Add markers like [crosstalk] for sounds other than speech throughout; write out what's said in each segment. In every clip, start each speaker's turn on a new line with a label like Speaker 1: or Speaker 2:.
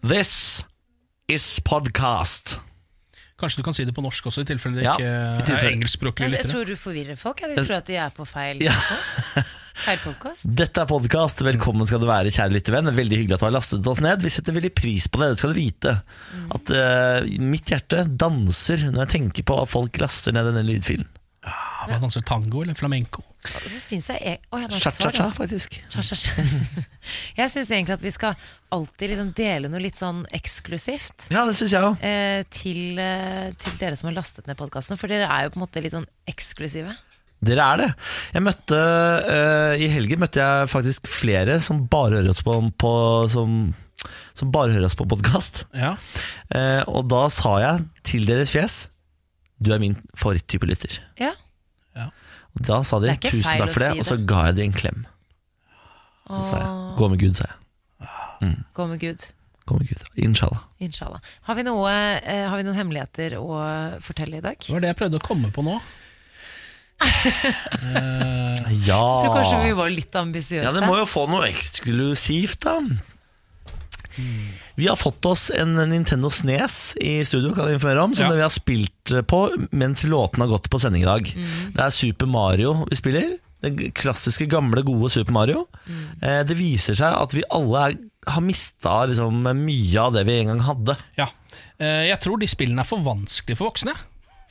Speaker 1: This is podcast.
Speaker 2: Kanskje du kan si det på norsk også, i tilfelle det
Speaker 1: Ja,
Speaker 2: ikke
Speaker 1: i tilfelle.
Speaker 2: er engelskspråklige
Speaker 3: Jeg, jeg
Speaker 2: lyttere.
Speaker 3: tror du forvirrer folk. Jeg. De tror at de er på feil
Speaker 1: Ja.
Speaker 3: Feil podkast.
Speaker 1: Dette er podcast. Velkommen skal du være, kjære lyttervenn. Veldig hyggelig at du har lastet oss ned. Vi setter veldig pris på det. Det skal du vite. At eh, mitt hjerte danser når jeg tenker på at folk laster ned denne lydfilen.
Speaker 2: Ja, Ah, Hva danser tango eller flamenco?
Speaker 3: Og så syns jeg jeg- Å, jeg har ikke svar,
Speaker 1: Cha-cha-cha,
Speaker 3: da.
Speaker 1: faktisk.
Speaker 3: Cha-cha-cha. [laughs] Jeg syns egentlig at vi skal alltid liksom dele noe litt sånn eksklusivt.
Speaker 1: Ja, det syns jeg òg.
Speaker 3: eh, Til, eh, til dere som har lastet ned podkasten, for dere er jo på en måte litt sånn eksklusive.
Speaker 1: Dere er det. Jeg møtte eh, I helgen møtte jeg faktisk flere som bare hører oss på, på som, som bare hører oss på podkast.
Speaker 2: Ja.
Speaker 1: og da sa jeg til deres fjes Du er min favoritttype lytter.
Speaker 3: Ja.
Speaker 1: Og da sa de
Speaker 3: Det er ikke
Speaker 1: 'tusen
Speaker 3: feil
Speaker 1: takk for
Speaker 3: å
Speaker 1: det',
Speaker 3: si
Speaker 1: og så
Speaker 3: det.
Speaker 1: ga jeg dem en klem. Så sa jeg
Speaker 3: Og
Speaker 1: 'gå med Gud', sa jeg.
Speaker 3: gå med Gud.
Speaker 1: Gå med Gud. Inshallah.
Speaker 3: Inshallah. Har vi, noe, eh, har vi noen hemmeligheter å fortelle i dag?
Speaker 2: Det var det jeg prøvde å komme på nå. Eh,
Speaker 3: Jeg tror kanskje vi
Speaker 1: Ja.
Speaker 3: var litt ambisiøse.
Speaker 1: Ah. ja, det må jo få noe eksklusivt, da. Vi har fått oss en Nintendo Snes i studio, kan jeg informere om, som
Speaker 2: Ja.
Speaker 1: vi har spilt på mens låten har gått på sending i dag.
Speaker 3: Mm.
Speaker 1: Det er Super Mario vi spiller. Det klassiske, gamle, gode Super Mario.
Speaker 3: Mm.
Speaker 1: Eh, Det viser seg at vi alle er, har mista liksom, mye av det vi en gang hadde.
Speaker 2: ja. Eh, Jeg tror de spillene er for vanskelige for voksne,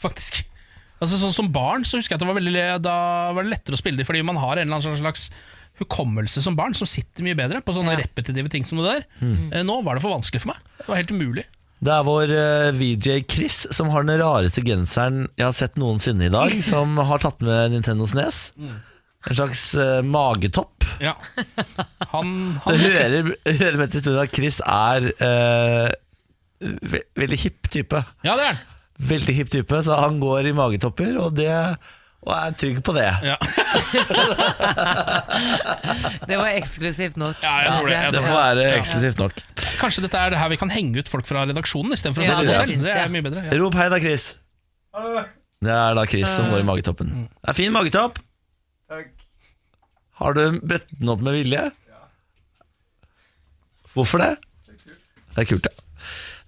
Speaker 2: faktisk. Altså sånn Som barn så husker jeg at det var veldig Da var det lettere å spille de fordi man har en eller annen slags hukommelse som barn som sitter mye bedre på sånne
Speaker 3: Ja.
Speaker 2: repetitive ting som det der.
Speaker 1: Mm.
Speaker 2: Eh, Nå var det for vanskelig for meg. Det var helt umulig.
Speaker 1: Det er vår eh, VJ Chris som har den rareste genseren jeg har sett noensinne i dag, som har tatt med Nintendo Snes. En slags eh, magetopp.
Speaker 2: Ja. [laughs] Han,
Speaker 1: Det
Speaker 2: han
Speaker 1: hører, hører med til historien at Chris er eh, ve veldig hipp type.
Speaker 2: Ja, det er han!
Speaker 1: Veldig hipp type, så han går i magetopper, og, det, og er trygg på det.
Speaker 2: Ja.
Speaker 3: Det var eksklusivt nok.
Speaker 2: Ja, jeg tror
Speaker 3: synes
Speaker 2: det. Jeg
Speaker 1: Det
Speaker 2: tror
Speaker 1: får være eksklusivt nok.
Speaker 2: Kanskje dette er det her vi kan henge ut folk fra redaksjonen istedenfor å
Speaker 3: Ja,
Speaker 2: se
Speaker 1: det
Speaker 2: det selv.
Speaker 3: syns
Speaker 2: Det
Speaker 3: jeg.
Speaker 2: er mye bedre. Ja.
Speaker 1: Rop hei da, Chris. Det er da Chris som går i magetoppen. Det er fin magetopp. Har du bredt den opp med vilje? Hvorfor det? Det er kult, ja.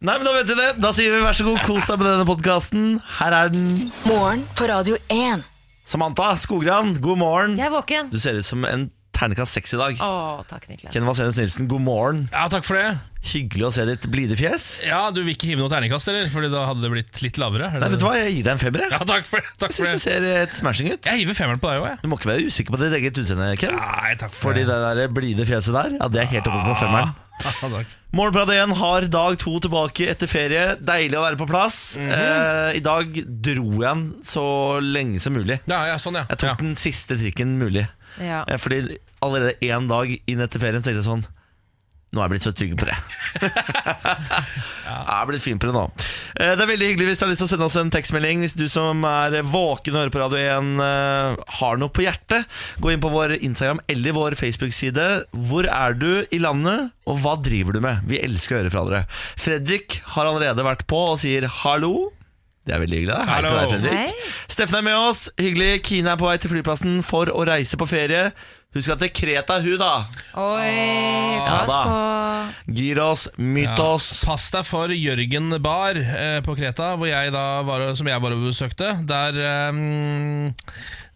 Speaker 1: Nei, men Da vet du det. Da sier vi vær så god, kos deg med denne podkasten. Her er den.
Speaker 4: Morgen på Radio 1.
Speaker 1: Samantha Skogran, god morgen.
Speaker 3: Jeg er våken.
Speaker 1: Du ser ut som en terningkast seks i dag.
Speaker 3: Å, takk, Niklas.
Speaker 1: Ken Vasenus Nilsen, god morgen.
Speaker 2: ja, takk for det.
Speaker 1: Hyggelig å se ditt blide fjes.
Speaker 2: Ja, Du vil ikke hive noe terningkast, eller? Fordi da hadde det blitt litt lavere? eller?
Speaker 1: Nei, vet du hva, jeg gir deg en femmer. jeg.
Speaker 2: Ja, takk for det. Takk
Speaker 1: Jeg
Speaker 2: for
Speaker 1: syns du
Speaker 2: det.
Speaker 1: ser helt smashing ut.
Speaker 2: Jeg hiver femmeren på deg òg, jeg.
Speaker 1: Du må ikke være usikker på ditt eget utseende, Ken.
Speaker 2: Nei, takk for
Speaker 1: Fordi
Speaker 2: det.
Speaker 1: det der blide fjeset der, ja, det er helt oppe på femmeren.
Speaker 2: [laughs] Ja, takk.
Speaker 1: Morgenprat 1 har dag to tilbake etter ferie. Deilig å være på plass. eh, I dag dro jeg den så lenge som mulig.
Speaker 2: Ja, ja, sånn, ja.
Speaker 1: Jeg tok
Speaker 2: ja.
Speaker 1: den siste trikken mulig.
Speaker 3: Ja.
Speaker 1: Eh, Fordi allerede én dag inn etter ferien tenkte jeg sånn Nå er jeg blitt så trygg på det. Jeg er blitt fin på det nå. Eh, Det er veldig hyggelig hvis du har lyst til å sende oss en tekstmelding. Hvis du som er våken og hører på Radio 1 eh, har noe på hjertet, gå inn på vår Instagram eller vår Facebook-side. Hvor er du i landet, og hva driver du med? Vi elsker å høre fra dere. Fredrik har allerede vært på og sier hallo. Det er veldig hyggelig. da. Hei til deg,
Speaker 2: Hallo.
Speaker 1: Fredrik.
Speaker 3: Hei.
Speaker 1: Steffen er med oss. Hyggelig. Kine er på vei til flyplassen for å reise på ferie. Hun skal til Kreta, hun, da.
Speaker 3: Oi,
Speaker 1: Ja,
Speaker 3: pass
Speaker 1: da.
Speaker 3: på.
Speaker 1: Gyros, Mytos.
Speaker 2: Pass deg for Jørgen Bar eh, på Kreta, hvor jeg da var, som jeg var og besøkte. Der, eh,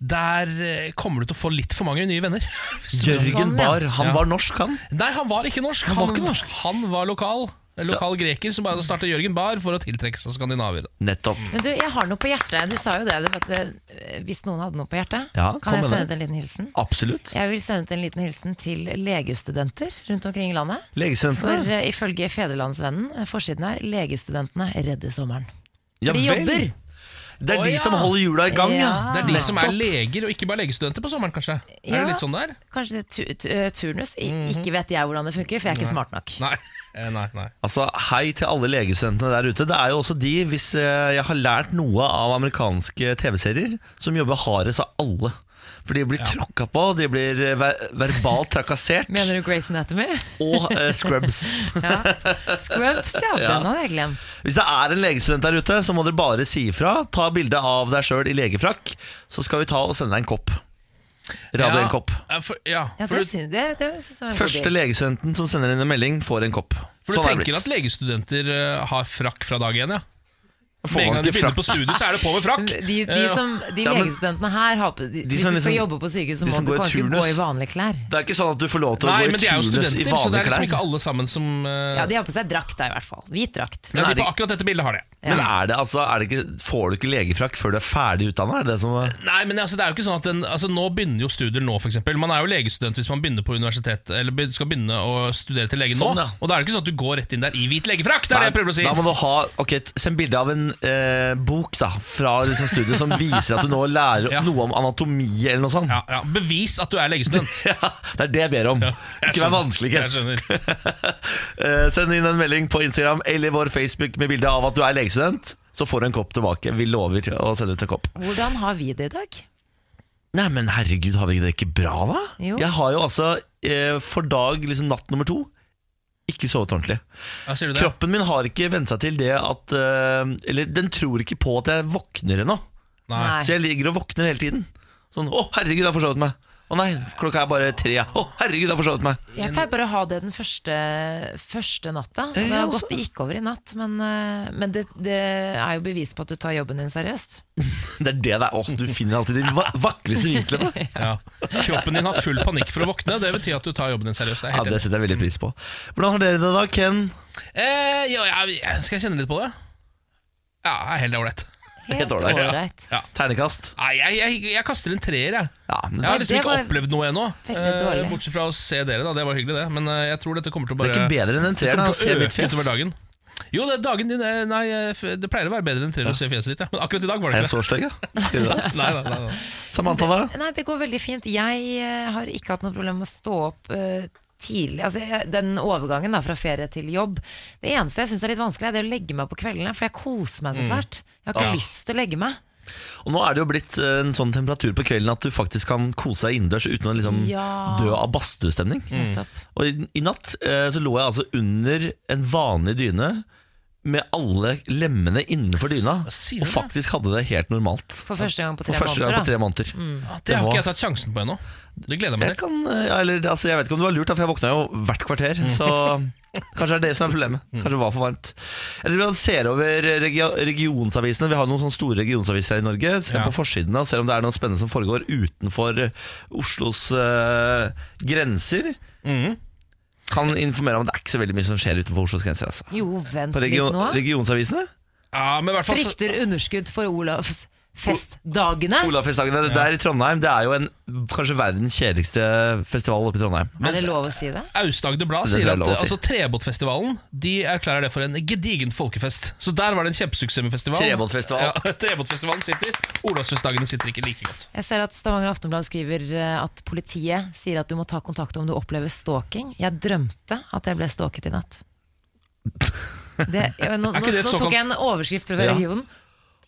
Speaker 2: der eh, kommer du til å få litt for mange nye venner. [laughs]
Speaker 1: Jørgen
Speaker 3: Sånn, ja.
Speaker 1: Barr. Han
Speaker 2: Ja.
Speaker 1: var norsk, han.
Speaker 2: Nei, han var ikke norsk.
Speaker 1: Han var ikke norsk.
Speaker 2: han var lokal. En Lokal greker som bare starta Jørgen Bar for å tiltrekke seg skandinaver.
Speaker 1: Nettopp.
Speaker 3: Men du, jeg har noe på hjertet. Du sa jo det, du vet, eh, hvis noen hadde noe på hjertet.
Speaker 1: Ja, kom
Speaker 3: kan jeg
Speaker 1: med
Speaker 3: sende
Speaker 1: det.
Speaker 3: ut en liten hilsen?
Speaker 1: Absolutt.
Speaker 3: Jeg vil sende ut en liten hilsen til legestudenter rundt omkring i landet. For
Speaker 1: Legestudentene.
Speaker 3: eh, ifølge Federlandsvennen, eh, forsiden her, legestudentene redder sommeren.
Speaker 1: Ja
Speaker 3: De
Speaker 1: vel.
Speaker 3: jobber.
Speaker 1: Det er
Speaker 2: Å,
Speaker 1: de
Speaker 2: ja.
Speaker 1: som holder hjula i gang, ja.
Speaker 3: Ja.
Speaker 2: Det er de som er
Speaker 1: Nettopp.
Speaker 2: leger og ikke bare legestudenter på sommeren, kanskje? Er
Speaker 3: Ah. Ja.
Speaker 2: det litt sånn det er?
Speaker 3: Kanskje det er tu tu eh, turnus. I
Speaker 1: Mhm.
Speaker 3: Ikke vet jeg hvordan det funker, for jeg er ikke smart nok.
Speaker 2: Nei. Eh, nei, nei.
Speaker 1: Altså, Hei til alle legestudentene der ute. Det er jo også de, hvis eh, jeg har lært noe av amerikanske TV-serier, som jobber hardest av alle. For de blir tråkka på, de blir eh, ver verbalt trakassert.
Speaker 3: Mener du Grace Anatomy?
Speaker 1: Og eh, scrubs. [laughs]
Speaker 3: Ja. Scrubs, ja.
Speaker 1: Ja.
Speaker 3: Den hadde jeg glemt.
Speaker 1: Hvis det er en legestudent der ute, så må dere bare si ifra. Ta bilde av deg sjøl i legefrakk, så skal vi ta og sende deg en kopp. Radio
Speaker 2: Ja,
Speaker 1: 1-kopp.
Speaker 2: ja, for, ja,
Speaker 3: Ja,
Speaker 2: for
Speaker 3: det
Speaker 2: du,
Speaker 3: syns det, det synes jeg var en god
Speaker 1: Første
Speaker 3: deal.
Speaker 1: legestudenten som sender inn en melding, får en kopp.
Speaker 2: for du
Speaker 1: Sånn er det
Speaker 2: tenker at
Speaker 1: blitt.
Speaker 2: legestudenter eh, har frakk fra dag én, ja?
Speaker 1: Får
Speaker 2: Med en
Speaker 1: man
Speaker 2: gang de
Speaker 1: ikke
Speaker 2: begynner på
Speaker 1: frakk?
Speaker 2: studiet, så er det på med frakk. Eh,
Speaker 3: De, de,
Speaker 2: Ja.
Speaker 3: som, de
Speaker 1: Ja, men-
Speaker 3: legestudentene her har på, de, Hvis
Speaker 1: som
Speaker 3: du skal
Speaker 1: liksom-
Speaker 3: jobbe på sykehus,
Speaker 1: de
Speaker 3: så må
Speaker 1: som
Speaker 3: du
Speaker 1: går i
Speaker 3: kan ikke gå
Speaker 1: turnus.
Speaker 3: i vanlige klær.
Speaker 1: Det er ikke sånn at du får lov til å
Speaker 2: Nei,
Speaker 1: gå
Speaker 2: men
Speaker 1: i
Speaker 2: de er jo
Speaker 1: turnus i
Speaker 2: studenter, så det
Speaker 1: vanlige
Speaker 2: er liksom ikke
Speaker 1: klær.
Speaker 2: alle sammen som eh,
Speaker 3: Ja, De har på seg drakt, da, i hvert fall. Hvit drakt.
Speaker 2: ja,
Speaker 1: Men er
Speaker 2: de
Speaker 1: det-
Speaker 2: på akkurat dette bildet har det.
Speaker 1: Men er det, altså, er det ikke, får du ikke legefrakk før du er ferdig utdanna? Er det det som er
Speaker 2: Nei, men altså, det er jo ikke sånn at den, altså, Nå begynner jo studier nå, f.eks. Man er jo legestudent hvis man begynner på universitet Eller be- skal begynne å studere til lege
Speaker 1: Sånn,
Speaker 2: nå.
Speaker 1: ja.
Speaker 2: Og da er det ikke sånn at du går rett inn der i hvit legefrakk! Det er det jeg prøver å si.
Speaker 1: Da må du ha Ok, t- Send bilde av en eh, bok da fra liksom studiet som viser at du nå lærer
Speaker 2: [laughs] Ja.
Speaker 1: noe om anatomi eller noe sånt.
Speaker 2: ja, ja. Bevis at du er legestudent.
Speaker 1: [laughs] Ja, det er det jeg ber om.
Speaker 2: Jeg
Speaker 1: ikke vær
Speaker 2: skjønner.
Speaker 1: vanskelig.
Speaker 2: Jeg
Speaker 1: Kent.
Speaker 2: skjønner.
Speaker 1: Eh, send inn en melding på Instagram eller vår Facebook med bilde av at du er legestudent. Så får du en kopp tilbake. Vi lover å sende ut en kopp.
Speaker 3: Hvordan har vi det i dag?
Speaker 1: Nei, men herregud, har vi det ikke bra, da?
Speaker 3: Jo.
Speaker 1: Jeg har jo altså eh, for dag, liksom natt nummer to, ikke sovet ordentlig.
Speaker 2: Ja, sier du det?
Speaker 1: Kroppen min har ikke vent seg til det at eh, Eller den tror ikke på at jeg våkner ennå.
Speaker 2: Nei.
Speaker 3: Nei.
Speaker 1: Så jeg ligger og våkner hele tiden. Sånn 'Å, herregud, jeg har forsovet meg'. 'Å nei, klokka er bare tre'. 'Å, herregud, jeg har forsovet meg'.
Speaker 3: Jeg pleier bare å ha det den første, første natta. Og det,
Speaker 1: Ja,
Speaker 3: har
Speaker 1: også.
Speaker 3: gått, det gikk over i natt, men, eh, men det, det er jo bevis på at du tar jobben din seriøst.
Speaker 1: Det er det det er. Åh, du finner alltid de va vakreste vinklene.
Speaker 2: Ja. Kroppen din har full panikk for å våkne. Det betyr at du tar jobben din seriøst. Det er
Speaker 1: Ja,
Speaker 2: helt
Speaker 1: Det setter jeg veldig pris på. Hvordan har dere det da, Ken?
Speaker 2: enig. eh, ja, ja, ja, skal jeg kjenne litt på det? Ja, det er helt ålreit.
Speaker 1: Helt ålreit.
Speaker 3: ålreit.
Speaker 1: Ternekast?
Speaker 2: Nei, jeg, jeg, jeg kaster en treer, jeg.
Speaker 1: Ja, men
Speaker 2: Jeg har liksom
Speaker 3: det
Speaker 2: ikke
Speaker 3: var
Speaker 2: opplevd noe ennå.
Speaker 3: veldig
Speaker 2: eh,
Speaker 3: dårlig.
Speaker 2: Bortsett fra å se dere, da. Det var hyggelig, det. Men eh, jeg tror dette kommer til å
Speaker 1: det er
Speaker 2: bare
Speaker 1: ikke bedre enn en treer. da, å Se mitt fjes.
Speaker 2: utover dagen. Jo, det, er dagen din eh, Nei, eh, f- det pleier å være bedre enn treer å se fjeset ditt, ja. Men akkurat i dag var
Speaker 1: Er
Speaker 2: det
Speaker 1: jeg
Speaker 2: ikke det.
Speaker 1: så stygg, da? Skal du det?
Speaker 2: Nei, nei, nei, nei.
Speaker 1: Samantha, da?
Speaker 3: Nei, det går veldig fint. Jeg eh, har ikke hatt noe problem med å stå opp eh, tidlig. Altså, jeg, den overgangen da, fra ferie til jobb. Det eneste jeg syns er litt vanskelig, er det å legge meg på kveldene, for jeg koser
Speaker 1: Mm.
Speaker 3: meg så fælt. Jeg har ikke lyst til å legge meg.
Speaker 1: Og nå er det jo blitt eh, en sånn temperatur på kvelden at du faktisk kan kose deg innendørs uten å liksom
Speaker 3: Ja.
Speaker 1: dø av badstuestemning.
Speaker 2: Mm.
Speaker 3: Nettopp.
Speaker 1: Og i, i natt eh, så lå jeg altså under en vanlig dyne med alle lemmene innenfor dyna,
Speaker 2: sier
Speaker 1: og
Speaker 2: du det?
Speaker 1: faktisk hadde det helt normalt.
Speaker 3: For første gang på
Speaker 1: For
Speaker 3: tre
Speaker 1: første gang på
Speaker 3: måneder.
Speaker 1: tre måneder.
Speaker 2: Ja, Det har ikke jeg tatt sjansen på ennå. Det gleder jeg meg
Speaker 1: Jeg,
Speaker 2: til.
Speaker 1: kan, eh, ja, eller, altså, jeg vet ikke om det var lurt, da, for jeg våkna jo hvert kvarter. Så kanskje det er det som er problemet. Kanskje det var for varmt. Jeg driver og ser over regio regionsavisene. Vi har noen sånne store regionsaviser her i Norge. Ser
Speaker 2: Ja.
Speaker 1: på forsidene og ser om det er noe spennende som foregår utenfor eh, Oslos eh, grenser. Kan informere om at det er ikke så veldig mye som skjer utenfor Oslos grenser. Altså.
Speaker 3: Jo, vent
Speaker 1: På
Speaker 3: litt
Speaker 1: region
Speaker 3: nå.
Speaker 1: regionsavisene?
Speaker 2: Ja, men i hvert fall så-
Speaker 3: Frykter underskudd for Olavs festdagene.
Speaker 1: Olavfestdagene det der i Trondheim Det er jo en, kanskje verdens kjedeligste festival oppe i Trondheim.
Speaker 3: Er det lov å si det?
Speaker 2: Aust-Agder Blad
Speaker 1: Det tror
Speaker 2: sier
Speaker 1: jeg er
Speaker 2: at
Speaker 1: lov å si.
Speaker 2: altså, Trebåtfestivalen De erklærer det for en gedigen folkefest. Så der var det en kjempesuksess med festival.
Speaker 1: Trebåtfestival.
Speaker 2: Ja, [laughs] Trebåtfestivalen sitter. Olavsfestdagene sitter ikke like godt.
Speaker 3: Jeg ser at Stavanger Aftenblad skriver eh, at politiet sier at du må ta kontakt om du opplever stalking. Jeg drømte at jeg ble stalket i natt. Det, ja, nå,
Speaker 2: Er ikke
Speaker 3: nå,
Speaker 2: det et
Speaker 3: nå tok
Speaker 2: såkalt-
Speaker 3: jeg en overskrift fra
Speaker 1: Ja.
Speaker 3: regionen.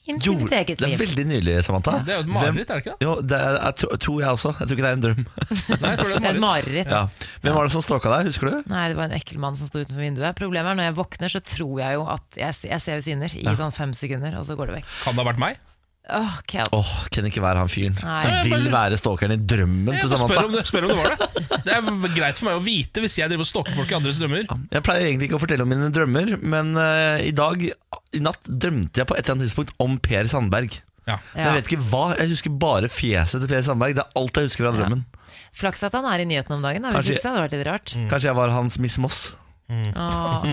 Speaker 1: Jo,
Speaker 3: Intimt
Speaker 1: det
Speaker 3: eget
Speaker 1: er
Speaker 3: liv.
Speaker 1: veldig nydelig, Samantha.
Speaker 2: Det er jo et
Speaker 1: Hvem-
Speaker 2: mareritt, er det ikke det?
Speaker 1: Jo, det er, jeg tro, tror jeg også. Jeg tror ikke det er en drøm.
Speaker 2: Nei, jeg tror det er
Speaker 3: [laughs] Det er
Speaker 2: et
Speaker 3: et
Speaker 2: mareritt.
Speaker 3: mareritt.
Speaker 1: Ja. Hvem var det som stalka deg, husker du?
Speaker 3: Nei, det var en ekkel mann som sto utenfor vinduet. Problemet er når jeg våkner, så tror jeg jo at jeg, jeg ser jo syner i sånn fem sekunder, og så går det vekk.
Speaker 2: Kan det ha vært meg?
Speaker 3: Åh, Kel.
Speaker 1: Åh, Kan ikke være han fyren
Speaker 3: Nei.
Speaker 1: som vil være stalkeren i drømmen
Speaker 2: Jeg
Speaker 1: til
Speaker 2: bare spør
Speaker 1: Samantha.
Speaker 2: om, det, spør om det var det. Det er greit for meg å vite hvis jeg driver og stalker folk i andres drømmer.
Speaker 1: Jeg pleier egentlig ikke å fortelle om mine drømmer, men eh, i dag, i natt, drømte jeg på et eller annet tidspunkt om Per Sandberg.
Speaker 2: Ja.
Speaker 1: Men
Speaker 3: Ja.
Speaker 1: jeg vet ikke hva. Jeg husker bare fjeset til Per Sandberg. Det er alt jeg husker av drømmen.
Speaker 2: Mm.
Speaker 3: Flaks at han er i nyhetene om dagen, da, hvis
Speaker 1: Kanskje-
Speaker 3: ikke så hadde det vært litt rart.
Speaker 1: Kanskje jeg var hans Miss Moss.
Speaker 3: Åh,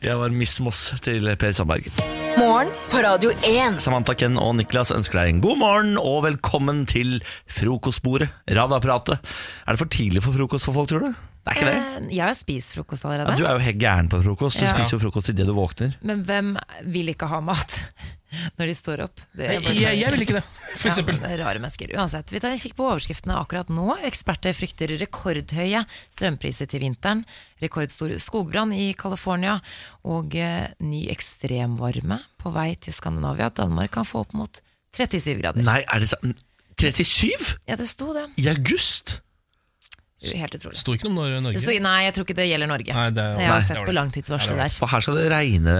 Speaker 1: Jeg var Miss Moss til Per Sandberg.
Speaker 4: Morgen på Radio 1.
Speaker 1: Samantha Ken og Niklas ønsker deg en god morgen og velkommen til frokostbordet, radioapparatet. Er det for tidlig for frokost for folk, tror du? Det er ikke det.
Speaker 3: eh, jeg har spist frokost
Speaker 1: Ja,
Speaker 3: allerede.
Speaker 1: du er jo helt gæren på frokost. Du
Speaker 3: Ja.
Speaker 1: spiser jo frokost idet du våkner.
Speaker 3: Men hvem vil ikke ha mat [laughs] når de står opp? Det
Speaker 2: Jeg, jeg, jeg vil ikke det, for
Speaker 3: Ja,
Speaker 2: eksempel.
Speaker 3: men det er rare mennesker. Uansett, vi tar en kikk på overskriftene akkurat nå. Eksperter frykter rekordhøye strømpriser til vinteren, rekordstor skogbrann i California og eh, ny ekstremvarme på vei til Skandinavia. Danmark kan få opp mot 37 grader.
Speaker 1: Nei, er det sant? 37?
Speaker 3: Ja, det sto det.
Speaker 1: I august?
Speaker 3: Helt utrolig.
Speaker 2: Sto ikke noe om Nor- Norge?
Speaker 3: Det sto- nei, jeg tror ikke det gjelder Norge.
Speaker 2: Nei, det er jo-
Speaker 3: jeg har
Speaker 2: Nei.
Speaker 3: sett på langtidsvarselet der.
Speaker 1: For her skal det regne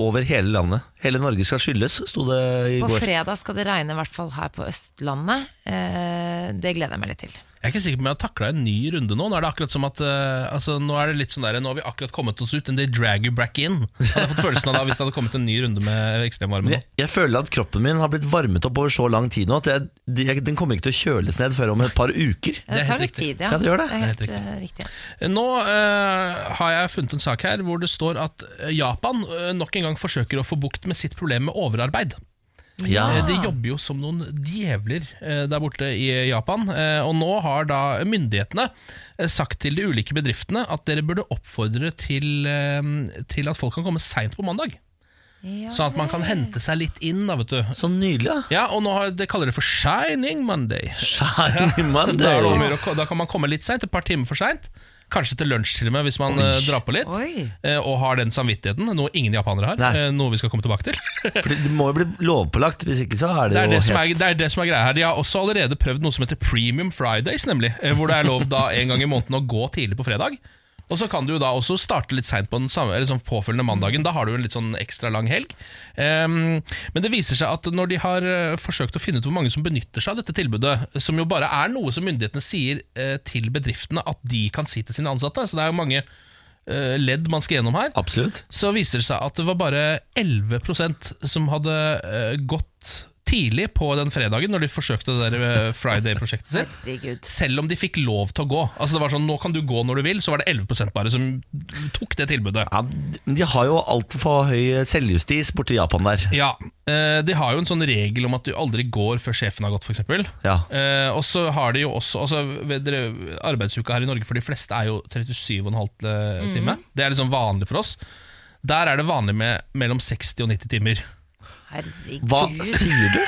Speaker 1: over hele landet. Hele Norge skal skylles, sto det i
Speaker 3: På
Speaker 1: går.
Speaker 3: fredag skal det regne, i hvert fall her på Østlandet. Eh, det gleder jeg meg litt til.
Speaker 2: Jeg er ikke sikker på om jeg har takla en ny runde nå. Nå er det akkurat som at eh, altså, Nå er det litt sånn der, nå har vi akkurat kommet oss ut, and they drag you back in. Jeg hadde fått følelsen av da hvis det hadde kommet en ny runde med ekstremvarme.
Speaker 1: Men
Speaker 2: nå.
Speaker 1: Jeg, jeg føler at kroppen min har blitt varmet opp over så lang tid nå at jeg, jeg, den kommer ikke til å kjøles ned før om et par uker.
Speaker 3: Det,
Speaker 2: er
Speaker 3: tar
Speaker 2: helt
Speaker 3: litt
Speaker 2: riktig.
Speaker 3: tid, ja.
Speaker 1: Ja, det gjør det.
Speaker 3: er helt,
Speaker 2: Det er helt
Speaker 3: eh, riktig.
Speaker 2: Nå eh, har jeg funnet en sak her hvor det står at Japan eh, nok en gang forsøker å få bukt med sitt problem med overarbeid.
Speaker 1: Ja.
Speaker 2: Eh,
Speaker 3: Ah.
Speaker 2: De jobber jo som noen djevler eh, der borte i Japan. eh, Og nå har da myndighetene eh, sagt til de ulike bedriftene at dere burde oppfordre til, eh, til at folk kan komme seint på mandag.
Speaker 3: Ja,
Speaker 2: Sånn at man kan hente seg litt inn, da, vet du.
Speaker 1: Så nydelig, da.
Speaker 2: Ja, og nå har, det kaller det for Shining Monday.
Speaker 1: Shiny
Speaker 2: Da, er det om å
Speaker 1: Monday.
Speaker 2: gjøre å ko- da kan man komme litt seint, et par timer for seint. Kanskje til lunsj til og med, hvis man eh, drar på litt.
Speaker 3: Oi.
Speaker 2: Eh, Og har den samvittigheten, noe ingen japanere har.
Speaker 1: Nei.
Speaker 2: eh, Noe vi skal komme tilbake til. [laughs]
Speaker 1: For det må jo bli lovpålagt, hvis ikke så er det,
Speaker 2: Det er
Speaker 1: jo
Speaker 2: det, som
Speaker 1: helt-
Speaker 2: er, det er det som er greia her. De har også allerede prøvd noe som heter Premium Fridays, nemlig. eh, Hvor det er lov da en gang i måneden å gå tidlig på fredag. Og så kan du jo da også starte litt seint på den samme, eller sånn påfølgende mandagen. Da har du jo en litt sånn ekstra lang helg. Ehm, men det viser seg at når de har eh, forsøkt å finne ut hvor mange som benytter seg av dette tilbudet, som jo bare er noe som myndighetene sier eh, til bedriftene at de kan si til sine ansatte, så det er jo mange eh, ledd man skal gjennom her
Speaker 1: Absolutt.
Speaker 2: så viser det seg at det var bare 11 som hadde eh, gått tidlig på den fredagen når de forsøkte det der eh, Friday-prosjektet sitt.
Speaker 3: Herregud.
Speaker 2: Selv om de fikk lov til å gå. Altså det var sånn, Nå kan du gå når du vil, så var det 11 bare som tok det tilbudet.
Speaker 1: Ja, men de har jo altfor høy selvjustis borti Japan der.
Speaker 2: Ja, eh, De har jo en sånn regel om at du aldri går før sjefen har gått, f.eks.
Speaker 1: Ja.
Speaker 2: Eh, og så har de jo også altså, ved dere, Arbeidsuka her i Norge for de fleste er jo 37,5 eh, time. Det er liksom vanlig for oss. Der er det vanlig med mellom 60 og 90 timer.
Speaker 1: Hva
Speaker 3: Herregud.
Speaker 1: sier du?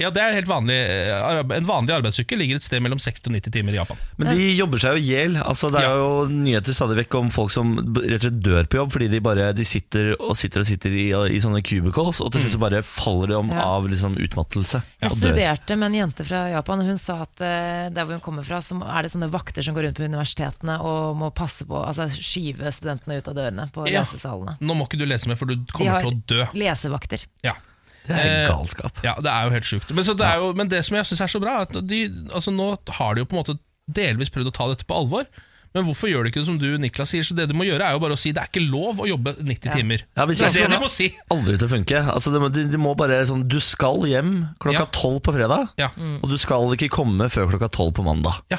Speaker 2: Ja, det er helt vanlig eh, arbe- En vanlig arbeidsuke ligger et sted mellom 60 og 90 timer i Japan.
Speaker 1: Men de jobber seg jo i hjel. Altså, det er
Speaker 2: Ja.
Speaker 1: jo nyheter stadig vekk om folk som b- rett og slett dør på jobb fordi de bare de sitter og sitter og sitter i, i sånne cubicles, og
Speaker 2: Mm.
Speaker 1: til slutt så bare faller de om
Speaker 3: Ja.
Speaker 1: av liksom, utmattelse.
Speaker 3: Jeg
Speaker 1: og dør.
Speaker 3: studerte med en jente fra Japan, og hun sa at eh, der hvor hun kommer fra, så er det sånne vakter som går rundt på universitetene og må passe på, altså skyve studentene ut av dørene på
Speaker 2: Ja.
Speaker 3: lesesalene.
Speaker 2: Nå må ikke du lese mer, for du
Speaker 3: De
Speaker 2: kommer
Speaker 3: har
Speaker 2: til å dø.
Speaker 3: Lesevakter.
Speaker 2: Ja.
Speaker 1: Det er
Speaker 2: Eh,
Speaker 1: galskap.
Speaker 2: ja, det er jo helt sjukt. Men, så det, er jo, men det som jeg syns er så bra, er at de, altså nå har de jo på en måte delvis prøvd å ta dette på alvor. Men hvorfor gjør de ikke det som du Niklas sier? Så Det du må gjøre, er jo bare å si det er ikke lov å jobbe 90 timer.
Speaker 1: Ja, hvis jeg
Speaker 2: det er
Speaker 1: skulle
Speaker 2: det de må si.
Speaker 1: Aldri til å funke. Altså, det må, de, de må bare sånn Du skal hjem klokka
Speaker 2: Ja.
Speaker 1: tolv på fredag,
Speaker 2: Ja.
Speaker 1: og du skal ikke komme før klokka tolv på mandag.
Speaker 2: ja.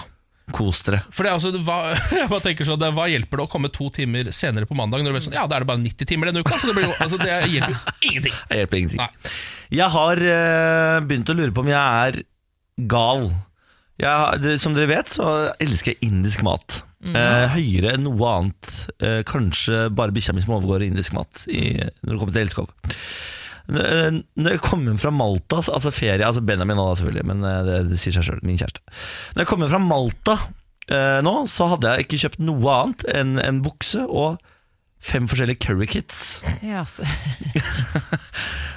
Speaker 1: Kos dere.
Speaker 2: For det er altså, hva, [laughs] jeg bare tenker sånn, det, hva hjelper det å komme to timer senere på mandag når du vet sånn, ja, da er det bare 90 timer denne uka? Så det, blir jo, altså, det hjelper jo ingenting.
Speaker 1: [laughs] Det hjelper ingenting.
Speaker 2: Nei.
Speaker 1: Jeg har eh, begynt å lure på om jeg er gal. Jeg, det- som dere vet, så elsker jeg indisk mat. Eh, høyere enn noe annet. Eh, kanskje bare bikkja mi som overgår i indisk mat i, når det kommer til elskov. N- eh, Når jeg kom hjem fra Malta, så- altså ferie Altså Benjamin nå, da, selvfølgelig, men eh, det, det sier seg sjøl. Min kjæreste. Når jeg kom hjem fra Malta eh, nå, så hadde jeg ikke kjøpt noe annet enn en bukse og fem forskjellige curry kits.
Speaker 3: Ja, så,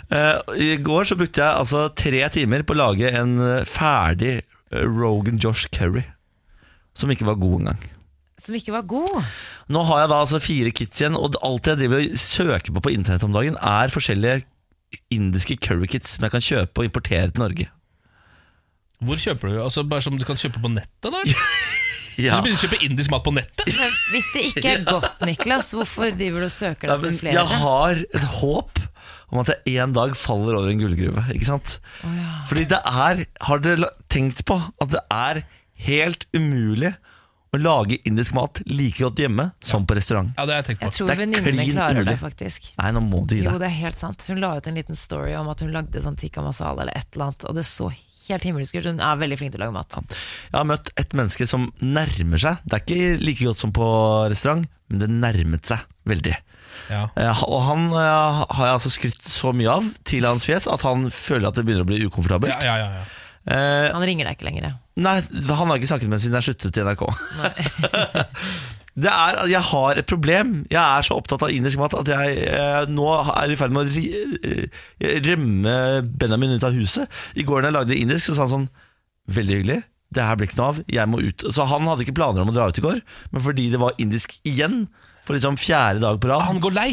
Speaker 1: Eh, I går så brukte jeg altså tre timer på å lage en eh, ferdig eh, Rogan Josh Kerry. Som ikke var god engang.
Speaker 3: som ikke var
Speaker 1: [laughs]
Speaker 3: god.
Speaker 1: Nå har jeg da altså fire kits igjen, og alt jeg driver og søker på på internett om dagen, er forskjellige indiske currykits som jeg kan kjøpe og importere til Norge.
Speaker 2: Hvor kjøper du? Altså Bare som du kan kjøpe på nettet? da? eller?
Speaker 1: Ja.
Speaker 2: Så begynner du å kjøpe indisk mat på nettet?
Speaker 3: Men hvis det ikke er godt, Niklas, hvorfor driver du og søker
Speaker 1: Ja,
Speaker 3: deg
Speaker 1: men
Speaker 3: til flere?
Speaker 1: jeg har et håp om at jeg en dag faller over en gullgruve. Ikke sant? Fordi det er Har dere la- tenkt på at det er helt umulig å lage indisk mat like godt hjemme som på restaurant?
Speaker 2: Ja, det har jeg tenkt på.
Speaker 3: Jeg tror
Speaker 1: Det er
Speaker 3: venninnene
Speaker 1: klin
Speaker 3: klarer det,
Speaker 1: umulig.
Speaker 3: faktisk.
Speaker 1: Nei, nå må du gi
Speaker 3: Jo,
Speaker 1: deg.
Speaker 3: det er helt sant. Hun la ut en liten story om at hun lagde sånn tikka masala eller et eller annet, og det så helt himmelsk ut. Hun er veldig flink til å lage mat.
Speaker 1: Jeg har møtt et menneske som nærmer seg. Det er ikke like godt som på restaurant, men det nærmet seg veldig.
Speaker 2: Ja.
Speaker 1: Eh, Og han eh, har jeg altså skrytt så mye av til hans fjes at han føler at det begynner å bli ukomfortabelt.
Speaker 2: Ja, ja, ja, ja.
Speaker 1: Eh,
Speaker 3: Han ringer deg ikke lenger.
Speaker 1: Nei, han har ikke snakket med henne siden jeg sluttet i NRK. [laughs] det er at Jeg har et problem. Jeg er så opptatt av indisk mat at jeg eh, nå er i ferd med å ri, eh, rømme Benjamin ut av huset. I går da jeg lagde indisk, så sa han sånn Veldig hyggelig. det her blir ikke noe av, jeg må ut. Så han hadde ikke planer om å dra ut i går, men fordi det var indisk igjen, for liksom fjerde dag på rad
Speaker 2: Han går lei.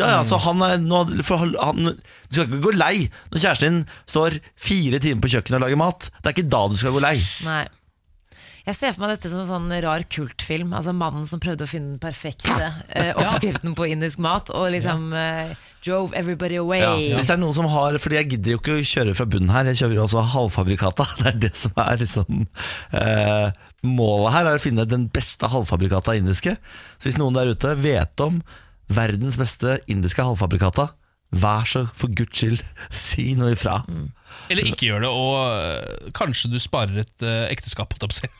Speaker 1: ja, ja, så han er nå, for han, han- Du skal ikke gå lei når kjæresten din står fire timer på kjøkkenet og lager mat. Det er ikke da du skal gå lei.
Speaker 3: Nei. Jeg ser for meg dette som en sånn rar kultfilm. Altså Mannen som prøvde å finne den perfekte eh, oppskriften på indisk mat, og liksom eh, drove everybody away.
Speaker 1: Hvis det er noen som har Fordi jeg gidder jo ikke å kjøre fra bunnen her, jeg kjører jo også halvfabrikata. [laughs] Det er det som er liksom eh, Målet her er å finne den beste halvfabrikata indiske. Så hvis noen der ute vet om verdens beste indiske halvfabrikata, vær så for guds skyld, [laughs] si noe ifra.
Speaker 2: Mm. Eller ikke gjør det, og øh, kanskje du sparer et øh, ekteskap. holdt jeg på å si.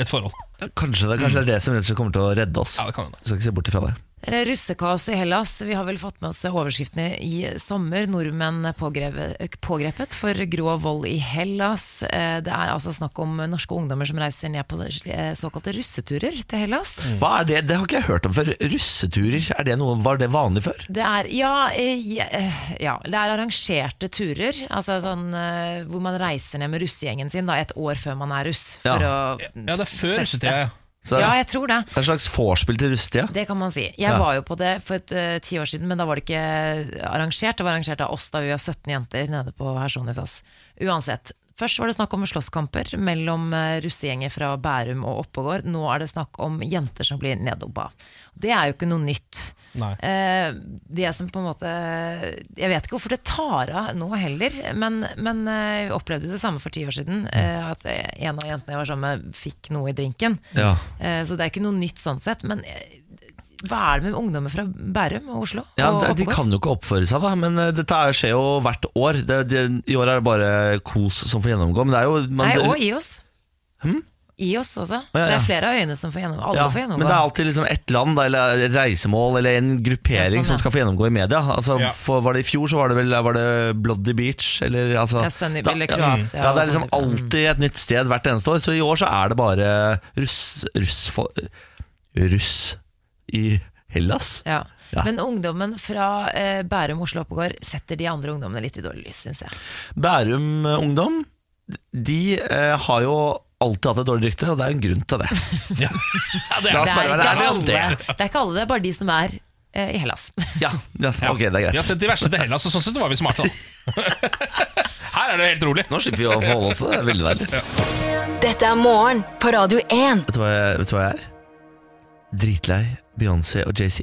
Speaker 2: Et forhold.
Speaker 1: Ja, Kanskje det, kanskje det er det som rett og slett kommer til å redde oss.
Speaker 2: Ja, det kan hende.
Speaker 1: Du skal ikke se bort ifra det.
Speaker 3: Det er Russekaos i Hellas. Vi har vel fått med oss overskriftene i sommer. Nordmenn pågrepet, pågrepet for grov vold i Hellas. Eh, Det er altså snakk om norske ungdommer som reiser ned på eh, såkalte russeturer til Hellas.
Speaker 2: Mm.
Speaker 1: Hva er det? Det har ikke jeg hørt om før. Russeturer, er det noe, var det vanlig før?
Speaker 3: Det er, ja, eh, je- eh, ja, det er arrangerte turer, altså sånn, eh, hvor man reiser ned med russegjengen sin da, et år før man er russ. For
Speaker 1: Ja.
Speaker 3: å,
Speaker 2: Ja, det er før
Speaker 3: Feste.
Speaker 2: russetida. ja.
Speaker 1: Så det
Speaker 3: ja,
Speaker 1: er
Speaker 3: jeg tror det.
Speaker 1: det er et slags vorspiel til russetida.
Speaker 3: Det kan man si. Jeg var jo på det for et, eh, ti år siden, men da var det ikke arrangert. Det var arrangert av oss da vi var 17 jenter nede på Hersonisos. Uansett. Først var det snakk om slåsskamper mellom eh, russegjenger fra Bærum og Oppegård. Nå er det snakk om jenter som blir neddobba. Det er jo ikke noe nytt.
Speaker 2: Nei.
Speaker 3: Eh, det som på en måte Jeg vet ikke hvorfor det tar av nå heller, men, men eh, jeg opplevde det samme for ti år siden. eh, At en av jentene jeg var sammen med, fikk noe i drinken.
Speaker 1: Ja.
Speaker 3: Eh, Så det er ikke noe nytt sånn sett. Men eh, hva er det med ungdommer fra Bærum og Oslo?
Speaker 1: Ja,
Speaker 3: og
Speaker 1: de, de
Speaker 3: Oppegård?
Speaker 1: kan jo ikke oppføre seg, da, men eh, dette er- skjer jo hvert år. Det, det, I år er det bare kos som får gjennomgå. Men det er jo man, Hm?
Speaker 3: Nei, og i oss. I oss også.
Speaker 1: ja,
Speaker 3: Det
Speaker 1: ja.
Speaker 3: er flere av øyene som får gjennomgå. Alle
Speaker 1: ja,
Speaker 3: får
Speaker 1: Men
Speaker 3: gjennomgå.
Speaker 1: det er alltid liksom ett land da, eller et reisemål eller en gruppering
Speaker 3: Ja, sånn, ja.
Speaker 1: som skal få gjennomgå i media. Altså,
Speaker 2: Ja.
Speaker 1: for, var det I fjor så var det vel var det Bloody Beach eller altså,
Speaker 3: Ja, Sunny- eller
Speaker 1: ja,
Speaker 3: Kroatia,
Speaker 1: ja, det
Speaker 3: og
Speaker 1: er liksom
Speaker 3: sånn type.
Speaker 1: alltid et nytt sted hvert eneste år. Så i år så er det bare russ Russ, fo- russ i Hellas.
Speaker 3: ja.
Speaker 1: Ja.
Speaker 3: Men ungdommen fra eh, Bærum, Oslo og Oppegård setter de andre ungdommene litt i dårlig lys, syns jeg.
Speaker 1: Bærum eh, Ungdom De eh, har jo alltid hatt et dårlig rykte, og det er jo en grunn til det.
Speaker 2: Ja. Ja, det er
Speaker 1: La oss
Speaker 3: Det
Speaker 1: bare
Speaker 3: er,
Speaker 1: være
Speaker 3: ikke
Speaker 1: ærlige
Speaker 3: alle,
Speaker 1: om
Speaker 3: det
Speaker 1: det.
Speaker 3: er ikke alle, det er bare de som er eh, i Hellas. [laughs]
Speaker 1: Ja, ja ok, det er
Speaker 2: Vi har
Speaker 1: greit.
Speaker 2: sett de verste til Hellas, og sånn sett var vi smarte. Da.
Speaker 1: [laughs]
Speaker 2: Her er det helt rolig.
Speaker 1: Nå slipper vi å forholde oss til det. det er Veldig deilig.
Speaker 4: Dette er morgen på Radio 1.
Speaker 1: Vet du hva jeg, vet du hva jeg er? Dritlei Beyoncé og JC.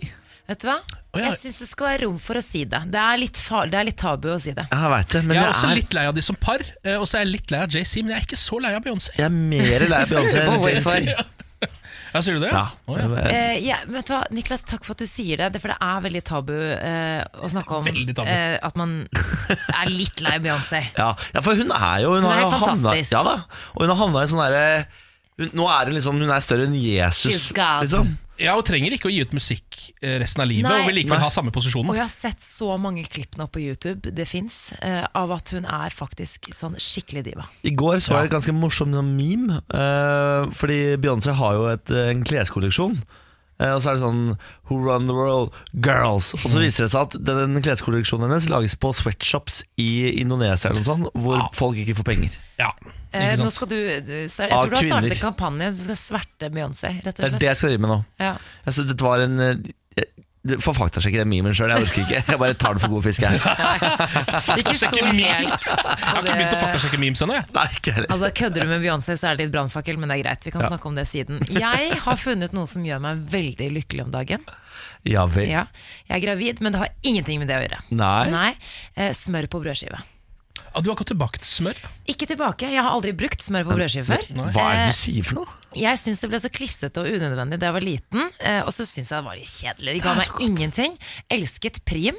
Speaker 3: Vet du hva?
Speaker 2: Å, ja.
Speaker 3: Jeg syns det skal være rom for å si det. Det er litt, far, det er litt tabu å si det.
Speaker 1: Jeg veit det, men
Speaker 2: Jeg er
Speaker 1: jeg
Speaker 2: også
Speaker 1: er,
Speaker 2: litt lei av de som par, eh, og så er jeg litt lei av JC, men jeg er ikke så lei av Beyoncé.
Speaker 1: jeg er mer lei av Beyoncé
Speaker 3: Lurer på
Speaker 1: enn
Speaker 3: hvorfor.
Speaker 1: JC.
Speaker 2: [laughs] Ja, sier du det?
Speaker 1: Ja.
Speaker 2: Å, ja.
Speaker 1: jeg-
Speaker 3: Eh, ja, men vet du hva, Niklas, takk for at du sier det, det for det er veldig tabu eh, å snakke om
Speaker 2: Veldig tabu.
Speaker 3: eh, at man
Speaker 1: [laughs]
Speaker 3: er litt lei Beyoncé.
Speaker 1: Ja, ja, for hun er jo Hun,
Speaker 3: Hun er
Speaker 1: har jo
Speaker 3: helt
Speaker 1: havna,
Speaker 3: fantastisk.
Speaker 1: ja da, og hun har havna i sånn derre hun- Nå er hun liksom Hun er større enn Jesus,
Speaker 3: She's God.
Speaker 1: liksom.
Speaker 2: ja, Hun trenger ikke å gi ut musikk eh, resten av livet,
Speaker 3: Nei.
Speaker 2: og vil likevel
Speaker 1: Nei.
Speaker 2: ha samme posisjon.
Speaker 3: Og
Speaker 2: da.
Speaker 3: jeg har sett så mange klipp nå på YouTube, det fins, eh, av at hun er faktisk sånn skikkelig diva.
Speaker 1: I går så jeg et ganske morsomt sånn meme, eh, fordi Beyoncé har jo et, eh, en kleskolleksjon. Eh, og så er det sånn Who run the world? Girls. Og
Speaker 3: Mm.
Speaker 1: så viser det seg at den, den kleskolleksjonen hennes lages på sweatshops i Indonesia, eller noe sånt, hvor
Speaker 2: Ja.
Speaker 1: folk ikke får penger.
Speaker 2: Ja,
Speaker 3: Eh,
Speaker 2: ikke
Speaker 3: nå
Speaker 2: sant?
Speaker 3: skal du, du jeg
Speaker 1: Av
Speaker 3: tror du har startet
Speaker 1: kvinner.
Speaker 3: en kampanje, du skal sverte Beyoncé, rett
Speaker 1: Det
Speaker 3: og
Speaker 1: er det
Speaker 3: slett.
Speaker 1: jeg skal drive med nå.
Speaker 3: Ja.
Speaker 1: Altså, dette var en eh, jeg- det- For faktasjekke den memen sjøl, jeg orker ikke. Jeg bare tar det for god fisk,
Speaker 3: [laughs]
Speaker 1: jeg.
Speaker 3: Ikke
Speaker 2: Faktasjekke
Speaker 3: stol
Speaker 2: min.
Speaker 3: helt
Speaker 2: Jeg har
Speaker 3: på
Speaker 2: ikke begynt å
Speaker 3: det-
Speaker 2: faktasjekke memes ennå, jeg.
Speaker 1: Nei, ikke heller.
Speaker 3: Altså, Kødder du med Beyoncé, så er det litt brannfakkel, men det er greit. Vi kan snakke om det siden. Jeg har funnet noe som gjør meg veldig lykkelig om dagen.
Speaker 1: Ja vel.
Speaker 3: Ja. Jeg er gravid, men det har ingenting med det å gjøre.
Speaker 1: Nei.
Speaker 3: Eh, smør på brødskive.
Speaker 2: Ah, du har gått tilbake til smør?
Speaker 3: Ikke tilbake. Jeg har aldri brukt smør på brødskive før.
Speaker 1: Hva er det du sier for noe?
Speaker 3: Jeg syns det ble så klissete og unødvendig da jeg var liten. eh, Og så syns jeg det var litt kjedelig. De ga meg ingenting. Elsket prim.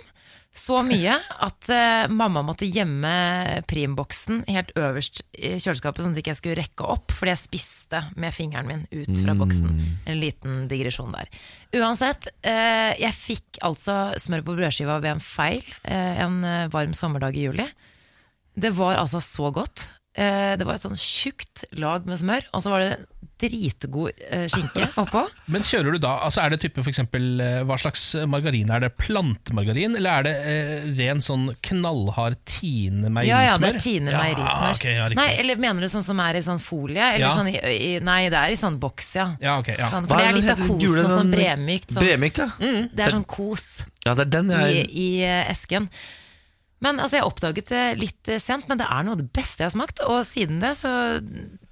Speaker 3: Så mye at eh, mamma måtte gjemme primboksen helt øverst i kjøleskapet, sånn at jeg ikke skulle rekke opp, fordi jeg spiste med fingeren min ut fra boksen. En liten digresjon der. Uansett, eh, jeg fikk altså smør på brødskiva ved en feil eh, en eh, varm sommerdag i juli. Det var altså så godt. Eh, Det var et sånn tjukt lag med smør, og så var det dritgod eh,
Speaker 2: [laughs]
Speaker 3: skinke oppå.
Speaker 2: Men kjører du da, altså er det type for eksempel, eh, Hva slags margarin er det? Plantemargarin, eller er det eh, ren sånn knallhard Tine
Speaker 3: Ja,
Speaker 2: meierismør?
Speaker 3: ja, det tiner meg i rismør.
Speaker 2: Ja, ok, ja, riktig.
Speaker 3: nei, eller mener du sånn som er i sånn folie? Eller
Speaker 2: Ja.
Speaker 3: sånn i, i, nei, det er i sånn boks, ja.
Speaker 2: Ja, ok, ja.
Speaker 3: Sånn, for det er litt av kosen og sånn bremykt. Sånn,
Speaker 1: Bremykt, ja.
Speaker 3: det er sånn kos.
Speaker 1: Ja, det er den
Speaker 3: i,
Speaker 1: jeg
Speaker 3: i eh, esken. Men altså, Jeg oppdaget det litt eh, sent, men det er noe av det beste jeg har smakt. Og siden det, så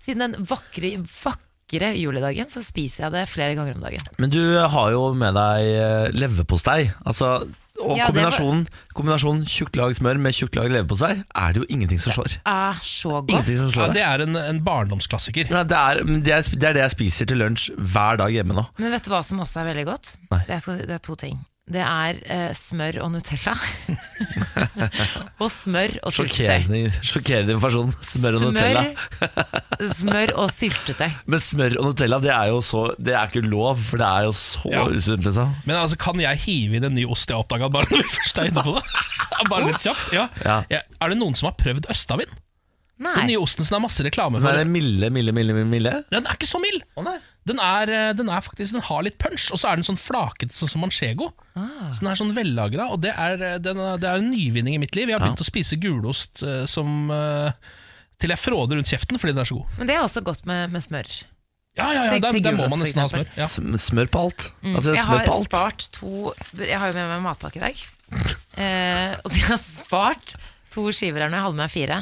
Speaker 3: Siden den vakre, vakre juledagen, så spiser jeg det flere ganger om dagen.
Speaker 1: Men du har jo med deg eh, leverpostei. Altså, og
Speaker 3: Ja, det var-
Speaker 1: kombinasjonen, kombinasjonen tjukt lag smør med tjukt lag leverpostei er det jo ingenting som slår.
Speaker 3: Er så godt.
Speaker 1: Ah, Ingenting som
Speaker 2: Ja,
Speaker 1: slår det.
Speaker 2: det er en, en barndomsklassiker.
Speaker 1: Nei, det, er, men det, er, det er det jeg spiser til lunsj hver dag hjemme nå.
Speaker 3: Men vet du hva som også er veldig godt?
Speaker 1: Nei.
Speaker 3: Det, jeg skal, si- det er to ting. Det er eh, smør og Nutella.
Speaker 1: [laughs]
Speaker 3: og smør og syltetøy.
Speaker 1: Sjokkerende, sjokkerende informasjon. Smør og Nutella.
Speaker 3: Smør, [laughs] smør og syltetøy.
Speaker 1: Men smør og Nutella det er jo så, det er ikke lov, for det er jo så
Speaker 2: Ja.
Speaker 1: usunt. liksom
Speaker 2: Men altså, kan jeg hive inn en ny ost jeg har oppdaga? Bare når vi først er inne på det? [laughs] Bare litt kjapt, ja.
Speaker 1: Ja.
Speaker 2: Ja. Er det noen som har prøvd Østavind? Den
Speaker 3: Nei.
Speaker 2: nye osten som det er masse reklame
Speaker 1: Men
Speaker 2: for.
Speaker 1: er det milde, milde, milde? milde, milde?
Speaker 2: Den er ikke så mild. Den, er, eh, den, er faktisk, den har litt punch, og så er den sånn flaket sånn som manchego.
Speaker 3: Ah.
Speaker 2: Så den er sånn vellagra, og det er, eh, den, er- det er en nyvinning i mitt liv. Jeg har begynt å spise gulost eh, som eh, til jeg fråder rundt kjeften fordi den er så god.
Speaker 3: Men det er også godt med, med smør.
Speaker 2: Ja, ja, ja,
Speaker 3: Til-
Speaker 2: Der,
Speaker 3: til
Speaker 2: der må man
Speaker 3: gulost, for
Speaker 2: nesten ha
Speaker 3: eksempel.
Speaker 2: smør. Ja.
Speaker 1: Sm- Smør på alt. Altså,
Speaker 3: Mm. Jeg
Speaker 1: smør
Speaker 3: har
Speaker 1: på alt.
Speaker 3: spart to Jeg har jo med meg matpakke i dag. Eh, og de har spart to skiver her når jeg hadde med meg fire.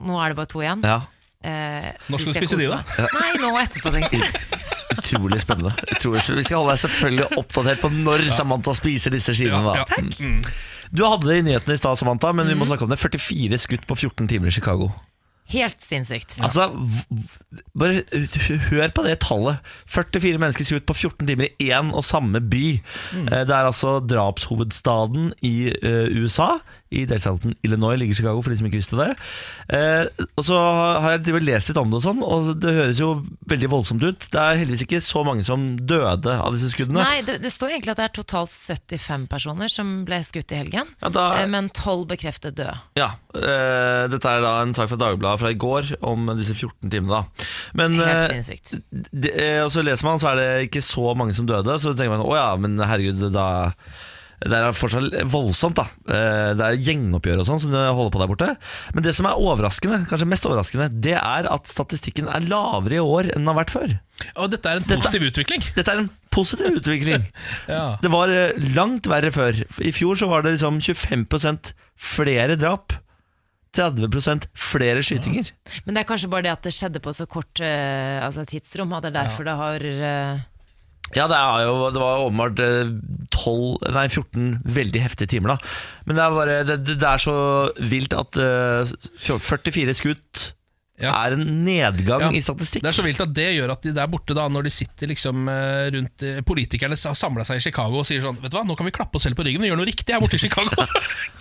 Speaker 3: Nå er det bare to igjen.
Speaker 1: Ja,
Speaker 3: Eh,
Speaker 2: Når skal
Speaker 3: hvis
Speaker 2: du
Speaker 3: jeg
Speaker 2: spise de,
Speaker 3: koser
Speaker 2: da?
Speaker 3: meg. Nei, nå etterpå, tenkte jeg.
Speaker 1: Utrolig spennende. Utrolig. spennende. Vi skal holde deg selvfølgelig oppdatert på når Samantha spiser disse skivene. da.
Speaker 2: Ja, Mhm. ja.
Speaker 1: Du hadde det i nyhetene i stad, Samantha, men vi må snakke om det. 44 skutt på 14 timer i Chicago.
Speaker 3: Helt sinnssykt.
Speaker 1: Altså, v- v- bare h- hør på det tallet. 44 mennesker skutt på 14 timer i én og samme by.
Speaker 3: Mm.
Speaker 1: Eh, Det er altså drapshovedstaden i eh, USA. I delstaten Illinois ligger Chicago, for de som ikke visste det. Eh, og så har jeg drevet og lest litt om det, og sånn Og det høres jo veldig voldsomt ut. Det er heldigvis ikke så mange som døde av disse skuddene.
Speaker 3: Nei, det, det står egentlig at det er totalt 75 personer som ble skutt i helgen.
Speaker 1: Ja, da-
Speaker 3: eh, Men 12 bekreftet døde.
Speaker 1: Ja, eh, Dette er da en sak fra Dagbladet fra i går om disse 14 timene. da. Men eh,
Speaker 3: Helt sinnssykt.
Speaker 1: det, eh, og så leser man, så er det ikke så mange som døde. Så tenker man å ja, men herregud, da det er fortsatt voldsomt, da. Eh, Det er gjengoppgjør og sånn som det holder på der borte. Men det som er overraskende, kanskje mest overraskende, det er at statistikken er lavere i år enn den har vært før.
Speaker 2: Og dette er en positiv utvikling.
Speaker 1: Dette er en positiv utvikling.
Speaker 2: Ja.
Speaker 1: Det var eh, langt verre før. I fjor så var det liksom 25 flere drap. 30 flere skytinger.
Speaker 3: Men det er kanskje bare det at det skjedde på så kort eh, altså, tidsrom, at det er derfor det har eh,
Speaker 1: Ja, det, er jo, det var åpenbart eh, 12, nei, 14 veldig heftige timer, da. Men det er, bare, det, det det er så vilt at eh, 44 skutt
Speaker 2: Ja.
Speaker 1: er en nedgang
Speaker 2: Ja.
Speaker 1: i statistikk.
Speaker 2: Det er så vilt at det gjør at de der borte, da når de sitter liksom eh, rundt eh, Politikerne har samla seg i Chicago og sier sånn Vet du hva, nå kan vi klappe oss selv på ryggen, vi gjør noe riktig her borte i Chicago. [laughs]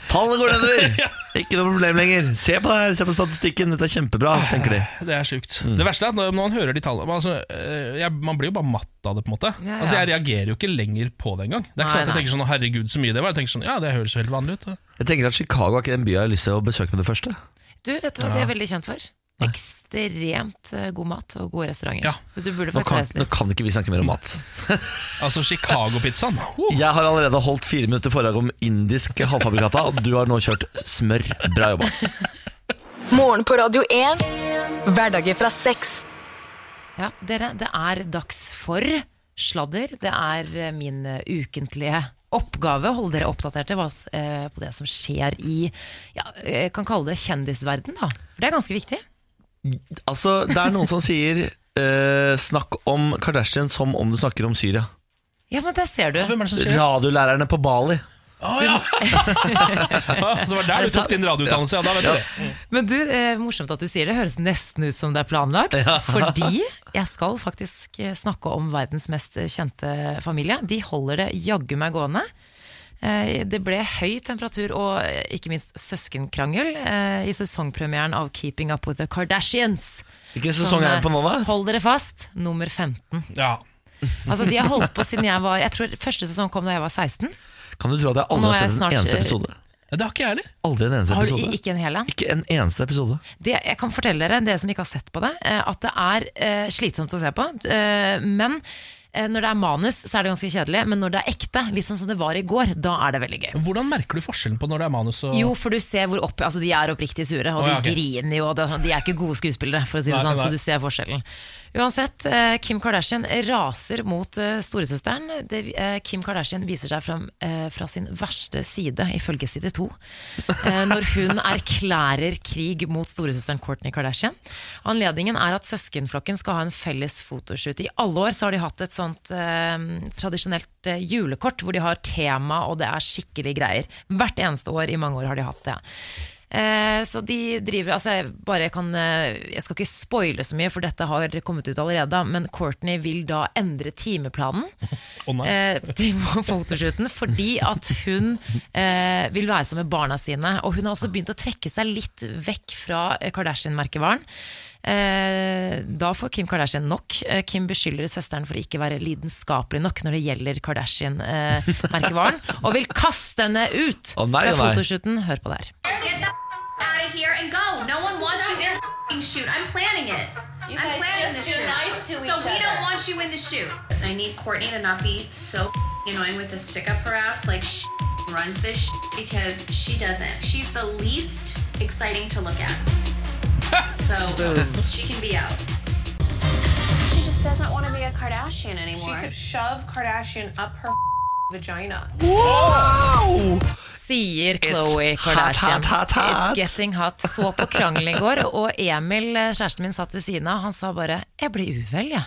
Speaker 1: Tallene går nedover!
Speaker 2: Ja.
Speaker 1: Ikke noe problem lenger. Se på det her, se på statistikken, dette er kjempebra, tenker de.
Speaker 2: Det er sjukt. Det verste er at når man hører de tallene man, altså, eh, jeg, man blir jo bare matt av det, på en måte.
Speaker 3: Ja, ja.
Speaker 2: Altså Jeg reagerer jo ikke lenger på det engang. Det er ikke
Speaker 3: Nei,
Speaker 2: sånn at jeg
Speaker 3: nei.
Speaker 2: tenker sånn «Å, 'herregud, så mye det var'. Jeg tenker sånn, ja, det høres jo helt vanlig ut.
Speaker 1: Jeg tenker at Chicago er ikke den byen jeg har lyst til å besøke med det første.
Speaker 3: Du, vet du hva de er veldig kjent for? Ekstremt eh, god mat og gode restauranter.
Speaker 2: Ja.
Speaker 3: Så du burde
Speaker 1: Nå
Speaker 3: faktisk
Speaker 1: kan,
Speaker 3: reise
Speaker 1: nå
Speaker 3: dit.
Speaker 1: kan ikke vi snakke mer om mat.
Speaker 2: Altså Chicago-pizzaen. Oh.
Speaker 1: Jeg har allerede holdt fire minutter foredrag om indisk halvfabrikata, og du har nå kjørt smør. Bra jobba.
Speaker 4: Morgen på Radio 1. Hverdager fra seks.
Speaker 3: Ja, dere, det er dags for sladder. Det er eh, min eh, ukentlige oppgave. Hold dere oppdaterte hva, s- eh, på det som skjer i ja, eh, Jeg kan kalle det kjendisverden, da. For det er ganske viktig.
Speaker 1: Altså, det er noen som sier eh, Snakk om Kardashian som om du snakker om Syria.
Speaker 3: Ja, men der ser du.
Speaker 2: Hvem er det som sier det?
Speaker 1: Radiolærerne på Bali.
Speaker 2: Å, ja. Ah, det var der du tok din radioutdannelse, ja. Da vet du det.
Speaker 3: Men du, eh, Morsomt at du sier det. Høres nesten ut som det er planlagt. [laughs] Fordi jeg skal faktisk eh, snakke om verdens mest kjente familie. De holder det jaggu meg gående. Eh, Det ble høy temperatur og eh, ikke minst søskenkrangel eh, i sesongpremieren av Keeping Up With The Kardashians.
Speaker 1: Hvilken
Speaker 3: Sånn
Speaker 1: sesong er det på nå, da?
Speaker 3: Hold dere fast, nummer 15.
Speaker 2: Ja.
Speaker 3: Altså, de har holdt på siden jeg var Jeg tror første sesong kom da jeg var 16.
Speaker 1: Kan du tro at jeg
Speaker 3: Nå
Speaker 1: aldri
Speaker 3: er
Speaker 1: har
Speaker 3: jeg
Speaker 1: sett en
Speaker 3: snart-
Speaker 1: eneste episode?
Speaker 2: Ja, det har ikke jeg heller.
Speaker 1: Aldri en eneste
Speaker 3: Har du
Speaker 1: episode.
Speaker 3: i- ikke en hel en?
Speaker 1: Ikke en eneste episode.
Speaker 3: det, jeg kan fortelle dere, dere som ikke har sett på det, eh, at det er eh, slitsomt å se på. eh, Men eh, når det er manus, så er det ganske kjedelig. Men når det er ekte, litt sånn som det var i går, da er det veldig gøy.
Speaker 2: Hvordan merker du forskjellen på når det er manus og
Speaker 3: Jo, for du ser hvor opp, altså de er oppriktig sure,
Speaker 2: Å,
Speaker 3: og de
Speaker 2: ja, ok.
Speaker 3: griner jo. og det er sånn- De er ikke gode skuespillere, for å si det
Speaker 2: Nei,
Speaker 3: sånn,
Speaker 2: nei.
Speaker 3: så du ser forskjellen. Uansett, eh, Kim Kardashian raser mot eh, storesøsteren. Det, eh, Kim Kardashian viser seg fra, eh, fra sin verste side, ifølge side to, eh, når hun erklærer krig mot storesøsteren Kourtney Kardashian. Anledningen er at søskenflokken skal ha en felles fotoshoot. I alle år så har de hatt et sånt eh, tradisjonelt eh, julekort hvor de har tema, og det er skikkelig greier. Hvert eneste år i mange år har de hatt det. Eh, så de driver altså jeg, bare kan, eh, jeg skal ikke spoile så mye, for dette har kommet ut allerede. Men Courtney vil da endre timeplanen
Speaker 2: Å, nei.
Speaker 3: eh, til fotoshooten fordi at hun eh, vil være sammen med barna sine. Og hun har også begynt å trekke seg litt vekk fra eh, Kardashian-merkevaren. Eh, da får Kim Kardashian nok. Eh, Kim beskylder søsteren for å ikke være lidenskapelig nok når det gjelder Kardashian-merkevaren, og vil kaste henne ut
Speaker 1: Å, nei, å,
Speaker 3: fra
Speaker 1: nei.
Speaker 3: fotoshooten. Hør på det her.
Speaker 5: Get the out of here and go. No one wants you in the f***ing shoot. I'm planning it.
Speaker 6: You
Speaker 5: I'm
Speaker 6: guys
Speaker 5: planning
Speaker 6: just be
Speaker 5: the shoot.
Speaker 6: nice to
Speaker 5: so
Speaker 6: each
Speaker 5: we
Speaker 6: other.
Speaker 5: don't want you in the shoot. I need Courtney to not be so f***ing annoying with the stick up her ass like she f***ing runs this sh- because she doesn't. She's the least exciting to look at. so she can be out. She just doesn't want to be a Kardashian
Speaker 6: She
Speaker 5: anymore.
Speaker 6: could shove Kardashian up her vagina.
Speaker 3: Sier Khloe
Speaker 1: It's hot,
Speaker 3: Kardashian.
Speaker 1: hot, hot, hot.
Speaker 3: It's getting hot. Så på krangelen i går, og Emil, eh, kjæresten min, satt ved siden av. Han sa bare 'jeg ble uvel', jeg. Ja.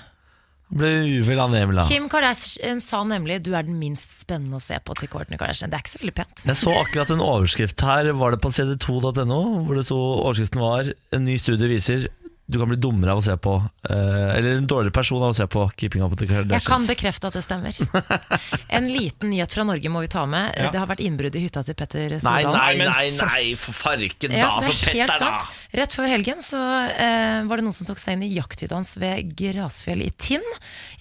Speaker 1: Ble uvel av Emil, da.
Speaker 3: Kim Kardashian sa nemlig 'du er den minst spennende å se på' til Kourtney Kardashian. Det er ikke så veldig pent.
Speaker 1: Jeg så akkurat en overskrift her, var det på cd2.no, hvor det sto overskriften var En ny studie viser du kan bli dummere av å se på eh, Eller en dårligere person av å se på Keeping Up with the
Speaker 3: Jeg kan
Speaker 1: Kardashians.
Speaker 3: bekrefte at det stemmer.
Speaker 1: [laughs]
Speaker 3: En liten nyhet fra Norge må vi ta med. Det har vært innbrudd i hytta til Petter
Speaker 1: Nei,
Speaker 3: Stordalen.
Speaker 1: nei,
Speaker 2: men
Speaker 1: nei,
Speaker 2: for-
Speaker 1: nei, for farken da,
Speaker 3: Ja, det
Speaker 1: for
Speaker 3: er helt
Speaker 1: Petter da
Speaker 3: sant. Rett før helgen så eh, var det noen som tok seg inn i jakthytta hans ved Grasfjell i Tinn.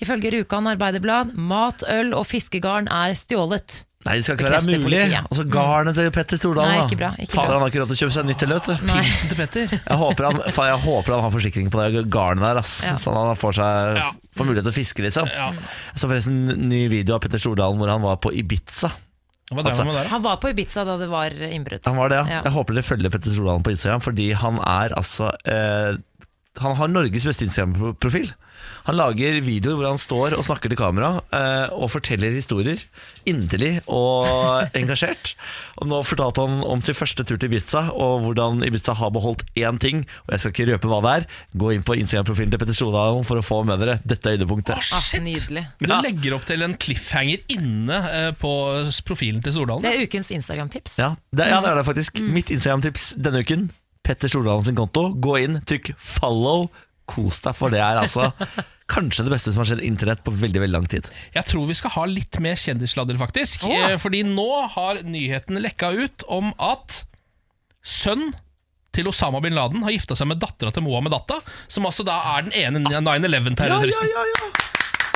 Speaker 3: Ifølge Rjukan Arbeiderblad mat, øl og fiskegarn er stjålet.
Speaker 1: Nei, det skal ikke være
Speaker 3: Bekrefter
Speaker 1: mulig
Speaker 3: politiet.
Speaker 1: Og så garnet til Petter Stordalen
Speaker 3: Nei,
Speaker 1: da.
Speaker 3: ikke bra, ikke
Speaker 1: Fader,
Speaker 3: bra.
Speaker 1: han har ikke råd til å kjøpe seg nytt til løt du.
Speaker 3: Nei.
Speaker 2: Hilsen til Petter.
Speaker 1: jeg håper, han, faen, jeg håper han har forsikring på det garnet der ass,
Speaker 3: Ja.
Speaker 1: Sånn at han får, seg,
Speaker 2: Ja.
Speaker 1: får mulighet til å fiske liksom
Speaker 2: Ja.
Speaker 1: Så forresten, ny video av Petter Stordalen Hvor han var på Ibiza
Speaker 2: Hva drev
Speaker 1: Altså,
Speaker 2: han med der, da?
Speaker 3: [laughs] Han var på Ibiza da det var innbrudd.
Speaker 1: Han var det, ja.
Speaker 3: Ja.
Speaker 1: Jeg håper dere følger Petter Stordalen på Instagram, fordi han er altså eh, Han har Norges beste Instagram-profil. Han lager videoer hvor han står og snakker til kamera eh, og forteller historier. Inderlig og engasjert. Og nå fortalte han om sin første tur til Ibiza, og hvordan Ibiza har beholdt én ting. Og jeg skal ikke røpe hva det er. Gå inn på Instagram-profilen til Petter Stordalen for å få med dere dette
Speaker 2: Å,
Speaker 1: øydepunktet.
Speaker 2: shit!
Speaker 3: Ah, nydelig.
Speaker 2: Du
Speaker 1: Ja.
Speaker 2: legger opp til en cliffhanger inne eh, på s- profilen til Stordalen.
Speaker 3: Det er ukens Instagram-tips.
Speaker 1: Ja, det, ja, det er det faktisk.
Speaker 2: Mm.
Speaker 1: Mitt Instagram-tips denne uken, Petter Stordalen sin konto. Gå inn, trykk 'follow'. Kos deg, for det er
Speaker 2: [laughs]
Speaker 1: altså kanskje det beste som har skjedd internett på veldig veldig lang tid.
Speaker 2: Jeg tror vi skal ha litt mer kjendissladder, faktisk.
Speaker 3: Åh.
Speaker 2: Eh, Fordi nå har nyheten lekka ut om at sønn til Osama bin Laden har gifta seg med dattera til Mohammed Atta, som altså da er den ene 9-11-terroristen.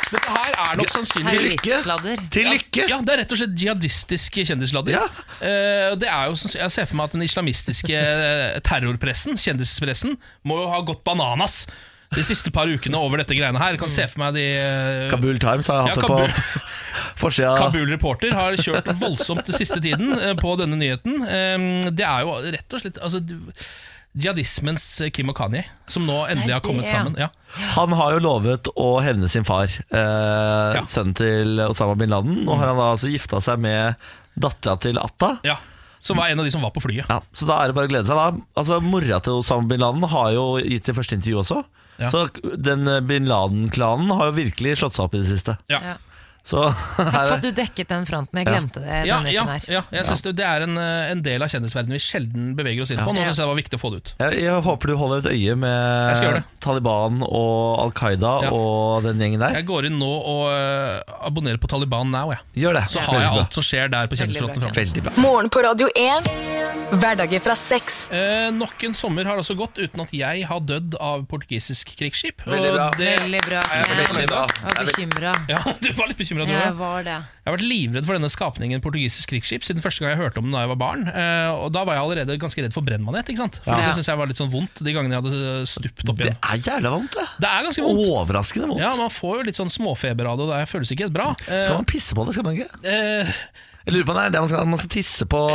Speaker 2: Dette her er nok sannsynligvis
Speaker 3: Terroristsladder.
Speaker 1: Til lykke!
Speaker 2: Ja, Det er rett og slett jihadistiske kjendisladder.
Speaker 1: Ja.
Speaker 2: Eh, og det er jo, sanns- jeg ser for meg at den islamistiske eh, terrorpressen, kjendispressen, må jo ha gått bananas de siste par ukene over dette greiene her. Jeg
Speaker 1: Mm.
Speaker 2: Kan se for meg de eh,
Speaker 1: Kabul Times har hatt
Speaker 2: Ja,
Speaker 1: det på
Speaker 2: Kabul.
Speaker 1: [laughs] forsida.
Speaker 2: Kabul Reporter har kjørt [laughs] voldsomt den siste tiden eh, på denne nyheten. Eh, Det er jo rett og slett altså, du- jihadismens Kim og Kanye, som nå endelig har kommet
Speaker 3: det-
Speaker 2: sammen. Ja.
Speaker 1: Han har jo lovet å hevne sin far, eh, sønnen til Osama bin Laden. Nå har han da altså gifta seg med dattera til Atta.
Speaker 2: Ja. Som var en av de som var på flyet.
Speaker 1: Ja, så da er det bare å glede seg. da Altså Mora til Osama bin Laden har jo gitt sitt første intervju også.
Speaker 2: Ja.
Speaker 1: Så den eh, bin Laden-klanen har jo virkelig slått seg opp i det siste.
Speaker 2: Ja.
Speaker 3: Ja.
Speaker 1: Så [laughs]
Speaker 3: Takk for
Speaker 1: her
Speaker 3: at du dekket den fronten. Jeg glemte det
Speaker 2: Ja,
Speaker 3: denne
Speaker 2: ja,
Speaker 3: uken her.
Speaker 2: ja, jeg synes det, det er en, eh, en del av kjendisverdenen vi sjelden beveger oss inn på. Nå synes jeg det var viktig å få det ut.
Speaker 1: jeg, jeg håper du holder et øye
Speaker 2: Jeg skal gjøre
Speaker 1: med
Speaker 2: det.
Speaker 1: Taliban og Al Qaida
Speaker 2: Ja.
Speaker 1: og den gjengen der.
Speaker 2: Jeg går inn nå og eh, abonnerer på Taliban Now, jeg.
Speaker 1: Gjør det.
Speaker 2: Så har
Speaker 1: Veldig
Speaker 2: jeg
Speaker 1: bra.
Speaker 2: alt som skjer der på kjendisfronten
Speaker 3: bra,
Speaker 2: framover.
Speaker 1: Veldig bra.
Speaker 4: Morgen på Radio 1. Hverdager fra seks.
Speaker 2: Eh, nok en sommer har altså gått uten at jeg har dødd av portugisisk krigsskip.
Speaker 1: Veldig bra.
Speaker 2: Og det,
Speaker 3: Veldig bra.
Speaker 1: Jeg er
Speaker 3: Ken.
Speaker 1: veldig bra.
Speaker 3: Jeg var
Speaker 1: Jeg er veldig-
Speaker 3: bekymra.
Speaker 2: ja, [laughs] du var litt bekymra, du
Speaker 3: Jeg
Speaker 2: òg.
Speaker 3: var det.
Speaker 2: Jeg har vært livredd for denne skapningen portugisisk krigsskip siden første gang jeg hørte om den da jeg var barn. Eh, og Da var jeg allerede ganske redd for brennmanet. ikke sant? Fordi
Speaker 3: Ja.
Speaker 2: Det synes jeg var litt sånn vondt de gangene jeg hadde eh, stupt opp
Speaker 1: Det
Speaker 2: igjen.
Speaker 1: er jævla vondt, det.
Speaker 2: Det er ganske vondt.
Speaker 1: Overraskende vondt.
Speaker 2: Ja, Man får jo litt sånn småfeber av det, og det føles ikke helt bra. Eh,
Speaker 1: Skal man pisse på det, skal man ikke?
Speaker 2: eh,
Speaker 1: Jeg lurer på om det er det man skal, man skal tisse på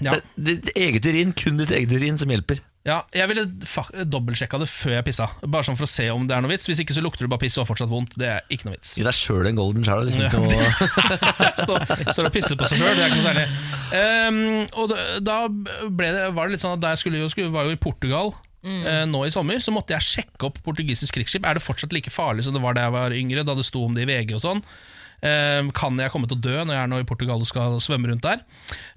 Speaker 2: Ja.
Speaker 1: Det, ditt eget urin, kun ditt eget urin som hjelper.
Speaker 2: ja, Jeg ville fa- dobbeltsjekka det før jeg pissa, bare sånn for å se om det er noe vits. Hvis ikke så lukter det bare piss og har fortsatt vondt. Det er ikke noe vits.
Speaker 1: Gi deg sjøl en golden shower. Liksom ikke noe,
Speaker 2: Står står og pisser på seg sjøl, det er ikke noe særlig. Ehm, og da- da ble det, var det litt sånn at da jeg skulle, jo- skulle var jo i Portugal eh, nå i sommer, så måtte jeg sjekke opp portugisisk krigsskip. Er det fortsatt like farlig som det var da jeg var yngre, da det sto om det i VG og sånn? Ehm, kan jeg komme til å dø når jeg er nå i Portugal og skal svømme rundt der?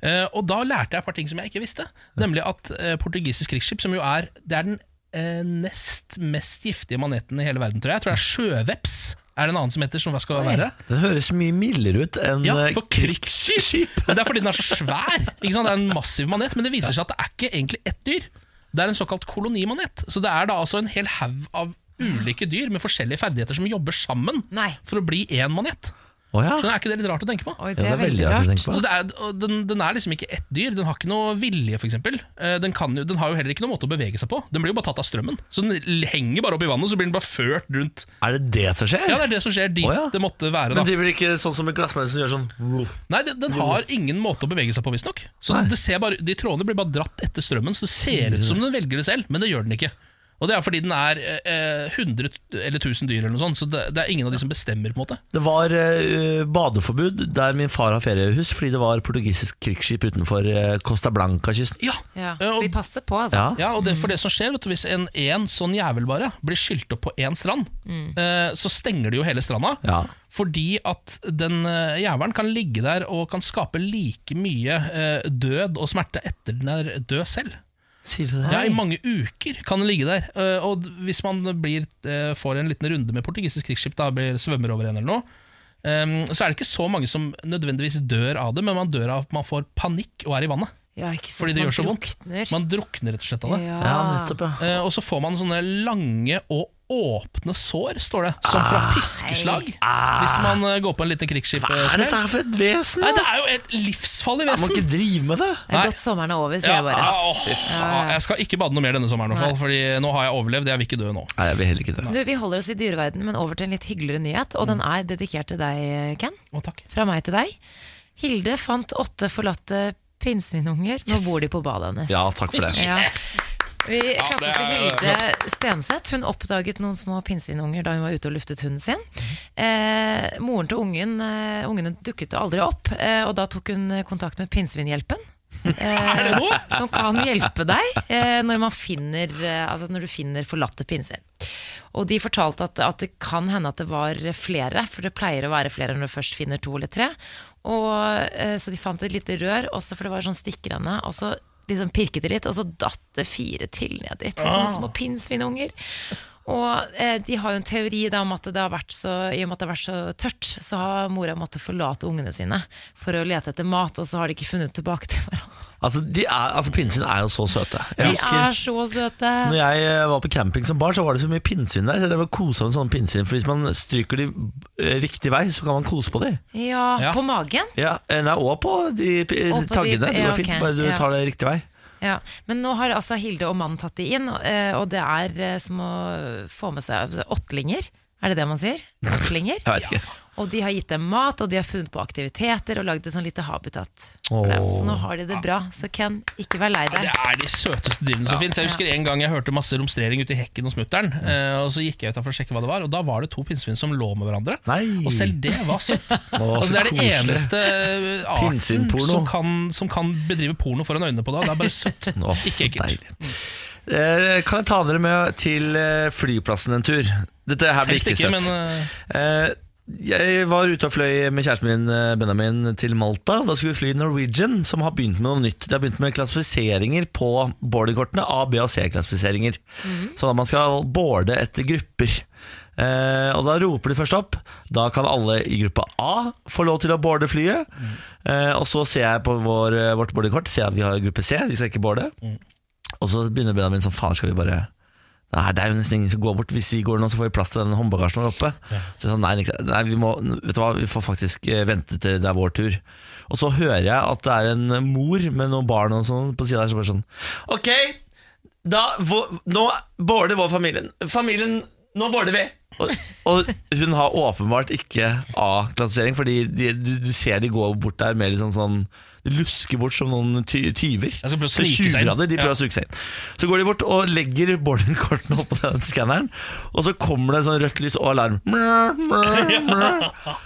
Speaker 2: Eh, og da lærte jeg et par ting som jeg ikke visste, nemlig at eh, portugisisk krigsskip, som jo er Det er den eh, nest mest giftige maneten i hele verden, tror jeg. Jeg tror det er sjøveps. Er det en annen som heter som hva skal være?
Speaker 1: den høres mye mildere ut enn
Speaker 2: Ja,
Speaker 1: eh,
Speaker 2: for
Speaker 1: krigsskip.
Speaker 2: Men Det er fordi den er så svær. Ikke sant? Det er en massiv manet, men det viser seg at det er ikke egentlig ett dyr. Det er en såkalt kolonimanet. Så det er da altså en hel haug av ulike dyr med forskjellige ferdigheter som jobber sammen
Speaker 3: Nei.
Speaker 2: for å bli én manet.
Speaker 1: Å ja.
Speaker 2: Så er ikke det litt rart å tenke på?
Speaker 3: Oi,
Speaker 1: ja.
Speaker 3: det er veldig
Speaker 1: rart å
Speaker 3: rart.
Speaker 1: tenke på.
Speaker 2: Så det er, og den, den er liksom ikke ett dyr. Den har ikke noe vilje, f.eks. Den, kan jo- den har jo heller ikke noen måte å bevege seg på. Den blir jo bare tatt av strømmen. Så den l- henger bare opp i vannet, så blir den bare ført rundt
Speaker 1: Er det det som skjer?
Speaker 2: Ja, det er det som skjer dit
Speaker 1: Å ja.
Speaker 2: det måtte være, da.
Speaker 1: Men driver de ikke sånn som en glassmaur som gjør sånn
Speaker 2: Nei, den, den har ingen måte å bevege seg på, visstnok. Så
Speaker 1: Nei.
Speaker 2: det ser bare- De trådene blir bare dratt etter strømmen, så det ser ut som den velger det selv, men det gjør den ikke. Og Det er fordi den er eh, eh, 100 eller 1000 dyr, eller noe sånt, så det, det er ingen av de som bestemmer. på en måte
Speaker 1: Det var eh, badeforbud der min far har feriehus fordi det var portugisisk krigsskip utenfor eh, Costa Blanca-kysten.
Speaker 2: Ja,
Speaker 3: Ja,
Speaker 2: Eh,
Speaker 3: så
Speaker 2: og-
Speaker 3: de passer på, altså.
Speaker 1: Ja.
Speaker 2: ja og
Speaker 1: Mm.
Speaker 2: det, For det som skjer, vet du, hvis en, en sånn jævel bare blir skylt opp på én strand, eh, så stenger de jo hele stranda.
Speaker 1: Ja.
Speaker 2: Fordi at den eh, jævelen kan ligge der og kan skape like mye eh, død og smerte etter den er død selv.
Speaker 1: Sier du det?
Speaker 2: Ja, I mange uker kan den ligge der. Eh, Og d- hvis man blir, eh, får en liten runde med portugisisk krigsskip, da blir svømmer over en eller noe, ehm, så er det ikke så mange som nødvendigvis dør av det, men man dør av at man får panikk og er i vannet.
Speaker 3: Ja, ikke sant?
Speaker 2: Fordi det
Speaker 3: Man
Speaker 2: gjør så vondt.
Speaker 3: drukner.
Speaker 2: Man drukner rett og slett av det.
Speaker 3: Ja.
Speaker 1: ja, nettopp, ja.
Speaker 2: Eh, Og så får man sånne lange og åpne sår, står det, som fra piskeslag. Hvis man eh, går på en liten
Speaker 1: Ah, Hva er
Speaker 2: krigsskipsmell.
Speaker 1: dette her for et vesen?
Speaker 2: Nei,
Speaker 1: da?
Speaker 2: det er jo et livsfarlig
Speaker 1: Jeg må
Speaker 2: vesen!
Speaker 1: ikke drive med det.
Speaker 3: Det
Speaker 2: Nei.
Speaker 3: er godt sommeren er over, sier
Speaker 2: Ja,
Speaker 3: jeg bare.
Speaker 2: ah, åh, ah, jeg skal ikke bade noe mer denne sommeren, i hvert fall, Fordi nå har jeg overlevd. Jeg vil ikke dø nå.
Speaker 1: Nei, jeg vil heller ikke det.
Speaker 3: Du, Vi holder oss i dyreverden, men over til en litt hyggeligere nyhet. Og den er dedikert til deg, Ken.
Speaker 2: Å, takk.
Speaker 3: Fra meg til deg. Hilde fant åtte forlatte pinnsvinunger. Nå bor de på badet hennes.
Speaker 1: Ja, takk for det.
Speaker 3: Ja. Vi klapper for
Speaker 2: det
Speaker 3: Hilde Stenseth. Hun oppdaget noen små pinnsvinunger da hun var ute og luftet hunden sin. Eh, moren til ungen, eh, ungene dukket aldri opp, eh, og da tok hun kontakt med Pinnsvinhjelpen. Eh, [laughs] som kan hjelpe deg eh, når, man finner, eh, altså når du finner forlatte pinnsvin. Og de fortalte at, at det kan hende at det var flere, for det pleier å være flere når du først finner to eller tre. Og, eh, så de fant et lite rør, også for det var sånn stikkrende. Og så liksom pirket de litt, og så datt det fire til ned dit. To sånne små pinnsvinunger. Og eh, de har jo en teori da, om at det har vært så, i og med at det har vært så tørt, så har mora måttet forlate ungene sine for å lete etter mat, og så har de ikke funnet tilbake til hverandre.
Speaker 1: Altså, de er, altså Pinnsvin er jo så søte. Jeg
Speaker 3: De
Speaker 1: husker
Speaker 3: er så søte!
Speaker 1: når jeg eh, var på camping som barn, så var det så mye pinnsvin der. Så jeg kosa med sånne pinnsvin, for hvis man stryker de eh, riktig vei, så kan man kose på de.
Speaker 3: Ja,
Speaker 2: Ja.
Speaker 3: På magen.
Speaker 1: Ja, eh, Nei, og på de eh,
Speaker 3: Og på de-
Speaker 1: taggene. Det
Speaker 3: ja,
Speaker 1: går fint,
Speaker 3: ok,
Speaker 1: bare du
Speaker 3: ja.
Speaker 1: tar det riktig vei.
Speaker 3: Ja. Men nå har altså Hilde og mannen tatt de inn, og, eh, og det er eh, som å få med seg åttlinger. Er det det
Speaker 1: [laughs]
Speaker 3: man sier? Åttlinger.
Speaker 1: Jeg vet ikke.
Speaker 3: Og de har gitt dem mat, og de har funnet på aktiviteter og lagd et sånn lite habitat. For
Speaker 1: Åh.
Speaker 3: dem. Så nå har de det bra. Så Ken, ikke vær lei deg.
Speaker 2: Det er de søteste dyrene som finnes. Jeg husker en gang jeg hørte masse romstrering ute i hekken hos mutter'n. eh, Og så gikk jeg utenfor og sjekket hva det var, og da var det to pinnsvin som lå med hverandre.
Speaker 1: Nei.
Speaker 2: Og selv det var søtt.
Speaker 1: Å,
Speaker 2: altså, det
Speaker 1: så
Speaker 2: er det
Speaker 1: koselig.
Speaker 2: eneste eh, arten
Speaker 1: Pinnsvinporno.
Speaker 2: som kan, som kan bedrive porno foran øynene på deg. og Det er bare søtt.
Speaker 1: Åh,
Speaker 2: Ikke
Speaker 1: så
Speaker 2: ekkelt.
Speaker 1: deilig. Eh, Kan jeg ta dere med til eh, flyplassen en tur? Dette her blir
Speaker 2: Helst
Speaker 1: ikke
Speaker 2: ikke,
Speaker 1: søtt.
Speaker 2: men eh,
Speaker 1: Eh, jeg var ute og fløy med kjæresten min eh, Benjamin til Malta. Da skulle vi fly Norwegian, som har begynt med noe nytt. De har begynt med klassifiseringer på boardingkortene. A, B og C-klassifiseringer. Sånn at man skal boarde etter grupper. Eh, og da roper de først opp. Da kan alle i gruppa A få lov til å boarde flyet. Eh, og så ser jeg på vår, eh, vårt boardingkort Ser jeg at vi har gruppe C. Vi skal ikke boarde. Og så begynner Benjamin sånn Faen, skal vi bare Nei, det er jo nesten ingen som går bort. Hvis vi går nå, så får vi plass til den håndbagasjen vår oppe. Så jeg sa nei, Niklas, nei vi, må, vet du hva, vi får faktisk eh, vente til det er vår tur. Og så hører jeg at det er en mor med noen barn og sånn på sida der som bare sånn Ok, da hvor, Nå border vår familien. Familien Nå border vi. Og, og hun har åpenbart ikke A-klassifisering, fordi de, du, du ser de går bort der med litt sånn sånn de lusker bort som noen ty tyver.
Speaker 2: Ja, så prøver å
Speaker 1: Så
Speaker 2: snike seg inn.
Speaker 1: tjuvgrader, De prøver
Speaker 2: Ja.
Speaker 1: å suge seg inn. Så går de bort og legger boardingkortene opp på den skanneren, og så kommer det sånn rødt lys og alarm. Mrr, mrr, mrr.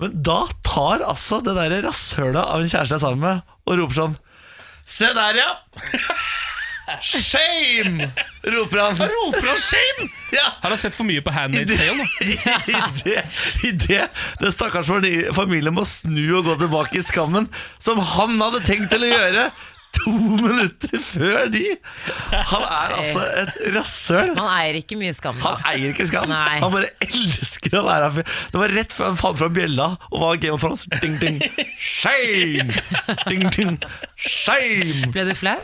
Speaker 1: Men da tar altså det derre rasshølet av en kjæreste jeg er sammen med, og roper sånn Se der, ja!
Speaker 2: eh,
Speaker 1: Shame! roper han.
Speaker 2: Roper han shame?
Speaker 1: Ja.
Speaker 2: Har han sett for mye på Handmaid's Tale? nå?
Speaker 1: I det, i det den stakkars fordi- familien må snu og gå tilbake i skammen Som han hadde tenkt til å gjøre To minutter før de Han er altså et rasshøl
Speaker 3: Man eier ikke mye skam. da.
Speaker 1: Han eier ikke skam
Speaker 3: Nei.
Speaker 1: Han bare elsker å være her Det var rett før han fant fram bjella Og var Game of Thrones Ding, ding, shame Ding, ding, shame
Speaker 3: Ble du flau?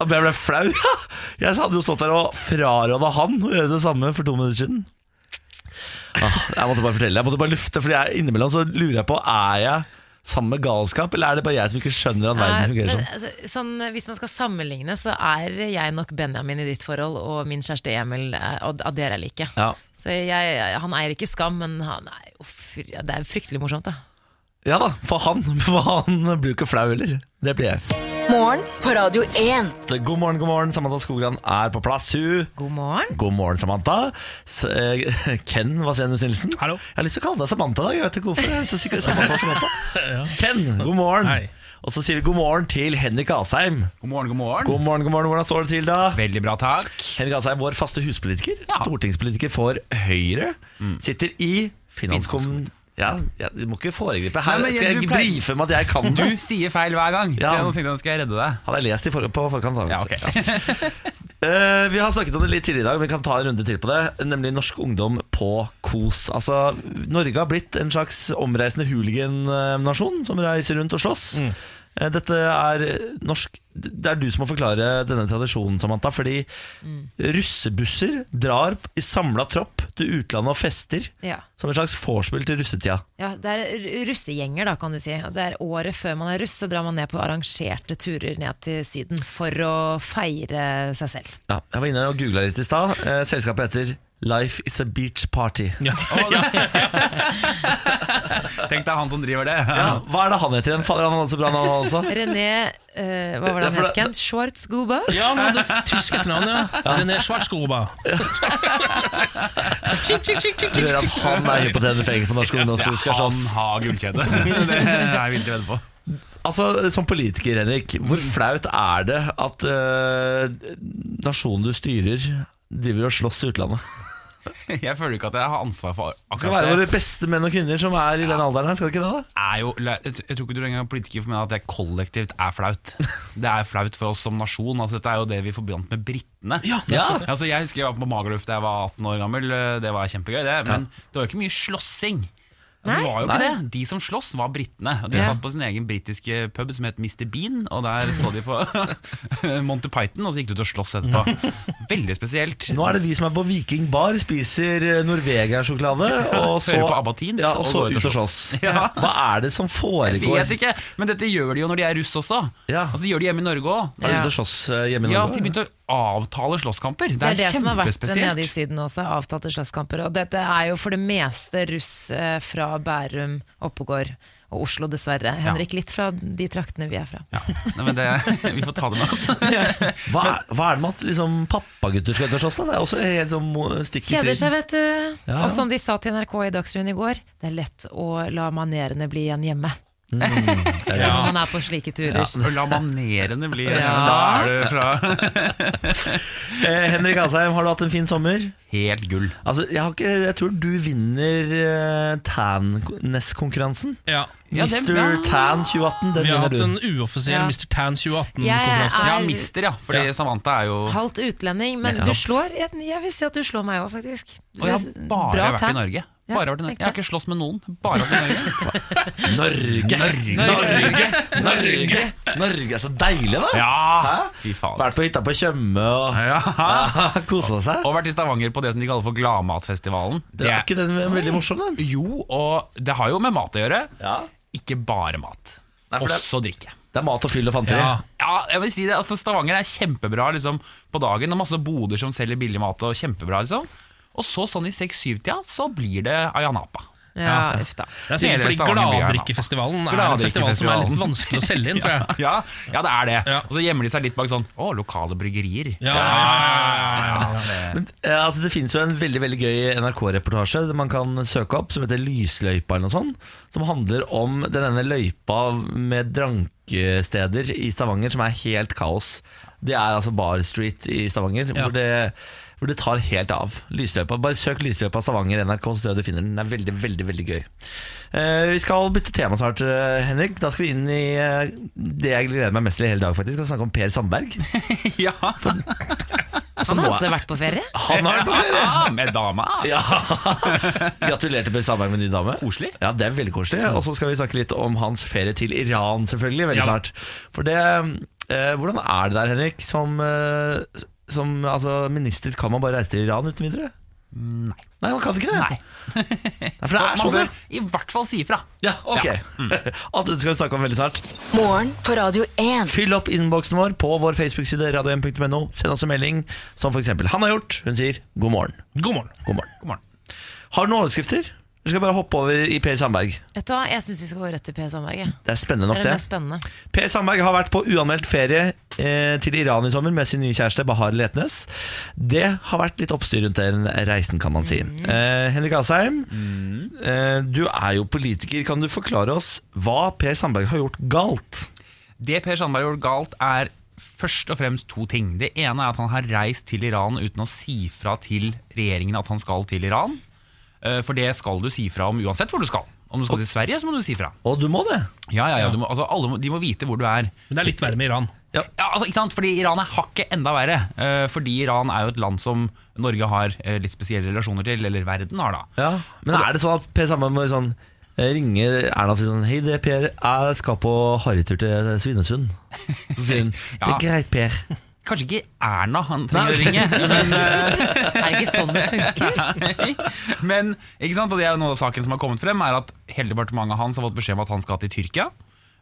Speaker 1: Og Jeg ble flau [laughs] Jeg hadde jo stått der og fraråda han Å gjøre det samme for to minutter siden ah, Jeg måtte bare fortelle Jeg måtte bare lufte Fordi jeg, innimellom så lurer jeg på Er jeg sammen med galskap Eller er det bare jeg som ikke skjønner at verden
Speaker 3: Nei,
Speaker 1: fungerer
Speaker 3: men,
Speaker 1: sånn
Speaker 3: altså, sånn, hvis man skal sammenligne, så er jeg nok Benjamin i ditt forhold, og min kjæreste Emil eh, og av dere er like.
Speaker 1: Ja,
Speaker 3: Så jeg, han eier ikke skam, men han er, uff, ja, det er fryktelig morsomt, da.
Speaker 1: ja da, for han [laughs] For han blir jo ikke flau heller Det blir jeg
Speaker 4: Morgen på Radio 1.
Speaker 1: God morgen, god morgen Samantha Skogran er på plass Hun
Speaker 3: God morgen.
Speaker 1: God morgen, Samantha. S eh, [laughs] Ken Vasenus Nilsen.
Speaker 2: Hallo.
Speaker 1: Jeg har lyst til å kalle deg Samantha. i dag, Jeg vet ikke hvorfor. Jeg er så sikker på Samantha, og
Speaker 2: [laughs]
Speaker 1: Samantha. Ken, god morgen.
Speaker 2: Hei.
Speaker 1: Og så sier vi god morgen til Henrik Asheim.
Speaker 7: God morgen, god morgen.
Speaker 1: God morgen, god morgen. Hvordan står det til, da?
Speaker 7: Veldig bra, takk.
Speaker 1: Henrik Asheim, vår faste huspolitiker. Stortingspolitiker for Høyre.
Speaker 7: Mm.
Speaker 1: Sitter i finanskommune... Ja, ja, du må ikke foregripe her.
Speaker 7: Nei, men
Speaker 1: Skal
Speaker 7: du
Speaker 1: jeg
Speaker 7: pleier-
Speaker 1: brife med at jeg kan
Speaker 7: Du
Speaker 1: det?
Speaker 7: sier feil hver gang.
Speaker 1: Ja.
Speaker 7: Ja. Nå tenkte jeg nå skal jeg redde deg.
Speaker 1: Hadde jeg lest i for på forkant, da.
Speaker 7: Ja, ok. [laughs]
Speaker 1: Eh, vi har snakket om det litt tidligere i dag, men vi kan ta en runde til på det. Nemlig norsk ungdom på kos. Altså, Norge har blitt en slags omreisende hooligan-nasjon som reiser rundt og slåss.
Speaker 7: Mm.
Speaker 1: Eh, Dette er norsk Det er du som må forklare denne tradisjonen, Samantha. Fordi russebusser drar i samla tropp til utlandet og fester
Speaker 3: Ja.
Speaker 1: som et slags vorspiel til russetida.
Speaker 3: Ja, det er r- russegjenger, da, kan du si. Og Det er Året før man er russ, så drar man ned på arrangerte turer ned til Syden for å feire seg selv.
Speaker 1: Ja, jeg var inne og googla litt i stad. Eh, Selskapet heter Life is a beach party.
Speaker 2: [laughs] Ja.
Speaker 7: Tenk deg han som driver det.
Speaker 1: Ja, hva er det han heter igjen? Fader, han hadde så bra navn, han også.
Speaker 3: René eh, Hva
Speaker 1: Ja,
Speaker 3: var det han
Speaker 1: for
Speaker 3: het?
Speaker 1: det-
Speaker 3: Kent? Schwartzguba?
Speaker 2: Ja, men det er tysk etternavn, ja. René Schwarzgruber.
Speaker 1: Du hører at han er hypp på å tjene penger på norsk
Speaker 7: han
Speaker 1: ungdomsdiskusjon.
Speaker 7: har [laughs] gullkjede. Det er jeg villig til å vedde på.
Speaker 1: Altså, som politiker, Henrik, hvor flaut er det at eh, nasjonen du styrer, driver og slåss i utlandet?
Speaker 7: Jeg føler ikke at jeg har ansvar for
Speaker 1: Det skal være
Speaker 7: akkurat det.
Speaker 1: våre beste menn og kvinner som er i den alderen her, skal det ikke det? da?
Speaker 7: Er jo, jeg tror ikke du lenger er politiker for meg at det kollektivt er flaut. Det er flaut for oss som nasjon. Altså, dette er jo det vi forbandt med britene.
Speaker 1: Ja.
Speaker 7: Altså, jeg husker jeg var på Magerluf da jeg var 18 år gammel. Eh, Det var kjempegøy, det. Men det var jo ikke mye slåssing. Altså, det var jo ikke
Speaker 1: Nei.
Speaker 7: det. De som sloss, var britene. Og de
Speaker 3: Ja.
Speaker 7: satt på sin egen britiske pub som het Mr. Bean, og der så de på [laughs] Monty Python, og så gikk de ut og sloss etterpå. Veldig spesielt.
Speaker 1: Nå er det vi som er på Viking Bar, spiser eh, norvegersjokolade [laughs] og så
Speaker 7: Hører på Abba Teens
Speaker 1: ja, og
Speaker 7: og
Speaker 1: så
Speaker 7: går
Speaker 1: ut og slåss.
Speaker 7: Ja.
Speaker 1: Hva er det som foregår?
Speaker 7: Vet ikke, men dette gjør de jo når de er russ også.
Speaker 1: Ja.
Speaker 7: Altså, de gjør det hjemme i Norge òg.
Speaker 1: Er det ute og slåss eh, hjemme i
Speaker 7: Ja,
Speaker 1: Norge?
Speaker 7: altså, de begynte å avtale slåsskamper. Det
Speaker 3: Det
Speaker 7: er,
Speaker 3: er det som har vært nede i
Speaker 7: kjempespesielt.
Speaker 3: Syden også, avtalte slåsskamper. Og dette er jo for det meste russ eh, fra Bærum, Oppegård og Oslo, dessverre. Henrik, litt fra de traktene vi er fra.
Speaker 7: [laughs] Nei, men det, [laughs] vi får ta det med altså. oss.
Speaker 1: Hva er, hva er det med at liksom, pappagutter skal ut og slåss? da? Det er også helt sånn mo- stikk i
Speaker 3: Kjeder
Speaker 1: strid.
Speaker 3: seg, vet du.
Speaker 1: Ja.
Speaker 3: Og som de sa til NRK i Dagsrevyen i går, Mm. det er lett å la manerene bli igjen hjemme. [laughs] når man er på slike turer.
Speaker 7: La manerene bli
Speaker 3: Ja.
Speaker 7: Da er det fra [laughs]
Speaker 1: Eh, Henrik Asheim, har du hatt en fin sommer?
Speaker 7: Helt gull.
Speaker 1: Altså, jeg, har ikke, jeg tror du vinner eh, Tan-konkurransen.
Speaker 2: Ja.
Speaker 7: Ja, det-
Speaker 1: Mr.
Speaker 7: ja.
Speaker 1: Tan 2018, den
Speaker 2: Vi har
Speaker 1: vinner
Speaker 2: hatt
Speaker 1: du.
Speaker 2: en uoffisiell
Speaker 3: Ja.
Speaker 2: Mr. Tan 2018-konkurranse.
Speaker 3: Jeg er-
Speaker 7: Ja, mister, ja. Fordi
Speaker 2: Ja.
Speaker 7: Samantha er jo
Speaker 3: Halvt utlending, men du slår jeg, jeg vil si at du slår meg òg, faktisk. Du
Speaker 7: Og jeg
Speaker 3: er
Speaker 7: har bare
Speaker 3: bra
Speaker 7: vært i
Speaker 3: tan.
Speaker 7: Norge.
Speaker 3: Ja,
Speaker 7: Bare vært i Norge. Jeg har ikke slåss med noen. Bare vært i Norge.
Speaker 1: Norge! Norge! Norge! Norge! Norge er så deilig, da!
Speaker 7: [laughs] Ja, fy faen.
Speaker 1: Vært på hytta på Tjøme og
Speaker 7: Ja.
Speaker 1: ja, [laughs] kosa seg.
Speaker 7: Og vært i Stavanger på det som de kaller for Gladmatfestivalen.
Speaker 1: Det er ikke den veldig morsom, den?
Speaker 7: Jo, og det har jo med mat å gjøre.
Speaker 1: Ja.
Speaker 7: Ikke bare mat.
Speaker 1: Nei, for det-
Speaker 7: Også drikke.
Speaker 1: Det er mat og fyll og fanteri.
Speaker 2: Ja.
Speaker 7: Ja, jeg vil si det, altså Stavanger er kjempebra liksom, på dagen. Det er masse boder som selger billig mat. Og kjempebra liksom Og så sånn i 6-7-tida så blir det Ayanapa.
Speaker 3: Ja, uff da.
Speaker 2: Det er sikkert
Speaker 7: Hele
Speaker 2: fordi
Speaker 7: Stavanger blir her nå.
Speaker 2: Gladdrikkefestivalen er en festival som er
Speaker 7: Gladdrikkefestivalen.
Speaker 2: litt vanskelig å selge inn, tror jeg.
Speaker 7: [laughs] Ja, ja, det er det.
Speaker 2: Ja.
Speaker 7: Og så gjemmer de seg litt bak sånn Å, lokale bryggerier.
Speaker 2: Ja, ja,
Speaker 1: Men, eh, altså, det finnes jo en veldig veldig gøy NRK-reportasje man kan søke opp, som heter Lysløypa, eller noe sånt. Som handler om den ene løypa med drankesteder i Stavanger som er helt kaos. Det er altså Bar Street i Stavanger,
Speaker 2: Ja.
Speaker 1: hvor, det, hvor det tar helt av. Lysløypa, Bare søk Lysløypa Stavanger NRK, så tror jeg du finner den. Den er veldig, veldig veldig gøy. Eh, vi skal bytte tema snart, eh, Henrik. Da skal vi inn i eh, det jeg gleder meg mest til i hele dag, faktisk. Vi skal snakke om Per Sandberg.
Speaker 7: [laughs] Ja,
Speaker 1: Som
Speaker 7: Altså,
Speaker 3: Han har
Speaker 1: nå er-
Speaker 3: også vært på ferie.
Speaker 1: han har vært på ferie!
Speaker 7: med dama.
Speaker 1: [laughs] Ja. Gratulerer til Per Sandberg med ny dame.
Speaker 7: Koselig.
Speaker 1: Ja, det er veldig koselig. Og så skal vi snakke litt om hans ferie til Iran, selvfølgelig, veldig
Speaker 2: Ja.
Speaker 1: snart. For det eh, Hvordan er det der, Henrik? Som, eh, som altså, minister kan man bare reise til Iran uten videre? Nei. Nei, man kan ikke det?
Speaker 7: Nei.
Speaker 1: Nei, for det er
Speaker 7: [laughs] Man
Speaker 1: sånn,
Speaker 7: bør
Speaker 1: ja.
Speaker 7: i hvert fall si ifra.
Speaker 1: Ja, ok. [laughs] Alt dette skal vi snakke om veldig snart.
Speaker 4: Morgen på Radio 1.
Speaker 1: Fyll opp innboksen vår på vår Facebook-side, radio1.no. Send oss en melding, som f.eks. han har gjort. Hun sier god morgen.
Speaker 2: God morgen.
Speaker 1: God morgen.
Speaker 7: God morgen.
Speaker 1: Har du noen overskrifter? Eller skal vi bare hoppe over i Per Sandberg?
Speaker 3: Vet du hva, Jeg syns vi skal gå rett til P. Sandberg. jeg.
Speaker 1: Det er spennende
Speaker 3: Det
Speaker 1: nok,
Speaker 3: er det
Speaker 1: det.
Speaker 3: mest spennende.
Speaker 1: Per Sandberg har vært på uanmeldt ferie eh, til Iran i sommer med sin nye kjæreste Bahar Letnes. Det har vært litt oppstyr rundt den reisen, kan man si.
Speaker 3: Mm.
Speaker 1: Eh, Henrik Asheim, eh, du er jo politiker. Kan du forklare oss hva Per Sandberg har gjort galt?
Speaker 7: Det Per Sandberg gjorde galt, er først og fremst to ting. Det ene er at han har reist til Iran uten å si fra til regjeringen at han skal til Iran. Eh, For det skal du si fra om uansett hvor du skal. Om du skal til Sverige, så må du si fra.
Speaker 1: Og du må det.
Speaker 7: Ja, ja, ja, du må, altså, alle må, De må vite hvor du er.
Speaker 2: Men det er litt verre med Iran.
Speaker 7: Ja, altså, ikke sant? Fordi Iran er hakket enda verre. eh, Fordi Iran er jo et land som Norge har eh, litt spesielle relasjoner til, eller verden har, da.
Speaker 1: Men er det sånn at Per Sandberg må sånn eh, ringe Erna og si sånn Hei, det er Per. Jeg skal på harrytur til Svinesund. Så sier hun Det
Speaker 7: [laughs] Ja.
Speaker 1: er greit, Per.
Speaker 7: Kanskje ikke Erna han trenger å ringe, eh,
Speaker 3: Er det ikke sånn det funker?
Speaker 7: Nei. Men ikke sant? Og det er jo noe av saken som har kommet frem, er at hele departementet hans har fått beskjed om at han skal til Tyrkia.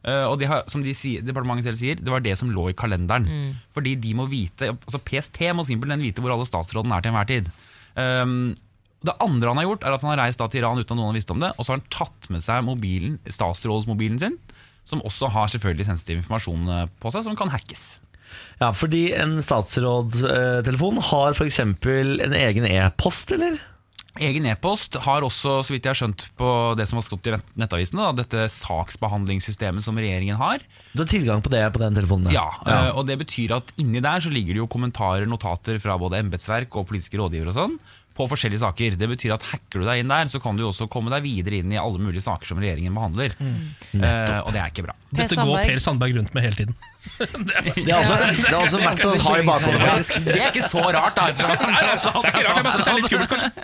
Speaker 7: Eh, og det har, som de sier, departementet selv sier, det var det som lå i kalenderen.
Speaker 3: Mm.
Speaker 7: Fordi de må vite, altså PST må simpelthen vite hvor alle statsrådene er til enhver tid. Um, det andre han har gjort, er at han har reist da til Iran uten at noen har visst om det, og så har han tatt med seg mobilen, statsrådsmobilen sin, som også har selvfølgelig sensitiv informasjon eh, på seg, som kan hackes.
Speaker 1: Ja, fordi en statsrådstelefon har for eksempel en egen e-post, eller?
Speaker 7: Egen e-post har også, så vidt jeg har skjønt på det som har stått i nettavisene, da, dette saksbehandlingssystemet som regjeringen har.
Speaker 1: Du har tilgang på det på den telefonen?
Speaker 7: Ja, eh, og det betyr at inni der så ligger det jo kommentarer, notater fra både embetsverk og politiske rådgivere og sånn, på forskjellige saker. Det betyr at hacker du deg inn der, så kan du jo også komme deg videre inn i alle mulige saker som regjeringen behandler. Eh, og det er ikke bra.
Speaker 2: Dette går
Speaker 3: Sandberg.
Speaker 2: Per Sandberg rundt med hele tiden.
Speaker 1: Det er også, det er altså også verdt å
Speaker 7: Sånn
Speaker 1: ha i bakhodet, faktisk.
Speaker 7: Det er ikke så rart, da. ettersom at han er statsråd.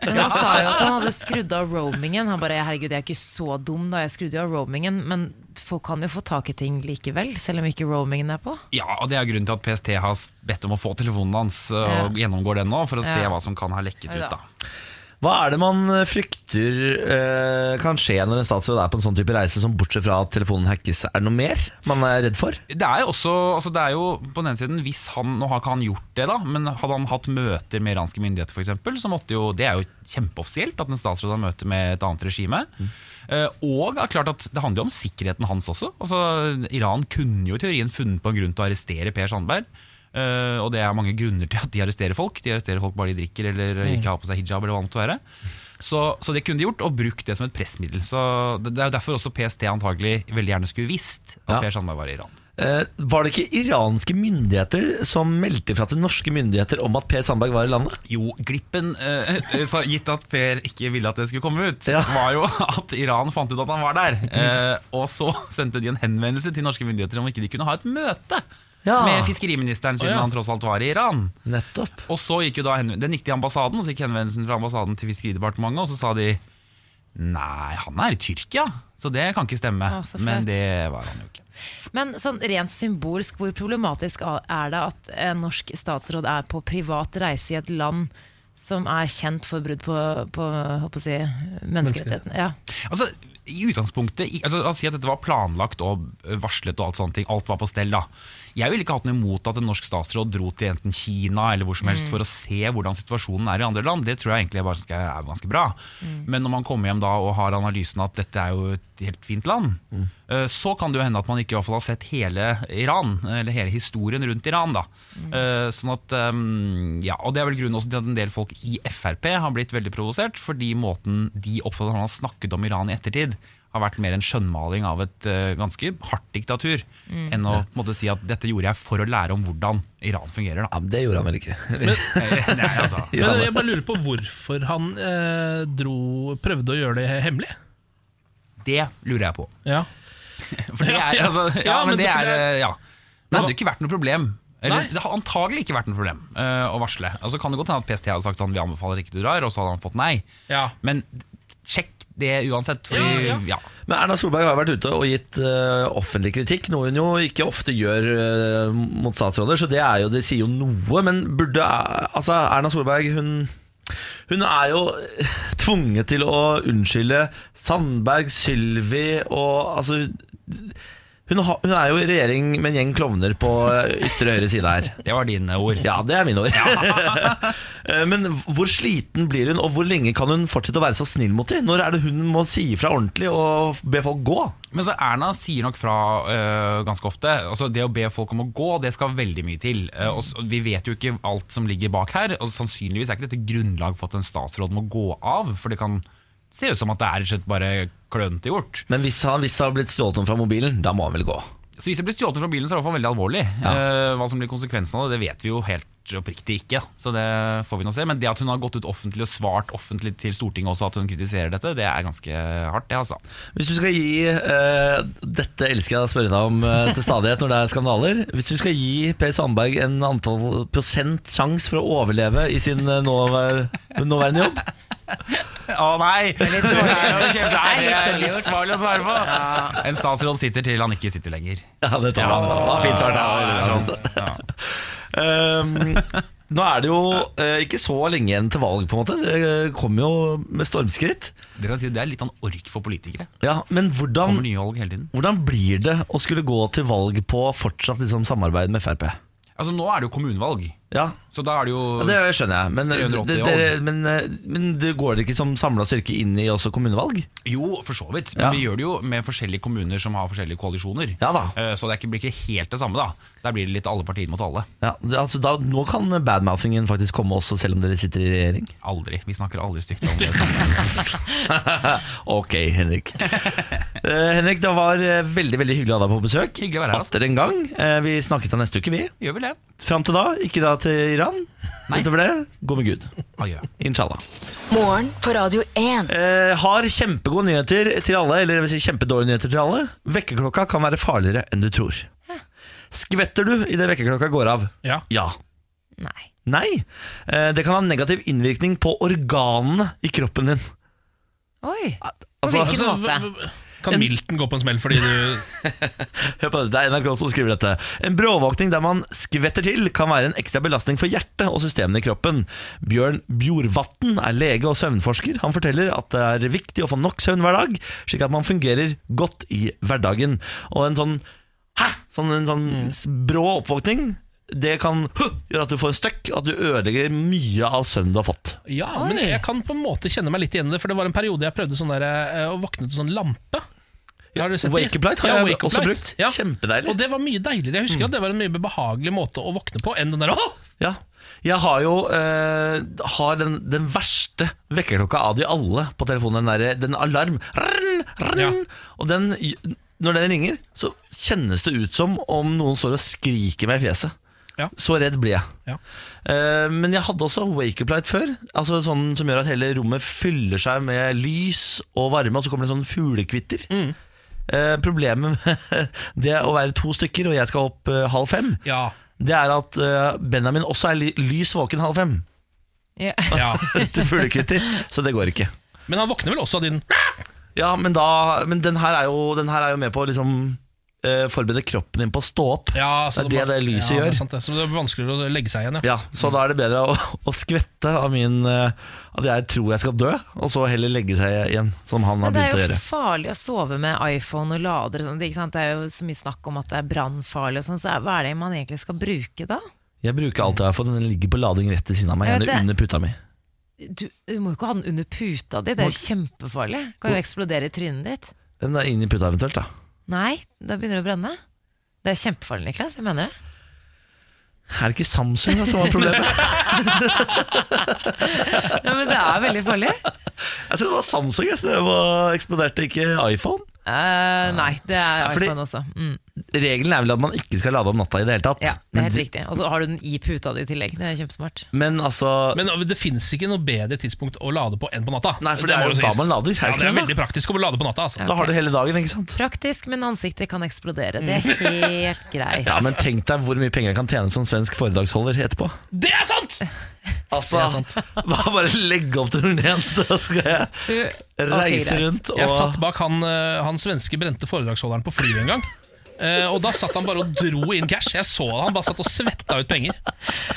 Speaker 3: Men han sa jo at han hadde skrudd av roamingen. Han bare 'herregud, jeg er ikke så dum da, jeg skrudde jo av roamingen'. Men folk kan jo få tak i ting likevel, selv om ikke roamingen er på.
Speaker 7: Ja, og det er grunnen til at PST har bedt om å få telefonen hans eh, og gjennomgår den nå, for å se
Speaker 3: Ja.
Speaker 7: hva som kan ha lekket
Speaker 3: Ja.
Speaker 7: ut, da.
Speaker 1: Hva er det man frykter eh, kan skje når en statsråd er på en sånn type reise, som bortsett fra at telefonen hackes, er det noe mer man er redd for?
Speaker 7: Det er jo også, altså det er jo på den ene siden hvis han, Nå har ikke han gjort det, da men hadde han hatt møter med iranske myndigheter, for eksempel, så måtte jo, Det er jo kjempeoffisielt at en statsråd har møte med et annet regime. Eh, og det er klart at det handler jo om sikkerheten hans også. Altså, Iran kunne jo i teorien funnet på en grunn til å arrestere Per Sandberg. eh, og det er mange grunner til at de arresterer folk. De arresterer folk bare de drikker eller ikke har på seg hijab. eller hva det måtte være Så, så det kunne de gjort, og brukt det som et pressmiddel. Så Det, det er jo derfor også PST antagelig veldig gjerne skulle visst at
Speaker 1: Ja.
Speaker 7: Per Sandberg var i Iran.
Speaker 1: Eh, var det ikke iranske myndigheter som meldte fra til norske myndigheter om at Per Sandberg var i landet?
Speaker 7: Jo, glippen, eh, [laughs] sa- gitt at Per ikke ville at det skulle komme ut,
Speaker 1: Ja.
Speaker 7: var jo at Iran fant ut at han var der. Eh, og så [laughs] sendte de en henvendelse til norske myndigheter om ikke de kunne ha et møte
Speaker 1: Ja.
Speaker 7: med fiskeriministeren, siden
Speaker 2: Å, ja.
Speaker 7: han tross alt var i Iran.
Speaker 1: Nettopp.
Speaker 7: Og så gikk jo da henven- Den gikk til ambassaden, og så gikk henvendelsen fra ambassaden til Fiskeridepartementet, og så sa de Nei, han er i Tyrkia, så det kan ikke stemme.
Speaker 3: Å, så flaut.
Speaker 7: Men det var han jo ikke.
Speaker 3: Men sånn rent symbolsk, hvor problematisk a- er det at en norsk statsråd er på privat reise i et land som er kjent for brudd på, på håper å si, menneskerettighetene? Ja.
Speaker 7: Altså, i utgangspunktet i- altså, La oss si at dette var planlagt og eh, varslet og alt sånne ting. Alt var på stell, da. Jeg ville ikke hatt noe imot at en norsk statsråd dro til enten Kina eller hvor som helst for å se hvordan situasjonen er i andre land. Det tror jeg egentlig bare skal, er ganske bra. Men når man kommer hjem da og har analysen at dette er jo et helt fint land, eh, så kan det jo hende at man ikke i hvert fall har sett hele Iran, eller hele historien rundt Iran, da. Eh, Sånn at eh, Ja, og det er vel grunnen også til at en del folk i Frp har blitt veldig provosert, fordi måten de oppfatter at han har snakket om Iran i ettertid, har vært mer en skjønnmaling av et eh, ganske hardt diktatur, enn å på en måte, si at dette gjorde jeg for å lære om hvordan Iran fungerer,
Speaker 1: [laughs]
Speaker 7: da.
Speaker 1: Ja, men Det gjorde han vel ikke.
Speaker 7: Nei, altså.
Speaker 2: Men jeg bare lurer på hvorfor han eh, dro, prøvde å gjøre det hemmelig.
Speaker 7: Det lurer jeg på.
Speaker 2: Ja.
Speaker 7: For det er,
Speaker 2: Ja, ja.
Speaker 7: altså, ja,
Speaker 2: Ja,
Speaker 7: men
Speaker 2: men
Speaker 7: det
Speaker 2: det- for
Speaker 7: er
Speaker 2: det
Speaker 7: eh, ja. Det hadde jo ikke vært noe problem. Eller,
Speaker 2: Nei.
Speaker 7: det har antagelig ikke vært noe problem eh, å varsle. Altså, kan det godt hende at PST hadde sagt sånn, vi anbefaler ikke du drar, og så hadde han fått nei.
Speaker 2: Ja.
Speaker 7: Men sjekk det uansett. Fordi,
Speaker 2: Ja, ja.
Speaker 7: ja.
Speaker 1: Men Erna Solberg har vært ute og gitt eh, offentlig kritikk, noe hun jo ikke ofte gjør eh, mot statsråder, så det, er jo, det sier jo noe. Men burde eh, Altså, Erna Solberg, hun hun er jo eh, tvunget til å unnskylde Sandberg, Sylvi og Altså hun, har- hun er jo i regjering med en gjeng klovner på eh, ytre høyre side her.
Speaker 7: Det var dine ord.
Speaker 1: Ja, det er mine ord. [laughs] Eh, Men hvor sliten blir hun, og hvor lenge kan hun fortsette å være så snill mot dem? Når er det hun må si ifra ordentlig og be folk gå?
Speaker 7: Men så Erna sier nok fra øh, ganske ofte. Altså Det å be folk om å gå, det skal veldig mye til. Eh, og s- og vi vet jo ikke alt som ligger bak her, og sannsynligvis er ikke dette grunnlag for at en statsråd må gå av. For det kan se ut som at det er rett og slett bare klønete gjort.
Speaker 1: Men hvis, han, hvis det har blitt stjålet noen fra mobilen, da må han vel gå?
Speaker 7: Så hvis det blir stjålet fra bilen, så er det i hvert fall veldig alvorlig. Eh, hva som blir konsekvensen av det, det vet vi jo helt oppriktig ikke. Så det får vi nå se. Men det at hun har gått ut offentlig og svart offentlig til Stortinget også at hun kritiserer dette, det er ganske hardt, det, altså.
Speaker 1: Hvis du skal gi eh, Dette elsker jeg å spørre deg om eh, til stadighet når det er skandaler. Hvis du skal gi Per Sandberg en antall prosent sjanse for å overleve i sin eh, nåvær, nåværende jobb
Speaker 7: Å nei! Det er jo kjempe- nei, det er
Speaker 3: dårlig gjort.
Speaker 7: livsfarlig å svare på. En statsråd sitter til han ikke sitter lenger.
Speaker 1: Ja, det tar han. Ja, fint svart. Ja, det er sant.
Speaker 7: Ja.
Speaker 1: [laughs] Ehm, nå er det jo eh, ikke så lenge igjen til valg, på en måte. Det eh, kommer jo med stormskritt.
Speaker 7: Dere kan si Det er litt sånn ork for politikere.
Speaker 1: Ja, Men
Speaker 7: Kommer
Speaker 1: hvordan,
Speaker 7: nye valg hele tiden.
Speaker 1: hvordan blir det å skulle gå til valg på fortsatt liksom, samarbeid med Frp?
Speaker 7: Altså Nå er det jo kommunevalg,
Speaker 1: Ja,
Speaker 7: så da er det jo
Speaker 1: det skjønner jeg, men, det,
Speaker 7: 380
Speaker 1: dere- men, eh, men det går det ikke som samla styrke inn i også kommunevalg?
Speaker 7: Jo, for så vidt. Men
Speaker 1: Ja.
Speaker 7: vi gjør det jo med forskjellige kommuner som har forskjellige koalisjoner.
Speaker 1: Ja da.
Speaker 7: Eh, Så det er ikke- blir ikke helt det samme, da. Der blir det litt alle partier mot alle.
Speaker 1: Ja, det- altså, da, nå kan badmouthingen faktisk komme også, selv om dere sitter i regjering.
Speaker 7: Aldri. Vi snakker aldri stygt om
Speaker 1: [laughs]
Speaker 7: det. samme.
Speaker 1: Ok, Henrik.
Speaker 7: [laughs]
Speaker 1: Eh, Henrik, det var eh, veldig veldig hyggelig å ha deg på besøk.
Speaker 7: Hyggelig å være her, altså.
Speaker 1: Atter en gang. Eh, vi snakkes da neste uke, vi.
Speaker 7: Gjør vel det.
Speaker 1: Fram til da, ikke da til Iran.
Speaker 7: Nei.
Speaker 1: Utover det, gå med Gud.
Speaker 7: Adjø.
Speaker 1: Inshallah.
Speaker 4: Morgen på Radio 1.
Speaker 1: Eh, har kjempegode nyheter til alle, eller det vil si kjempedårlige nyheter til alle. Vekkerklokka kan være farligere enn du tror. Skvetter du idet vekkerklokka går av?
Speaker 2: Ja.
Speaker 1: Ja.
Speaker 3: Nei.
Speaker 1: Nei. Eh, det kan ha negativ innvirkning på organene i kroppen din.
Speaker 3: Oi! På
Speaker 1: Altså,
Speaker 3: hvilken
Speaker 2: Altså,
Speaker 3: måte?
Speaker 2: v- v- kan Milton gå på en smell fordi
Speaker 3: [laughs]
Speaker 2: du
Speaker 1: Hør på dette, det er NRK som skriver dette. En bråvåkning der man skvetter til, kan være en ekstra belastning for hjertet og systemene i kroppen. Bjørn Bjorvatn er lege og søvnforsker. Han forteller at det er viktig å få nok søvn hver dag, slik at man fungerer godt i hverdagen. Og en sånn hæ, sånn, en sånn s- brå oppvåkning, det kan «Huh!» gjøre at du får en støkk, og at du ødelegger mye av søvnen du har fått.
Speaker 2: Ja, men jeg kan på en måte kjenne meg litt igjen i det, for det var en periode jeg prøvde sånn der, eh, å våkne til sånn lampe. Har dere sett det?
Speaker 1: Wake up light har jeg
Speaker 2: wake up
Speaker 1: også
Speaker 2: light.
Speaker 1: brukt. Kjempedeilig.
Speaker 2: Og det var mye deiligere. Jeg husker at det var en mye behagelig måte å våkne på enn den der «Åh,
Speaker 1: Ja. Jeg har jo eh, har den, den verste vekkerklokka av de alle på telefonen. Den, derre- den alarm. Rrrn, rrrn.
Speaker 2: Ja.
Speaker 1: Og den, når den ringer, så kjennes det ut som om noen står og skriker meg i fjeset.
Speaker 2: Ja.
Speaker 1: Så redd blir jeg.
Speaker 2: Ja.
Speaker 1: Eh, men jeg hadde også wake-up light før. Altså sånn Som gjør at hele rommet fyller seg med lys og varme, og så kommer det sånn fuglekvitter.
Speaker 2: Mm.
Speaker 1: Eh, problemet [laughs] med det å være to stykker, og jeg skal opp eh, halv fem,
Speaker 2: Ja,
Speaker 1: det er at eh, Benjamin også er li- lys våken halv fem
Speaker 3: Ja.
Speaker 2: ja.
Speaker 1: til fuglekvitter, [laughs] så det går ikke.
Speaker 2: Men han våkner vel også av din
Speaker 1: Ja, men, da, men den, her er jo, den her er jo med på å liksom eh, forberede kroppen din på å stå opp.
Speaker 2: ja, så
Speaker 1: Det er det det lyset
Speaker 2: ja,
Speaker 1: gjør.
Speaker 2: Det er sant, det. Så det er vanskeligere å legge seg igjen, ja.
Speaker 1: Ja, Så da er det bedre å, å skvette av min eh, At jeg tror jeg skal dø, og så heller legge seg igjen, som han har
Speaker 3: Men det
Speaker 1: begynt å
Speaker 3: er jo
Speaker 1: gjøre.
Speaker 3: farlig å sove med iPhone og lader og sånt. Ikke sant? Det er jo så mye snakk om at det er brannfarlig og sånn, så er- hva er det man egentlig skal bruke da?
Speaker 1: Jeg bruker alltid iPhone, den ligger på lading rett ved siden av meg,
Speaker 3: Jeg vet
Speaker 1: gjerne
Speaker 3: det.
Speaker 1: under puta mi.
Speaker 3: Du, du må jo ikke ha den under puta di, det er jo kjempefarlig. Det Kan jo eksplodere i trynet ditt.
Speaker 1: Den er inni puta eventuelt, da.
Speaker 3: Nei, da begynner det å brenne. Det er kjempefarlig, Niklas. Jeg mener det.
Speaker 1: Er det ikke Samsung da, som [laughs] var problemet?
Speaker 3: Ja, men det er veldig farlig.
Speaker 1: Jeg tror det var Samsung jeg, som drev og eksploderte, ikke iPhone.
Speaker 3: Eh, nei, det er
Speaker 1: fordi-
Speaker 3: iPhone også. Mm,
Speaker 1: Regelen er vel at man ikke skal lade om natta i det hele tatt.
Speaker 3: ja, det er
Speaker 1: men,
Speaker 3: helt riktig. Og så har du den i puta di i tillegg. Det er kjempesmart.
Speaker 1: men altså
Speaker 2: Men øh, det fins ikke noe bedre tidspunkt å lade på enn på natta.
Speaker 1: Nei, for det er
Speaker 2: må
Speaker 1: jo
Speaker 2: sies.
Speaker 1: da man lader, er det
Speaker 2: Ja,
Speaker 1: ikke
Speaker 2: det er
Speaker 1: det da?
Speaker 2: veldig praktisk å lade på natta. Altså.
Speaker 1: Da har du hele dagen, ikke sant?
Speaker 3: Praktisk, men ansiktet kan eksplodere. Det er helt greit.
Speaker 1: Ja, men tenk deg hvor mye penger jeg kan tjene som svensk foredragsholder etterpå.
Speaker 2: Det er sant!
Speaker 1: Altså, [laughs] bare, bare legge opp turneen, så skal jeg reise
Speaker 3: greit.
Speaker 1: rundt og
Speaker 2: Jeg satt bak han, eh, han svenske brente foredragsholderen på flyet en gang. Eh, og da satt han bare og dro inn cash. Jeg så han bare satt og svetta ut penger.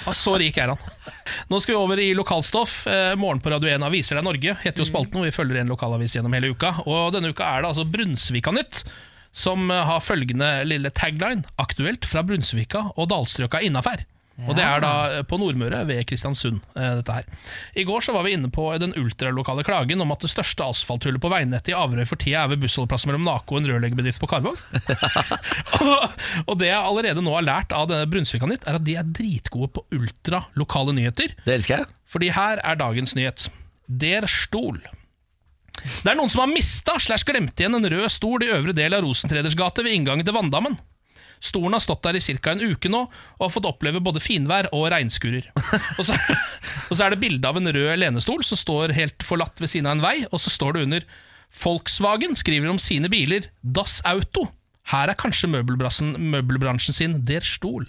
Speaker 2: Og så rik er han. Nå skal vi over i lokalstoff. Eh, morgen på Radio 1 Aviser deg Norge heter jo spalten, og vi følger en lokalavis gjennom hele uka. Og denne uka er det altså Brunsvika Nytt, som eh, har følgende lille tagline Aktuelt fra Brunsvika og dalstrøka innafær. Og det er da eh, på Nordmøre ved Kristiansund, eh, dette her. I går så var vi inne på den ultralokale klagen om at det største asfalthullet på veinettet i Averøy for tida er ved bussholdeplassen mellom Nako og en rørleggerbedrift på Karvåg. [laughs] og, og det jeg allerede nå har lært av denne Brunsvika Nytt, er at de er dritgode på ultralokale nyheter.
Speaker 1: Det elsker jeg.
Speaker 2: Fordi her er dagens nyhet. Der stol. Det er noen som har mista slash glemt igjen en rød stol i øvre del av Rosentreders gate ved inngangen til Vanndammen. Stolen har stått der i ca. en uke nå og har fått oppleve både finvær og regnskurer. Og så, og så er det bilde av en rød lenestol som står helt forlatt ved siden av en vei, og så står det under Volkswagen skriver om sine biler Das Auto. Her er kanskje møbelbrassen- møbelbransjen sin Der Stol.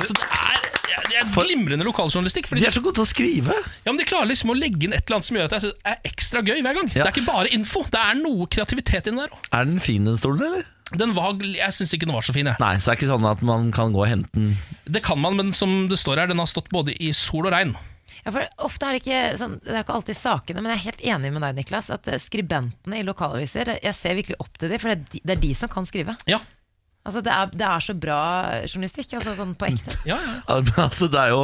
Speaker 2: Altså, det er, det er glimrende lokaljournalistikk. Fordi
Speaker 1: De er så gode til å skrive.
Speaker 2: ja, men De klarer liksom å legge inn et eller annet som gjør at det er- er ekstra gøy hver gang.
Speaker 1: Ja.
Speaker 2: Det er ikke bare info, det er noe kreativitet inni der òg.
Speaker 1: Er den fin, den stolen, eller?
Speaker 2: Den var, jeg syns ikke den var så fin. Jeg.
Speaker 1: Nei, så det er ikke sånn at man kan gå og hente den.
Speaker 2: Det kan man, men som det står her, den har stått både i sol og regn.
Speaker 3: Ja, for ofte er det ikke sånn, det er ikke alltid sakene, men jeg er helt enig med deg, Niklas, at eh, skribentene i lokalaviser, jeg ser virkelig opp til dem, for det er de, det er de som kan skrive.
Speaker 2: Ja,
Speaker 3: Altså, det er, det er så bra journalistikk, altså sånn på
Speaker 2: [laughs]
Speaker 3: ekte.
Speaker 2: ja, ja.
Speaker 1: Ja, [laughs] men Altså, det er jo,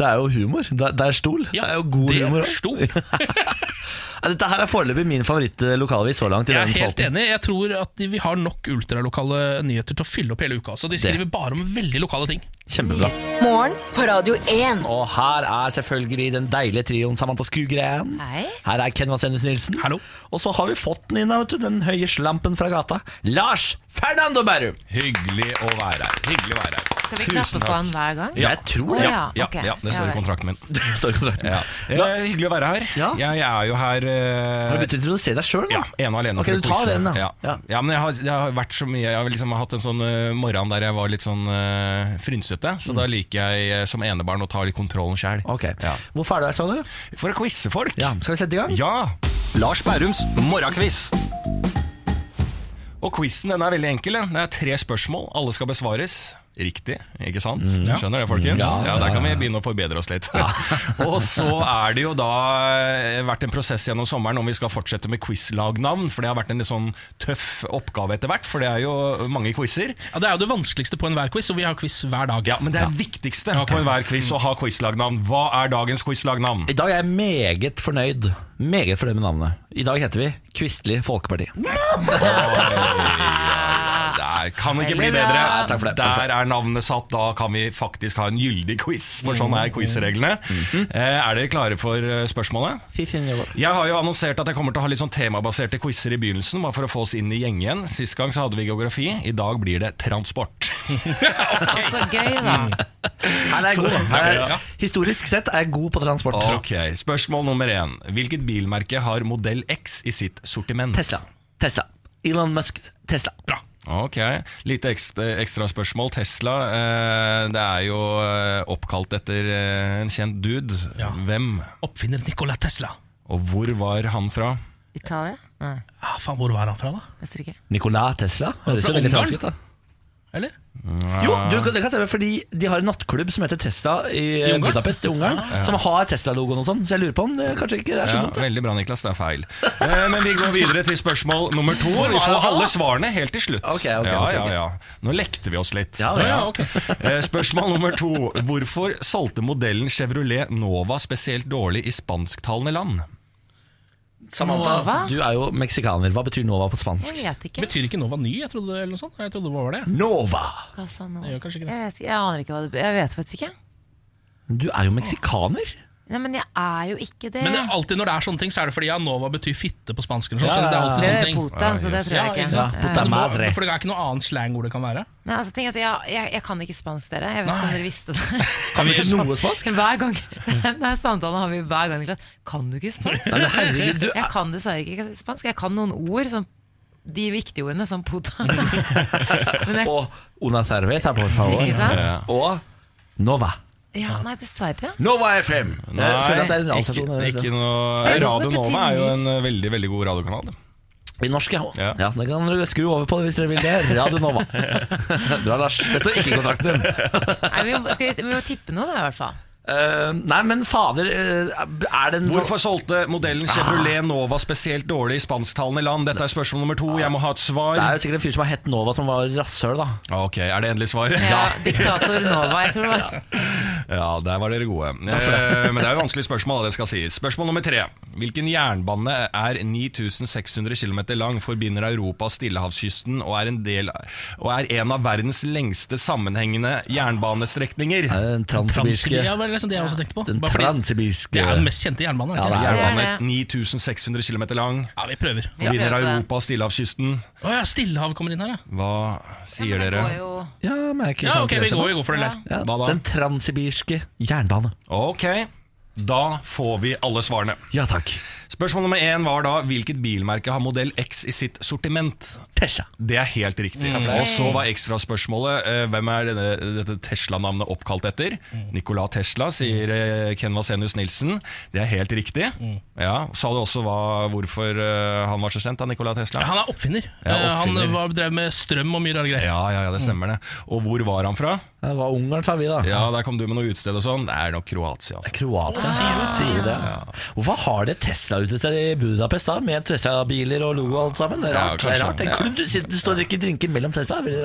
Speaker 1: det er jo humor. Det er, det er stol.
Speaker 2: ja.
Speaker 1: det er jo god
Speaker 2: det
Speaker 1: humor. også.
Speaker 2: forsto.
Speaker 1: [laughs] Ja, Dette her er foreløpig min favoritt-lokalavis så langt. i
Speaker 2: Jeg er
Speaker 1: denne
Speaker 2: helt
Speaker 1: spalten.
Speaker 2: enig. Jeg tror at de- vi har nok ultralokale nyheter til å fylle opp hele uka. Så de skriver bare om veldig lokale ting.
Speaker 1: Kjempebra.
Speaker 4: Morgen på Radio 1.
Speaker 1: Og her er selvfølgelig den deilige trioen Samantha Skugren.
Speaker 3: Hei.
Speaker 1: Her er Ken Vasenus Nilsen.
Speaker 2: Hallo.
Speaker 1: Og så har vi fått den inn, da, vet du, den høye slampen fra gata. Lars Fernando Bærum!
Speaker 8: Hyggelig å være her. Hyggelig å være her.
Speaker 3: Skal vi klappe på han hver gang?
Speaker 1: Jeg tror det.
Speaker 3: Å, ja,
Speaker 8: ja,
Speaker 3: ok.
Speaker 8: ja, det
Speaker 3: Ja
Speaker 8: står
Speaker 3: vel.
Speaker 8: i kontrakten min.
Speaker 1: Ah, [laughs] Det står i kontrakten.
Speaker 8: Ja. Eh, hyggelig å være her.
Speaker 1: Ja.
Speaker 8: Jeg, jeg er jo her eh,
Speaker 1: Har du begynt å introdusere deg sjøl,
Speaker 8: ja, ene og alene
Speaker 1: Ok,
Speaker 8: for å
Speaker 1: du tar
Speaker 8: kose.
Speaker 1: den, da.
Speaker 8: Ja.
Speaker 1: Ja.
Speaker 8: ja, men jeg har, jeg har vært så mye Jeg har liksom hatt en sånn eh, morgen der jeg var litt sånn eh, frynsete, så
Speaker 1: Mm.
Speaker 8: da liker jeg eh, som enebarn å ta litt kontrollen sjæl.
Speaker 1: Ok.
Speaker 8: Ja.
Speaker 1: Hvorfor er du her, sa du?
Speaker 8: For å quize folk!
Speaker 1: Ja. Skal vi sette i gang?
Speaker 8: Ja! Lars Bærums morgenquiz. Og quizen den er veldig enkel. den. Det er tre spørsmål. Alle skal besvares riktig. Ikke sant? Skjønner det, folkens? Mm, Ja, Der kan vi begynne å forbedre oss litt. [laughs] og så er det jo da eh, vært en prosess gjennom sommeren om vi skal fortsette med quizlagnavn. For det har vært en litt sånn tøff oppgave etter hvert, for det er jo mange quizer.
Speaker 2: Ja, det er jo det vanskeligste på enhver quiz, og vi har quiz hver dag.
Speaker 8: Ja, men det er viktigste
Speaker 2: Ok.
Speaker 8: på enhver quiz å ha quizlagnavn. Hva er dagens quizlagnavn?
Speaker 1: I dag er jeg meget fornøyd. Meget fornøyd med navnet. I dag heter vi Kvistelig Folkeparti.
Speaker 8: Det Nei, kan ikke bli
Speaker 3: Veldig bra.
Speaker 8: bedre.
Speaker 3: Ja,
Speaker 1: takk for det, takk for det.
Speaker 8: Der er navnet satt. Da kan vi faktisk ha en gyldig quiz, for sånn
Speaker 1: Mm.
Speaker 8: er quizreglene. Eh, Er dere klare for eh, spørsmålet? Jeg har jo annonsert at jeg kommer til å ha litt sånn temabaserte quizer i begynnelsen, bare for å få oss inn i gjeng igjen. Sist gang så hadde vi geografi, i dag blir det
Speaker 1: [laughs]
Speaker 8: transport.
Speaker 3: Og så Altså, gøy, da.
Speaker 2: Mm.
Speaker 1: Her er
Speaker 8: [laughs]
Speaker 1: jeg god. Her er, historisk sett er jeg god på transport.
Speaker 8: Ok, Spørsmål nummer én. Hvilket bilmerke har modell X i sitt sortiment?
Speaker 1: Tesla. Tesla. Elon Musk. Tesla. Bra.
Speaker 8: Ok, Lite ekstra, ekstra spørsmål. Tesla eh, det er jo eh, oppkalt etter eh, en kjent dude. Hvem?
Speaker 2: Oppfinner Nikola Tesla.
Speaker 8: Og hvor var han fra?
Speaker 3: Italia? Nei,
Speaker 2: Ah, faen, hvor var han fra, da?
Speaker 3: Østerrike.
Speaker 1: Nicolas Tesla. Høres jo
Speaker 2: Fra
Speaker 1: veldig
Speaker 2: Ungarn?
Speaker 1: fransk ut, da.
Speaker 2: Eller?
Speaker 1: Jo, du, det kan stemme, fordi de har en nattklubb som heter Tesla i, eh,
Speaker 2: Ungarn?
Speaker 1: Budapest i Ungarn. Som har Tesla-logoen og sånn, så jeg lurer på om det kanskje ikke er så
Speaker 8: Ja,
Speaker 1: dumt. det.
Speaker 8: veldig bra, Niklas. Det er feil. Eh, men vi går videre til spørsmål nummer to. Vi
Speaker 1: han
Speaker 8: får
Speaker 1: fra?
Speaker 8: alle svarene helt til slutt.
Speaker 1: Ok, ok, ok,
Speaker 8: ja, ja,
Speaker 1: ok.
Speaker 8: ja. Nå lekte vi oss litt.
Speaker 1: Ja, det-
Speaker 2: Ja, ok.
Speaker 8: [laughs] Eh, Spørsmål nummer to. Hvorfor solgte modellen Chevrolet Nova spesielt dårlig i spansktalende land?
Speaker 1: Samantha,
Speaker 3: Nova?
Speaker 1: du er jo meksikaner. Hva betyr Nova på
Speaker 3: Jeg
Speaker 1: spansk?
Speaker 3: vet ikke.
Speaker 2: Betyr ikke Nova ny, jeg trodde, eller noe sånt? Jeg trodde det var det.
Speaker 1: Nova!
Speaker 3: Casanova.
Speaker 2: Det gjør
Speaker 3: Jeg,
Speaker 2: kanskje ikke det.
Speaker 3: vet, jeg aner ikke hva det be- Jeg vet faktisk ikke.
Speaker 1: Du er jo meksikaner.
Speaker 3: Nei, men jeg er jo ikke det.
Speaker 2: Men det er alltid når det er sånne ting, så er det fordi ja, Nova betyr fitte på spansk. Eller sånn,
Speaker 1: Ja,
Speaker 2: så det er alltid
Speaker 3: det
Speaker 2: sånne
Speaker 3: er
Speaker 2: ting. Ah,
Speaker 3: pota, så det tror
Speaker 2: Ja,
Speaker 3: jeg
Speaker 2: ikke
Speaker 3: ikke.
Speaker 2: sant?
Speaker 1: Ja, puta
Speaker 2: Det må-
Speaker 1: madre.
Speaker 2: For det er ikke noe annet slang hvor det kan være.
Speaker 3: Nei, altså, tenk at jeg, jeg, jeg kan ikke spansk, dere. Jeg vet ikke om dere visste det.
Speaker 1: Kan du ikke noe spansk?
Speaker 3: Hver gang [laughs] Denne samtalen har vi hver gang. Niklas. Kan du ikke spansk?
Speaker 1: Nei, men herregud, du
Speaker 3: Jeg kan dessverre ikke spansk. Jeg kan noen ord, som de viktige ordene, som puta. Men jeg,
Speaker 1: Og una cerveza, por favor.
Speaker 3: ikke sant?
Speaker 1: Og Nova.
Speaker 3: Ja, nei, dessverre.
Speaker 1: Nova FM! Nei, jeg føler at det er en eh,
Speaker 8: ikke,
Speaker 1: radiostasjon. eller
Speaker 8: ikke
Speaker 1: noe.
Speaker 8: noe
Speaker 3: Men det er også
Speaker 8: Radio
Speaker 3: det
Speaker 8: Nova er jo
Speaker 3: betyr-
Speaker 8: en eh, veldig veldig god radiokanal. det.
Speaker 1: I norsk, ja.
Speaker 8: Ja.
Speaker 1: ja. Det kan dere skru over på hvis dere vil det. Radio Nova.
Speaker 8: [laughs]
Speaker 1: Bra, Lars. Det står ikke i kontrakten din.
Speaker 3: Nei, vi, må, skal vi, vi må tippe noe, da, i hvert fall.
Speaker 1: Eh, nei, men fader, eh, er
Speaker 3: Mm.
Speaker 1: det en sånn-
Speaker 8: Hvorfor solgte modellen Chevrolet Nova spesielt dårlig i spansktalende land? Dette er spørsmål nummer to. Jeg må ha et svar.
Speaker 1: sånn- Det er
Speaker 8: Ah,
Speaker 1: jo sikkert en fyr som har hett Nova, som var rasshøl, da.
Speaker 8: Ok, Er det endelig svar?
Speaker 3: Ja, Diktator Nova, jeg tror det var.
Speaker 8: [laughs] Ja, der var dere gode. Eh, Men det er jo vanskelige spørsmål. da, det skal sies Spørsmål nummer tre. Hvilken jernbane er 9600 km lang, forbinder Europa og Stillehavskysten og er, en del, og er en av verdens lengste sammenhengende
Speaker 1: Er
Speaker 8: jernbanestrekninger?
Speaker 1: det Eh, Den transsibirske
Speaker 2: Transsibir- Ja, det var liksom det jeg også tenkte på.
Speaker 1: Den
Speaker 2: Bare fordi
Speaker 1: transsibirske
Speaker 2: det er den mest kjente jernbanen. er
Speaker 1: Ja,
Speaker 2: det ikke
Speaker 1: det
Speaker 2: det?
Speaker 1: er-
Speaker 8: Jernbane
Speaker 3: det.
Speaker 8: 9600 km lang,
Speaker 2: ja, vi prøver.
Speaker 3: Ja,
Speaker 8: forbinder
Speaker 3: prøvde.
Speaker 8: Europa og Stillehavskysten.
Speaker 2: Å ja, Stillehavet kommer inn her, ja.
Speaker 8: Hva sier
Speaker 3: Det går
Speaker 8: dere?
Speaker 3: jo
Speaker 1: Ja, men er ikke
Speaker 2: Ja,
Speaker 1: sant det
Speaker 2: ok, vi
Speaker 1: som-
Speaker 2: går, vi går for det. eller?
Speaker 1: ja,
Speaker 8: Hva da?
Speaker 1: Den transsibirske jernbane.
Speaker 8: Ok, da får vi alle svarene.
Speaker 1: Ja takk.
Speaker 8: Spørsmål nummer én var da hvilket bilmerke har modell X i sitt sortiment?
Speaker 1: Tesla.
Speaker 8: Det er helt riktig. Og så var ekstraspørsmålet eh, hvem er denne, dette Tesla-navnet oppkalt etter? Nikola Tesla, sier eh, Ken Vasenius Nilsen. Det er helt riktig. Ja, Sa du også hva, hvorfor eh, han var så kjent, da, Nikola Tesla?
Speaker 2: Han er oppfinner.
Speaker 8: Ja,
Speaker 2: Eh,
Speaker 8: oppfinner.
Speaker 2: Han var, drev med strøm og mye rare greier.
Speaker 8: Ja, ja, ja, det stemmer det. Og hvor var han fra?
Speaker 1: Det var Ungarn, sa vi da.
Speaker 8: Ja, Der kom du med noe utsted og sånn. Det er nok Kroatia. altså
Speaker 1: Kroatia, sier de det? Hvorfor har det Tesla-utested i Budapest, da? Med Tesla-biler og logo og alt sammen? Det er
Speaker 8: Ja,
Speaker 1: rart. det er
Speaker 8: kanskje.
Speaker 1: rart. En
Speaker 8: Ja.
Speaker 1: klubb du, sitter, du står og drikker drinker mellom Tesla, det er veldig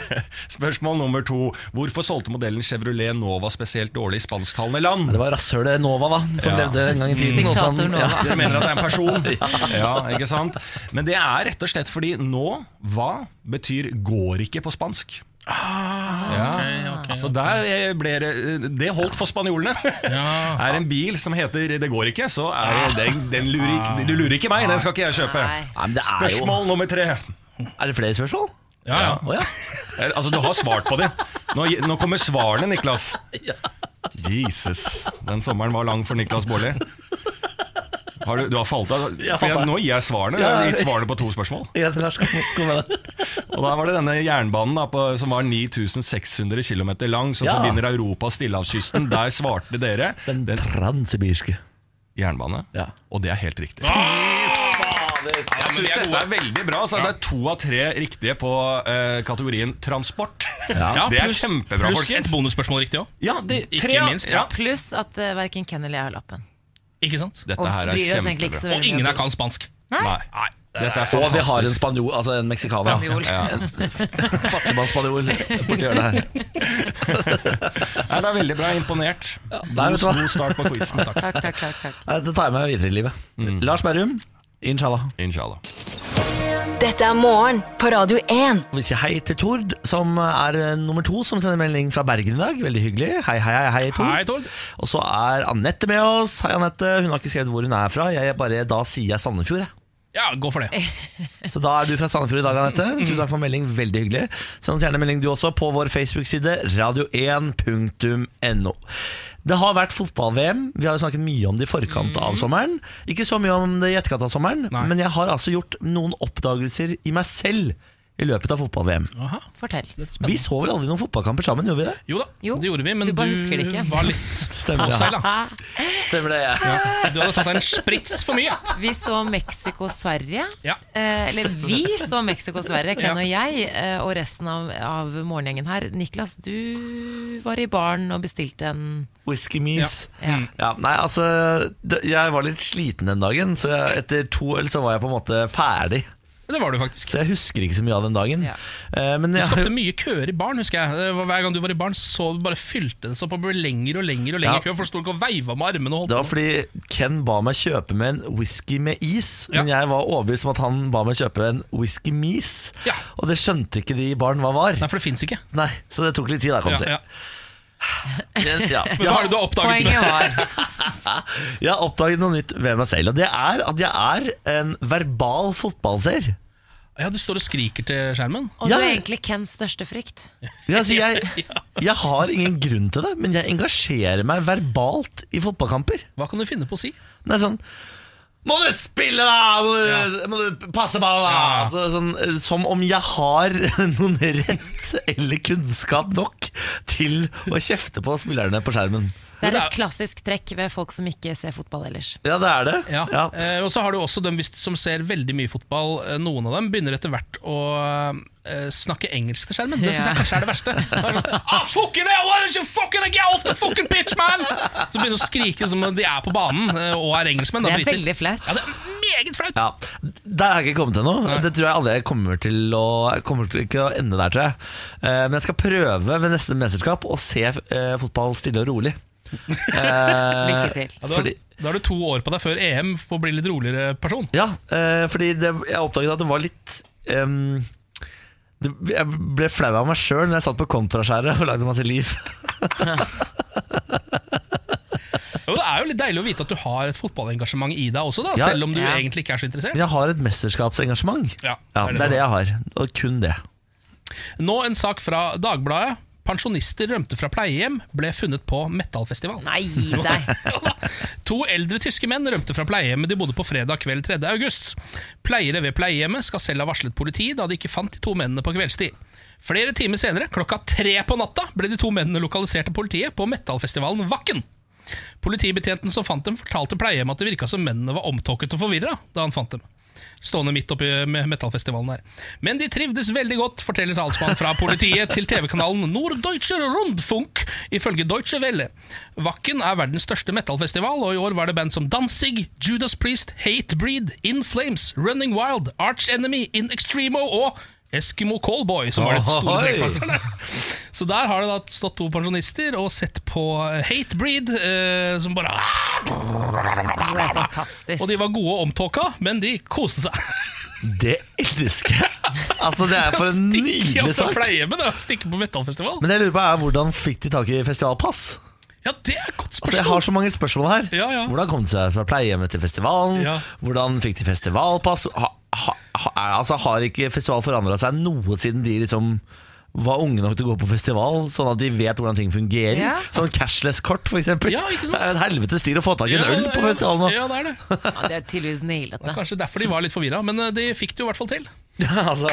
Speaker 1: rart.
Speaker 8: Spørsmål nummer to. Hvorfor solgte modellen Chevrolet Nova spesielt dårlig i spansktalende land?
Speaker 1: Det var rasshølet Nova, da, som
Speaker 8: Ja.
Speaker 1: levde en gang i tiden. og som-
Speaker 3: Diktator
Speaker 1: ja.
Speaker 3: Nova.
Speaker 8: Dere mener at det er
Speaker 1: [laughs]
Speaker 8: en person? Ja, ikke sant? Men det er rett og slett fordi nå hva betyr går ikke på spansk. ja. Så der eh, ble det Det holdt for spanjolene. Er en bil som heter 'Det går ikke', så er det, den, den lurer ikke, du lurer ikke meg. Den skal ikke jeg kjøpe.
Speaker 3: Nei.
Speaker 1: Nei, men det er jo
Speaker 8: Spørsmål nummer tre.
Speaker 1: Er det flere spørsmål?
Speaker 2: Ja, ja.
Speaker 1: Å ja.
Speaker 8: Altså, du har svart på det. Nå, nå kommer svarene, Niklas.
Speaker 1: [laughs]
Speaker 8: Jesus. Den sommeren var lang for Niklas Baarli. Har du, du har falt av?
Speaker 1: Jeg
Speaker 8: For
Speaker 1: falt av.
Speaker 8: jeg, nå gir jeg svarene. Jeg har gitt svarene på to spørsmål.
Speaker 1: Ja, Lars, kom, kom med det.
Speaker 8: Og da var det denne jernbanen da, på, som var 9600 km lang, som
Speaker 1: Ja.
Speaker 8: forbinder Europa og Stillehavskysten. Der svarte dere
Speaker 1: Den
Speaker 8: den
Speaker 1: transsibirske.
Speaker 8: jernbane,
Speaker 1: Ja.
Speaker 8: og det er helt riktig. Jeg synes dette er veldig bra. Så Det er to av tre riktige på eh, kategorien transport.
Speaker 2: Ja,
Speaker 8: det er
Speaker 2: pluss-
Speaker 8: kjempebra,
Speaker 2: Pluss et
Speaker 8: folkens.
Speaker 2: bonusspørsmål riktig òg.
Speaker 8: Ja, det,
Speaker 2: Ikke
Speaker 8: tre,
Speaker 2: minst, ja.
Speaker 8: ja.
Speaker 3: Pluss at uh, verken Ken eller jeg har lappen.
Speaker 2: Ikke sant?
Speaker 8: Dette
Speaker 3: Og
Speaker 8: her er
Speaker 3: bryr oss egentlig ikke
Speaker 8: kjempebra.
Speaker 3: så
Speaker 2: Og
Speaker 3: veldig
Speaker 2: ingen
Speaker 3: mye
Speaker 2: her kan spansk.
Speaker 8: Nei. Dette er
Speaker 1: Og vi
Speaker 8: fantastisk.
Speaker 1: har en spanjol, altså en meksikaner.
Speaker 3: Spanjol.
Speaker 1: Fattigmannsspanjol borti [laughs] hjørnet her.
Speaker 8: Nei, det er veldig bra. Imponert.
Speaker 1: nei, vet
Speaker 8: God,
Speaker 1: du hva?
Speaker 8: god start på quizen. Takk.
Speaker 3: Takk, takk, takk, takk.
Speaker 8: Mm.
Speaker 1: Nei, Det tar jeg med videre i livet. Lars Berrum, inshallah.
Speaker 8: Inshallah.
Speaker 4: Dette er morgen på Radio 1.
Speaker 1: Vi sier hei til Tord, som er eh, nummer to, som sender melding fra Bergen i dag. Veldig hyggelig. Hei, hei, hei, hei Tord.
Speaker 2: Hei, Tord.
Speaker 1: Og så er Anette med oss. Hei, Anette. Hun har ikke skrevet hvor hun er fra. Jeg bare, da sier jeg Sandefjord, jeg.
Speaker 2: Ja, gå for
Speaker 3: Eh,
Speaker 2: det.
Speaker 1: Så da er du fra Sandefjord i dag,
Speaker 2: [laughs]
Speaker 1: Anette. Tusen takk for melding, veldig hyggelig. Send oss gjerne melding du også på vår Facebook-side radio1.no. Det har vært fotball-VM. Vi har jo snakket mye om det i forkant av sommeren. Ikke så mye om det i etterkant av sommeren,
Speaker 2: Mm. Nei.
Speaker 1: men jeg har altså gjort noen oppdagelser i meg selv i løpet av fotball-VM.
Speaker 2: Aha,
Speaker 3: Fortell.
Speaker 2: det er
Speaker 1: Vi
Speaker 2: spennende.
Speaker 1: så vel aldri noen fotballkamper sammen, gjorde vi det?
Speaker 2: Jo da,
Speaker 3: Jo,
Speaker 2: det gjorde vi, men
Speaker 3: du
Speaker 2: du,
Speaker 3: bare husker det ikke.
Speaker 2: var litt
Speaker 1: Stemmer det.
Speaker 2: Offside, da.
Speaker 3: Ah,
Speaker 1: Stemmer det, ja.
Speaker 2: Du hadde tatt deg en sprits for mye.
Speaker 3: Vi så Mexico-Sverige.
Speaker 2: Ja.
Speaker 3: Eh, eller vi så Mexico-Sverige,
Speaker 2: Ja.
Speaker 3: Ken og jeg, eh, og resten av, av morgengjengen her. Niklas, du var i baren og bestilte en
Speaker 1: Whisky Mees.
Speaker 3: ja.
Speaker 1: Ja, nei, altså det- Jeg var litt sliten den dagen, så jeg, etter to øl så var jeg på en måte ferdig.
Speaker 2: Det var du faktisk.
Speaker 1: Så jeg husker ikke så mye av den dagen.
Speaker 3: Ja.
Speaker 1: Eh, men jeg,
Speaker 2: Det skapte mye køer i baren, husker jeg. Det var- Hver gang du var i baren, så du bare fylte det seg opp og ble lengre og lengre. og lengre
Speaker 1: Ja.
Speaker 2: kø, for du sto ikke og veiva med armene og
Speaker 1: [laughs] det
Speaker 2: holdt
Speaker 1: var fordi Ken ba meg kjøpe med en whisky med is, men
Speaker 2: Ja.
Speaker 1: jeg var overbevist om at han ba meg kjøpe en whisky Mees.
Speaker 2: Ja.
Speaker 1: Og det skjønte ikke de i baren hva var.
Speaker 2: Nei, for det fins ikke.
Speaker 1: Nei, Så det tok litt tid, da, kan
Speaker 2: Ja,
Speaker 1: du si.
Speaker 2: ja.
Speaker 1: Men ja.
Speaker 2: Men hva er det du har oppdaget?
Speaker 3: Poenget var
Speaker 1: Jeg har oppdaget noe nytt ved meg selv, og det er at jeg er en verbal fotballseer.
Speaker 2: Ja, Du står og skriker til skjermen.
Speaker 3: Og
Speaker 1: Ja.
Speaker 3: du er egentlig Kens største frykt.
Speaker 1: Ja, altså,
Speaker 2: [laughs]
Speaker 1: jeg, jeg har ingen grunn til det, men jeg engasjerer meg verbalt i fotballkamper.
Speaker 2: Hva kan du finne på å si?
Speaker 1: Det er sånn Må du spille, da! Må du, må du passe på, da!
Speaker 2: Ja.
Speaker 1: Så, sånn, eh, som om jeg har [laughs] noen rett eller kunnskap nok til å kjefte på spillerne på skjermen.
Speaker 3: Det er
Speaker 2: det er-
Speaker 3: et klassisk trekk ved folk som ikke ser fotball ellers.
Speaker 1: Ja, det er det.
Speaker 2: Ja.
Speaker 1: Ja.
Speaker 2: Eh, og så har du også dem hvis, som ser veldig mye fotball. Eh, Noen av dem begynner etter hvert å eh, snakke engelsk til skjermen. Det syns jeg
Speaker 3: Ja.
Speaker 2: kanskje er det verste. ah, fucking hell, why don't you fucking get off the fucking pitch, man? Så begynner de å skrike som om de er på banen eh, og er engelskmenn. da,
Speaker 3: Det er
Speaker 2: briter.
Speaker 3: veldig flaut.
Speaker 2: Ja, det er meget flaut.
Speaker 1: Ja, Der har jeg ikke kommet ennå. Det tror jeg aldri jeg kommer til å kommer til ikke å ende der, tror jeg. Eh, Men jeg skal prøve ved neste mesterskap å se eh, fotball stille og rolig. Eh,
Speaker 3: Lykke til.
Speaker 2: Ja, da,
Speaker 1: Fordi-
Speaker 2: da har du to år på deg før EM for å bli litt roligere person.
Speaker 1: Ja, eh, fordi det, jeg oppdaget at det var litt ehm, det, Jeg ble flau av meg sjøl når jeg satt på kontraskjæret og lagde masse liv. [laughs]
Speaker 2: Jo, det er jo litt deilig å vite at du har et fotballengasjement i deg også, da,
Speaker 1: Ja.
Speaker 2: selv om du
Speaker 3: Ja.
Speaker 2: egentlig ikke er så interessert.
Speaker 1: Men jeg har et mesterskapsengasjement.
Speaker 2: Ja,
Speaker 1: Ja, Det er det jeg har, og kun det.
Speaker 2: Nå en sak fra Dagbladet. Pensjonister rømte fra pleiehjem, ble funnet på metallfestival.
Speaker 3: Nei, gi deg.
Speaker 2: Ja da. [laughs] To eldre tyske menn rømte fra pleiehjemmet de bodde på fredag kveld 3. august. Pleiere ved pleiehjemmet skal selv ha varslet politiet da de ikke fant de to mennene på kveldstid. Flere timer senere, klokka tre på natta, ble de to mennene lokalisert av politiet på metallfestivalen Vakken. Politibetjenten som fant dem, fortalte pleiehjemmet at det virka som mennene var omtåket og forvirra da han fant dem. Stående midt oppi med metallfestivalen her. Men de trivdes veldig godt, forteller talsmannen fra politiet til TV-kanalen Norddeutscher Rundfunk, ifølge Deutsche Welle. Wacken er verdens største metallfestival, og i år var det band som Danzig, Judas Priest, Hatebreed, In Flames, Running Wild, Arch Enemy, In Extremo og Eskimo Callboy, som var det store
Speaker 1: Ohoi.
Speaker 2: trekkplasterne. Så der har det da stått to pensjonister og sett på Hatebreed, eh, som bare
Speaker 3: Det er fantastisk.
Speaker 2: Og de var gode og omtåka, men de koste seg.
Speaker 1: Det elsker jeg! Altså, det er for en
Speaker 2: Stikk, ja,
Speaker 1: nydelig
Speaker 2: fra
Speaker 1: sak.
Speaker 2: pleiehjemmet, da. Stikke på metallfestival.
Speaker 1: Men det jeg lurer på er hvordan fikk de tak i festivalpass?
Speaker 2: Ja, det er et godt
Speaker 1: Altså, jeg har
Speaker 2: spørsmål.
Speaker 1: så mange spørsmål her.
Speaker 2: Ja, ja.
Speaker 1: Hvordan kom de seg fra pleiehjemmet til festivalen?
Speaker 2: Ja.
Speaker 1: Hvordan fikk de festivalpass? Ha, ha, ha, er- altså, har ikke festival forandra seg noe siden de liksom var unge nok til å gå på festival, sånn at de vet hvordan ting fungerer?
Speaker 3: Ja.
Speaker 1: Sånn cashless-kort, f.eks.
Speaker 2: Ja, ikke sant?
Speaker 1: Det er et helvetes styr å få tak i en
Speaker 2: Ja,
Speaker 1: øl
Speaker 2: det-
Speaker 1: på festivalen nå.
Speaker 2: Ja, det er det.
Speaker 3: ja, det er tydeligvis nailet det.
Speaker 2: Kanskje derfor de var litt forvirra, men eh, de fikk det jo i hvert fall til.
Speaker 1: [laughs] altså,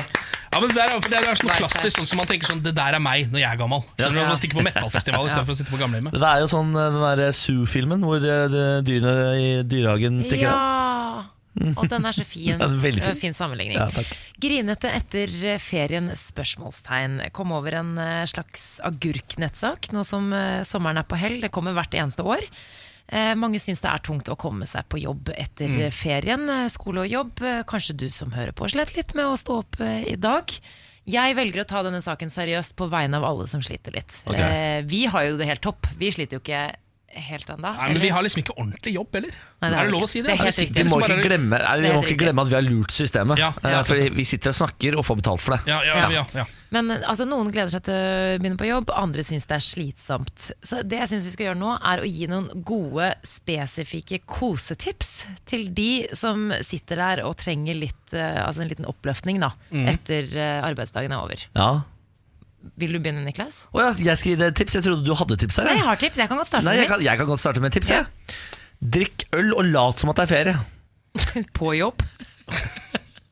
Speaker 2: Ja, men Det der er, for det der er sånn noe klassisk, sånn som man tenker sånn Det der er meg når jeg er gammel. Så
Speaker 1: Ja.
Speaker 2: Man stikker på metallfestival istedenfor å sitte på gamlehjemmet.
Speaker 1: det der er jo sånn eh, den der Zoo-filmen hvor eh, de- dyrene i dyrehagen stikker av.
Speaker 3: Ja! Og den er så
Speaker 1: [laughs]
Speaker 3: fin.
Speaker 1: Den er veldig fin.
Speaker 3: Eh, sammenligning.
Speaker 1: Ja, takk.
Speaker 3: Grinete etter eh, ferien? spørsmålstegn. Kom over en eh, slags agurknettsak nå som eh, sommeren er på hell. Det kommer hvert eneste år. Eh, Mange syns det er tungt å komme seg på jobb etter
Speaker 1: Mm.
Speaker 3: eh, ferien. eh, Skole og jobb. Eh, Kanskje du som hører på, slet litt med å stå opp eh, i dag. Jeg velger å ta denne saken seriøst på vegne av alle som sliter litt. Eh, Vi har jo det helt topp. Vi sliter jo ikke helt ennå.
Speaker 2: Nei, men Vi har liksom ikke ordentlig jobb heller.
Speaker 3: Nei, det
Speaker 2: er,
Speaker 3: har
Speaker 2: det
Speaker 3: vi
Speaker 2: lov å
Speaker 3: ikke.
Speaker 2: si det?
Speaker 3: Det er helt
Speaker 2: vi
Speaker 3: riktig.
Speaker 2: sitter
Speaker 1: Vi må,
Speaker 2: liksom
Speaker 1: ikke
Speaker 2: bare-
Speaker 1: glemme, eller, vi må ikke glemme at vi har lurt systemet.
Speaker 2: Ja, ja.
Speaker 1: Eh, Fordi vi sitter og snakker og får betalt for det.
Speaker 2: Ja, ja, ja, ja.
Speaker 3: Men eh, altså, Noen gleder seg til å begynne på jobb, andre syns det er slitsomt. Så det jeg syns vi skal gjøre nå, er å gi noen gode, spesifikke kosetips til de som sitter der og trenger litt, eh, altså en liten oppløftning da,
Speaker 1: Mm.
Speaker 3: etter eh, arbeidsdagen er over.
Speaker 1: Ja.
Speaker 3: Vil du begynne, Niklas?
Speaker 1: Å ja, jeg skal gi deg et tips. Jeg trodde du hadde tips her.
Speaker 3: Nei,
Speaker 1: jeg.
Speaker 3: jeg har tips. Jeg kan godt starte
Speaker 1: Nei, jeg,
Speaker 3: med
Speaker 1: kan, jeg kan godt starte med et tips. Jeg. Drikk øl og lat som at det er ferie.
Speaker 3: mitt. På jobb.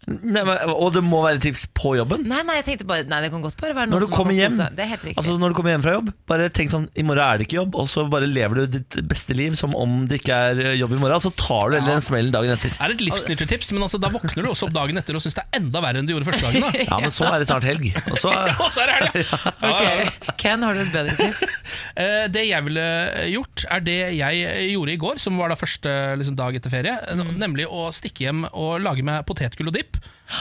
Speaker 1: Nei, men, og det må være tips på jobben.
Speaker 3: Nei, nei, jeg tenkte bare Nei, det kan godt bare være noen
Speaker 1: Når du
Speaker 3: som
Speaker 1: kommer
Speaker 3: kan
Speaker 1: hjem
Speaker 3: kose seg. Det er helt riktig.
Speaker 1: Altså når du kommer hjem fra jobb, bare tenk sånn I morgen er det ikke jobb, og så bare lever du ditt beste liv som om det ikke er eh, jobb i morgen. Så tar du heller den smellen dagen etter.
Speaker 2: Det er et livsnyttetips, men altså, da våkner du også opp dagen etter og syns det er enda verre enn du gjorde første dagen.
Speaker 3: [laughs]
Speaker 2: da
Speaker 1: Ja, men så er det snart helg. Og så eh,
Speaker 2: Og så er det helg, ja. Ja,
Speaker 1: Ah,
Speaker 2: ja, ja.
Speaker 3: [laughs] Ok, Ken, har du et bedre tips?
Speaker 2: Eh, Det jeg ville gjort, er det jeg gjorde i går, som var da første liksom, dag etter ferie.
Speaker 3: Mm.
Speaker 2: Nemlig å stikke hjem og lage meg potetgull og dipp.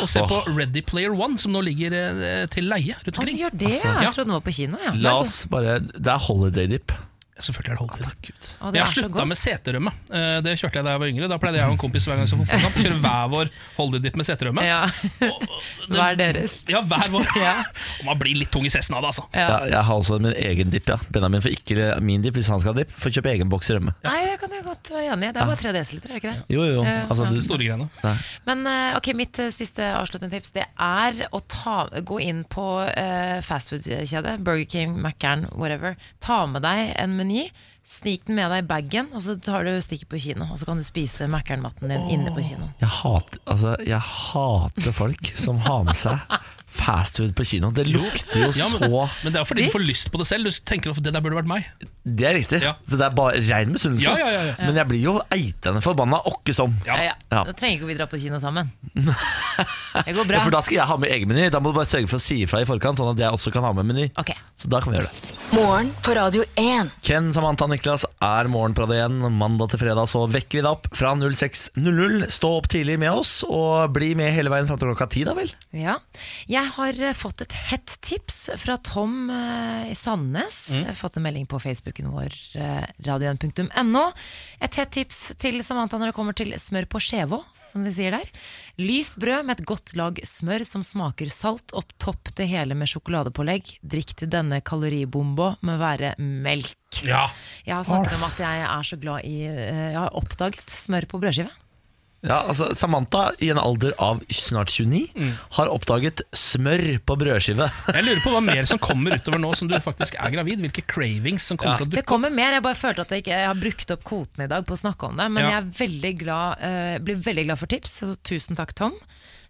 Speaker 2: Og se på Ready Player One, som nå ligger eh, til leie rundt
Speaker 3: Han
Speaker 2: omkring. Altså,
Speaker 3: gjør det, [laughs] Altså, ja.
Speaker 2: ja.
Speaker 3: Jeg trodde den var på kino, ja.
Speaker 1: la oss bare Det er holiday dip.
Speaker 2: Selvfølgelig er det holdtid.
Speaker 3: Å, det
Speaker 2: Jeg har
Speaker 3: er så
Speaker 2: slutta
Speaker 3: godt.
Speaker 2: med seterømme. Eh, Det kjørte jeg da jeg var yngre. Da pleide jeg og en kompis hver gang som fotballkamp å kjøre hver vår holdtid-dipp med seterømme.
Speaker 3: Ja. [laughs] Hva er deres?
Speaker 2: Ja, hver vår. Og man blir litt tung i cessen av det, altså.
Speaker 1: Ja. jeg har også min egen dip. ja Benjamin får ikke min dip hvis han skal ha dip. Får kjøpe egen boks rømme.
Speaker 3: Nei, det kan jeg godt være enig i. Det er bare 3 dl, er det ikke det?
Speaker 1: Jo, jo, altså,
Speaker 2: De
Speaker 1: du,
Speaker 2: store greiene.
Speaker 3: Men eh, ok, mitt eh, siste avsluttende tips Det er å ta, gå inn på eh, fastfood-kjedet Burger King, Mac'ern, whatever Ta med deg en meny Snik den med deg i baggen Og så tar du stikket på kino Og så kan du spise Mac'ern-matten din inne på kino
Speaker 1: jeg, hater, altså, jeg hater folk som har med seg fastfood på kino. Det lukter jo
Speaker 2: Ja, men,
Speaker 1: så
Speaker 2: men det er jo fordi du får lyst på det selv. Du tenker at det der burde vært meg.
Speaker 1: Det er riktig.
Speaker 2: Ja.
Speaker 1: Så det er bare rein misunnelse.
Speaker 2: Ja, ja, ja, ja.
Speaker 1: Men jeg blir jo eitende forbanna åkke som.
Speaker 2: Ja.
Speaker 3: ja, ja.
Speaker 1: Ja.
Speaker 3: Da trenger ikke vi dra på kino
Speaker 1: [laughs]
Speaker 3: sammen Det går
Speaker 1: Ja,
Speaker 3: bra
Speaker 1: for da skal jeg ha med egen meny. Da må du bare sørge for å si ifra i forkant, sånn at jeg også kan ha med meny.
Speaker 3: Ok,
Speaker 2: Altså-
Speaker 1: Så da kan vi gjøre det.
Speaker 4: Morgen på Radio 1.
Speaker 1: Ken, Samantha og Niklas er morgen på Radio 1. Mandag til fredag så vekker vi deg opp fra 06.00. Stå opp tidlig med oss, og bli med hele veien fram til klokka ti, da vel?
Speaker 3: Ja. Jeg har eh, fått et hett tips fra Tom eh, i Sandnes. Jeg har fått en melding på Facebooken vår, eh, radioen.no. Et hett tips til Samantha når det kommer til smør på skjevå, som de sier der. Lyst brød med et godt lag smør som smaker salt, og topp det hele med sjokoladepålegg. Drikk til denne kaloribomba med være melk.
Speaker 2: Ja.
Speaker 3: Jeg har snakket om at jeg er så glad i eh, Jeg har oppdaget smør på brødskive.
Speaker 1: Ja, altså Samantha, i en alder av snart 29, har oppdaget smør på brødskive.
Speaker 2: Jeg lurer på hva mer som kommer utover nå som du faktisk er gravid. Hvilke cravings som kommer til å
Speaker 3: Det
Speaker 2: dukke
Speaker 3: kommer mer. Jeg bare følte at jeg ikke jeg har brukt opp kvoten i dag på å snakke om det. Men
Speaker 2: Ja.
Speaker 3: jeg er veldig glad, eh, blir veldig glad for tips. Så tusen takk, Tom.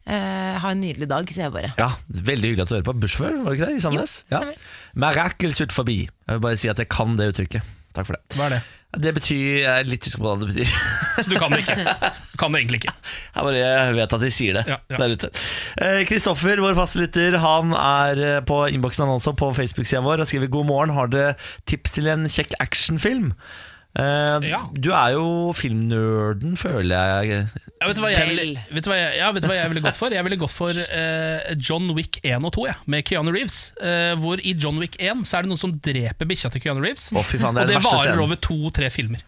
Speaker 3: Eh, ha en nydelig dag, sier jeg bare.
Speaker 1: Ja, Veldig hyggelig at du hører på. Bushfør, var det ikke det? I Sandnes?
Speaker 3: Jo,
Speaker 1: Ja.
Speaker 3: stemmer.
Speaker 1: Miracles ut forbi. Jeg vil bare si at jeg kan det uttrykket. Takk for det.
Speaker 2: Hva er det?
Speaker 1: Det betyr Jeg er litt usikker på hva det betyr.
Speaker 2: Så du kan det ikke. Du kan det egentlig ikke.
Speaker 1: Jeg bare vet at de sier det
Speaker 2: Ja, ja.
Speaker 1: der ute. Eh, Kristoffer, vår fastlytter, han er eh, på innboksen han også, på Facebook-sida vår, og skriver 'God morgen, har dere tips til en kjekk actionfilm'? Eh,
Speaker 2: Ja.
Speaker 1: Du er jo filmnerden, føler jeg.
Speaker 2: Ja, vet, du hva jeg ville, vet, du hva jeg, ja, vet du hva jeg ville gått for? Jeg ville gått for eh, John Wick 1 og 2, jeg, med Keanu Reeves. Eh, hvor i John Wick 1 så er det noen som dreper bikkja til Keanu Reeves.
Speaker 1: Å, fy faen, det er
Speaker 2: og det
Speaker 1: den verste
Speaker 2: varer
Speaker 1: scenen.
Speaker 2: over to-tre filmer.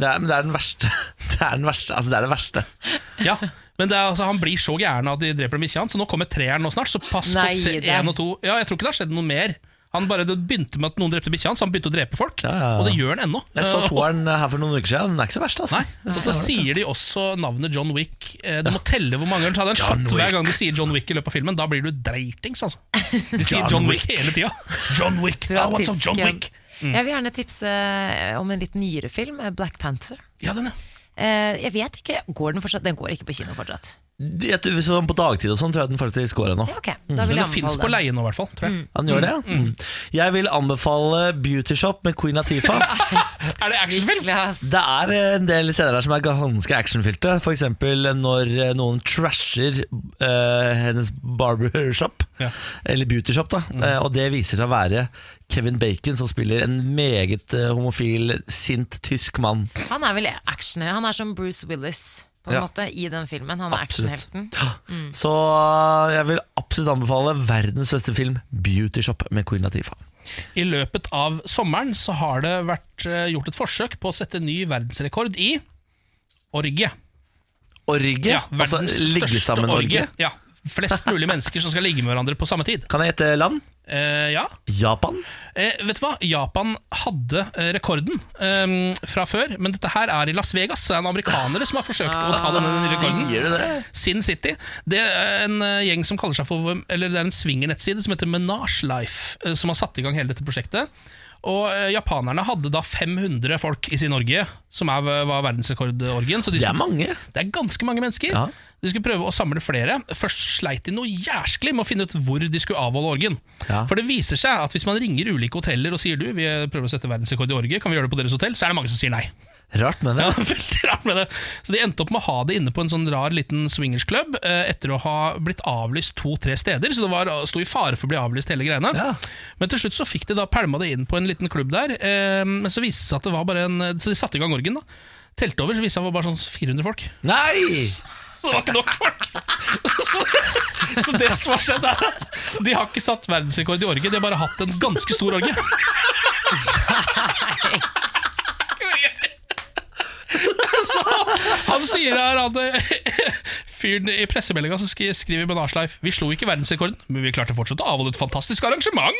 Speaker 1: Det er, men det er den verste. [laughs] Det er den verste. Altså, det er det verste.
Speaker 2: Ja, men det er, altså, Han blir så gæren av at de dreper den bikkja hans, så nå kommer treeren nå snart. Så pass
Speaker 3: Nei,
Speaker 2: på se-
Speaker 3: det-
Speaker 2: én og to. Ja, jeg tror ikke det har skjedd noe mer. Han bare, Det begynte med at noen drepte bikkja hans, så han begynte å drepe folk.
Speaker 1: Ja, ja, ja.
Speaker 2: Og det gjør han ennå.
Speaker 1: Jeg så
Speaker 2: Eh, og-
Speaker 1: toeren her for noen uker siden. Den er ikke så verst, altså.
Speaker 2: [laughs] Nei, og så sier de også navnet John Wick. Eh, Du må telle hvor mange ganger du tar den
Speaker 1: John
Speaker 2: shot hver
Speaker 1: Wick.
Speaker 2: gang du sier John Wick i løpet av filmen. Da blir du dreitings, altså. De sier John Wick hele tida. John Wick.
Speaker 3: Bra
Speaker 2: I want some
Speaker 3: tips,
Speaker 2: John
Speaker 3: Ken.
Speaker 2: Wick. Mm.
Speaker 3: Jeg vil gjerne tipse eh, om en litt nyere film, eh, Black Panther.
Speaker 2: Ja, den, ja.
Speaker 3: Eh, jeg vet ikke, går Den fortsatt? Den går ikke på kino fortsatt.
Speaker 1: Jeg tror, hvis det var på dagtid og sånn, tror jeg den faktisk går ennå.
Speaker 3: Ja, ok, da
Speaker 2: Mm.
Speaker 3: Mm.
Speaker 2: Men
Speaker 3: vil jeg
Speaker 2: den fins på
Speaker 3: anbefale den.
Speaker 2: leie nå, i hvert fall. Tror jeg.
Speaker 1: Han gjør det, ja.
Speaker 2: Mm.
Speaker 1: Mm. Jeg vil anbefale Beauty Shop med Queen Latifah.
Speaker 2: [laughs] Er det actionfilm?
Speaker 3: Niklas.
Speaker 1: Det er eh, en del scener der som er ganske actionfylte. F.eks. når eh, noen trasher eh, hennes barbershop,
Speaker 2: Ja. Mm.
Speaker 1: eller beautyshop, da. Eh, og det viser seg å være Kevin Bacon, som spiller en meget eh, homofil, sint tysk mann.
Speaker 3: Han er vel actioner. Han er som Bruce Willis på en
Speaker 1: Ja.
Speaker 3: måte i den filmen. Han er
Speaker 1: Absolutt.
Speaker 3: actionhelten.
Speaker 1: eh, Så jeg vil absolutt anbefale verdens beste film, Beauty Shop med Queen Latifah.
Speaker 2: I løpet av sommeren så har det vært eh, gjort et forsøk på å sette ny verdensrekord i orgie.
Speaker 1: Orgie?
Speaker 2: Ja,
Speaker 1: altså
Speaker 2: verdens
Speaker 1: ligge
Speaker 2: største
Speaker 1: sammen orgie?
Speaker 2: orgie. Ja, flest mulig mennesker som skal ligge med hverandre på samme tid.
Speaker 1: Kan jeg gjette land?
Speaker 2: Eh, ja,
Speaker 1: Japan?
Speaker 2: Eh, vet du hva? Japan hadde eh, rekorden eh, fra før, men dette her er i Las Vegas. Så det er en amerikanere som har forsøkt å ta denne nye rekorden.
Speaker 1: Ah, Sier du det?
Speaker 2: Sin City. Det er en eh, gjeng som kaller seg for Eller det er en swingernettside som heter Menage Life, eh, som har satt i gang hele dette prosjektet. Og eh, japanerne hadde da 500 folk i sin orgie, som er, var verdensrekordorgien. Så de
Speaker 1: Det er
Speaker 2: skulle-
Speaker 1: mange.
Speaker 2: det er ganske mange mennesker.
Speaker 1: Ja.
Speaker 2: De skulle prøve å samle flere. Først sleit de noe jæsklig med å finne ut hvor de skulle avholde orgien.
Speaker 1: Ja.
Speaker 2: For det viser seg at hvis man ringer ulike hoteller og sier du, vi prøver å sette verdensrekord i orgie, kan vi gjøre det på deres hotell, så er det mange som sier nei. [laughs]
Speaker 1: Rart, men
Speaker 2: Ja,
Speaker 1: jeg.
Speaker 2: veldig rart med det Så de endte opp med å ha det inne på en sånn rar liten swingersklubb eh, etter å ha blitt avlyst to-tre steder, så det var, sto i fare for å bli avlyst hele greiene.
Speaker 1: Ja.
Speaker 2: Men til slutt så fikk de da pælma det inn på en liten klubb der, eh, men så viste det seg at det var bare en Så de satte i gang orgien, da. Telte over, så viste det seg at det var bare sånn 400 folk.
Speaker 1: Nei!
Speaker 2: Så det var ikke nok folk. Så, så det som har skjedd, er at de har ikke satt verdensrekord i orgie, de har bare hatt en ganske stor orgie. Så han sier her at eh, fyren i pressemeldinga som skri- skriver Benasleif Vi slo ikke verdensrekorden, men vi klarte fortsatt å avholde et fantastisk arrangement.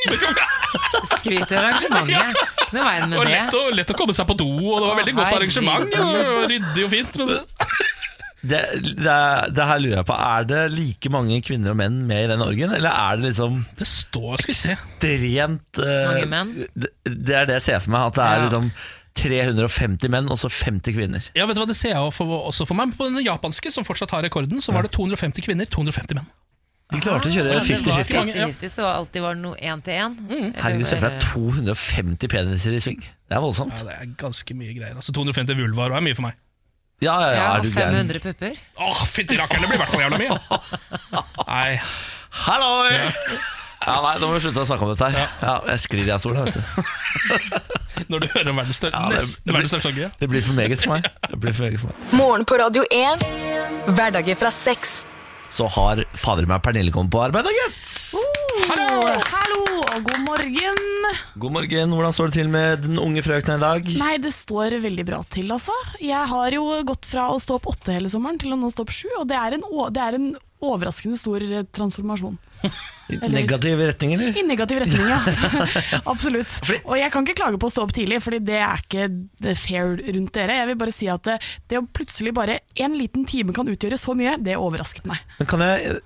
Speaker 3: Skryt i
Speaker 2: [laughs]
Speaker 3: arrangementet. Ikke noe veien
Speaker 2: Det var
Speaker 3: med
Speaker 2: lett
Speaker 3: det.
Speaker 2: å, lett å komme seg på do, og det var veldig godt arrangement. Og ryddig og fint. Men
Speaker 1: Det, det, det her lurer jeg på. Er det like mange kvinner og menn med i den orgien, eller er det liksom
Speaker 2: det står Skal vi se.
Speaker 1: ekstremt eh,
Speaker 3: Mange menn?
Speaker 1: Det, det er det jeg ser for meg. At det er
Speaker 3: Ja.
Speaker 1: liksom 350 menn og så 50 kvinner.
Speaker 2: Ja, vet du hva, Det ser jeg jo for, også for meg. På den japanske, som fortsatt har rekorden, så var det 250 kvinner, 250 menn.
Speaker 1: De klarte å kjøre
Speaker 2: Ah, men det var
Speaker 1: 50-50.
Speaker 2: ikke mange, ja. Mm.
Speaker 3: 50-50, så det var alltid var noe én til én.
Speaker 1: Herregud, se for deg 250 peniser i sving. Det er voldsomt.
Speaker 2: Ja, Det er ganske mye greier. Altså 250 vulvaer er mye for meg.
Speaker 1: Ja, ja, ja,
Speaker 3: Ja,
Speaker 1: er du gæren.
Speaker 3: 500 pupper.
Speaker 2: Åh, fytti rakkeren, det blir i hvert fall jævla mye! Nei,
Speaker 1: Halloi! Ja, nei, nå må vi slutte å snakke om dette her. Ja, jeg sklir i av stolen, vet du.
Speaker 2: Når du hører om verdens største,
Speaker 1: Ja, det-
Speaker 2: nesten verdens største orgie.
Speaker 1: Det blir for meget for meg. Det blir for meget for meg.
Speaker 4: Morgen på Radio 1. Hverdager fra seks.
Speaker 1: så har fader meg Pernille kommet på arbeid, da, gutt!
Speaker 9: Hallo, hallo og god morgen.
Speaker 1: God morgen, hvordan står det til med den unge frøkna i dag?
Speaker 9: Nei, det står veldig bra til, altså. Jeg har jo gått fra å stå opp åtte hele sommeren til å nå stå opp sju, og det er en, å- det er en overraskende stor eh, transformasjon.
Speaker 1: I Negativ retning, eller?
Speaker 9: I negativ retning,
Speaker 8: [laughs]
Speaker 9: ja. Absolutt. Og jeg kan ikke klage på å stå opp tidlig, fordi det er ikke det fair rundt dere. Jeg vil bare si at det, det å plutselig bare en liten time kan utgjøre så mye, det overrasket meg.
Speaker 1: Men kan jeg,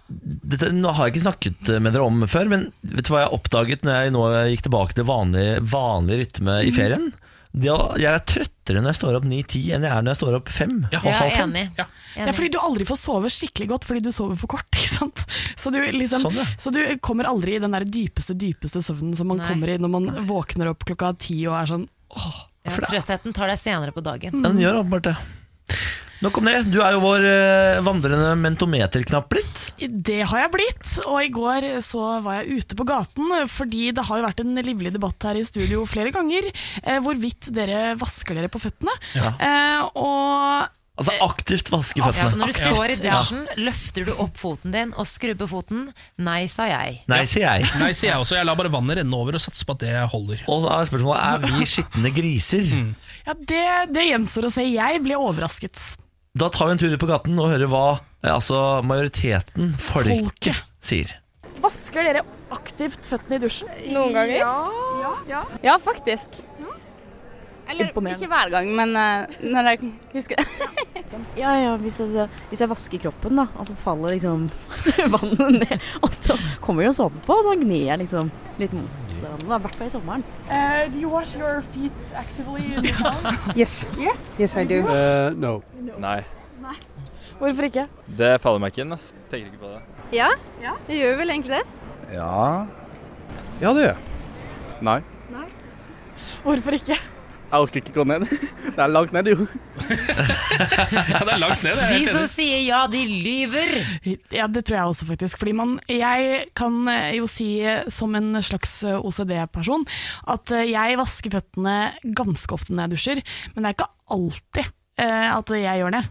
Speaker 1: dette, nå har jeg ikke snakket eh, med dere om før, men vet du hva jeg oppdaget når jeg nå gikk tilbake til vanlig, vanlig rytme i ferien? Det å- Jeg er trøttere når jeg står opp 9-10 enn jeg er når jeg står opp 5.
Speaker 2: Ja.
Speaker 1: og halv
Speaker 3: Jeg er
Speaker 1: fem.
Speaker 3: enig.
Speaker 2: Ja.
Speaker 9: Det er fordi du aldri får sove skikkelig godt fordi du sover for kort. ikke sant? Så du, liksom,
Speaker 1: Sånn, ja.
Speaker 9: så du kommer aldri i den der dypeste dypeste søvnen som man
Speaker 3: Nei.
Speaker 9: kommer i når man våkner opp klokka ti og er sånn åh.
Speaker 3: Ja, Trøttheten tar deg senere på dagen.
Speaker 1: Den gjør åpenbart det. Nok om det. Du er jo vår eh, vandrende mentometerknapp blitt.
Speaker 9: Det har jeg blitt, og i går så var jeg ute på gaten, fordi det har jo vært en livlig debatt her i studio flere ganger, eh, hvorvidt dere vasker dere på føttene. Eh, og
Speaker 1: Altså aktivt vaske
Speaker 3: Ja, så
Speaker 1: føttene.
Speaker 3: når du står i dusjen, løfter du opp foten din og skrubber foten. Nei, sa jeg.
Speaker 1: Nei, sier jeg.
Speaker 2: Nei, sier jeg også. Jeg lar bare vannet renne over og satser på at det holder.
Speaker 1: Og da er spørsmålet er vi skitne griser.
Speaker 9: ja, det, det gjenstår å se. Jeg ble overrasket.
Speaker 1: Da tar vi en tur ut på gaten og hører hva eh, altså, majoriteten, folket,
Speaker 9: Folket.
Speaker 1: sier.
Speaker 9: Vasker dere aktivt føttene i dusjen?
Speaker 10: Noen ganger? Ja, faktisk. Eller
Speaker 9: Imponerende.
Speaker 10: ikke hver gang, men eh, når jeg husker det. [laughs] ja, ja, hvis, jeg vasker kroppen, da, og så faller liksom [laughs] vannet ned, og så kommer det jo såpe på, og da gnir jeg liksom litt mot hverandre, i hvert fall i sommeren.
Speaker 9: Eh, do you wash your feet actively?
Speaker 10: [laughs]
Speaker 11: Yes.
Speaker 9: Yes.
Speaker 11: Yes, I do.
Speaker 12: Nei,
Speaker 9: Hvorfor ikke?
Speaker 12: det faller meg ikke inn. Ass. Tenker ikke på det.
Speaker 10: Ja, det gjør vel egentlig det.
Speaker 11: Ja. Ja, det gjør jeg. Nei.
Speaker 9: Hvorfor ikke?
Speaker 11: Jeg orker ikke gå ned. Det er langt ned, jo.
Speaker 2: Ja, det er langt ned.
Speaker 3: De
Speaker 2: Jeg er helt
Speaker 3: som
Speaker 2: enig.
Speaker 3: sier ja, de lyver!
Speaker 9: Ja, det tror jeg også faktisk. Fordi man, jeg kan eh, jo si eh, som en slags eh, OCD-person at eh, jeg vasker føttene ganske ofte når jeg dusjer, men det er ikke alltid eh, at jeg gjør det.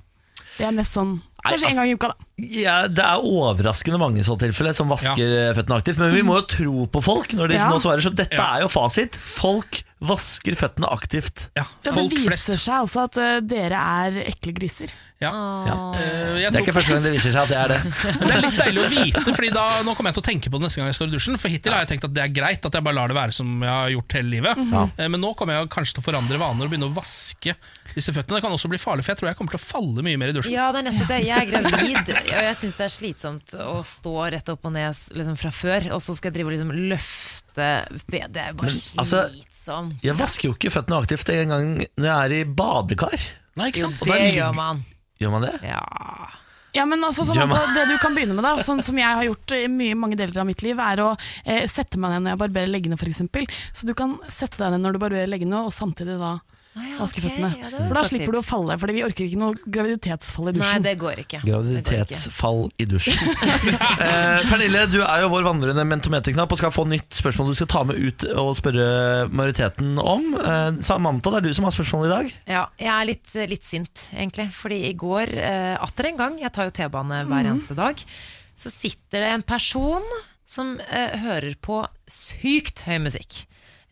Speaker 9: Det er mest sånn
Speaker 1: Nei,
Speaker 9: kanskje
Speaker 1: ass-
Speaker 9: en gang i uka, da.
Speaker 1: Ja, det er overraskende mange i så tilfelle som vasker eh, føttene aktivt. Men vi må jo tro på folk når de
Speaker 9: Ja.
Speaker 1: nå svarer, så dette
Speaker 9: Ja.
Speaker 1: er jo fasit. Folk vasker føttene aktivt.
Speaker 9: Ja, det viser seg Ah. altså at eh, dere er ekle griser.
Speaker 1: Ja.
Speaker 2: Eh,
Speaker 1: Det
Speaker 2: jeg
Speaker 1: er
Speaker 2: tror-
Speaker 1: ikke første gang det viser seg at det er det.
Speaker 2: Men det er litt deilig å vite, Fordi da, nå kommer jeg til å tenke på det neste gang jeg står i dusjen. For hittil har jeg tenkt at det er greit at jeg bare lar det være som jeg har gjort hele livet.
Speaker 1: Mhm.
Speaker 2: Eh, Men nå kommer jeg kanskje til å forandre vaner og begynne å vaske disse føttene. Det kan også bli farlig, for jeg tror jeg kommer til å falle mye mer i dusjen.
Speaker 3: Ja, det er nettopp det. Jeg er gravid, og jeg syns det er slitsomt å stå rett opp og ned s- liksom, fra før, og så skal jeg drive og liksom løfte be- Det er jo bare
Speaker 1: Men, altså,
Speaker 3: slitsomt.
Speaker 1: Jeg vasker jo ikke føttene aktivt en gang når jeg er i badekar.
Speaker 2: Nei,
Speaker 3: ikke sant?
Speaker 1: Og da
Speaker 3: det
Speaker 1: ligger-
Speaker 3: gjør man.
Speaker 1: Gjør man det?
Speaker 3: Ja.
Speaker 9: Ja, men altså, sånn
Speaker 1: Gemma.
Speaker 9: at Det du kan begynne med, da, sånn som jeg har gjort i mye, mange deler av mitt liv, er å eh, sette meg ned når jeg barberer leggene, f.eks. Så du kan sette deg ned når du barberer leggene, og samtidig da
Speaker 3: ok.
Speaker 9: vaske føttene.
Speaker 3: Ah, Ja, det var
Speaker 9: for da
Speaker 3: et godt
Speaker 9: slipper du å falle, Fordi vi orker ikke noe graviditetsfall i
Speaker 3: Nei,
Speaker 9: dusjen.
Speaker 3: det går ikke.
Speaker 1: Graviditetsfall i
Speaker 3: [laughs]
Speaker 1: dusjen. eh, Pernille, du er jo vår vandrende mentometerknapp og skal få nytt spørsmål du skal ta med ut og spørre majoriteten om. Eh, Samantha, det er du som har spørsmålet i dag.
Speaker 3: Ja, jeg er litt, litt sint, egentlig. Fordi i går, eh, atter en gang, jeg tar jo T-bane hver
Speaker 13: Mhm.
Speaker 3: eneste dag, så sitter det en person som eh, hører på sykt høy musikk.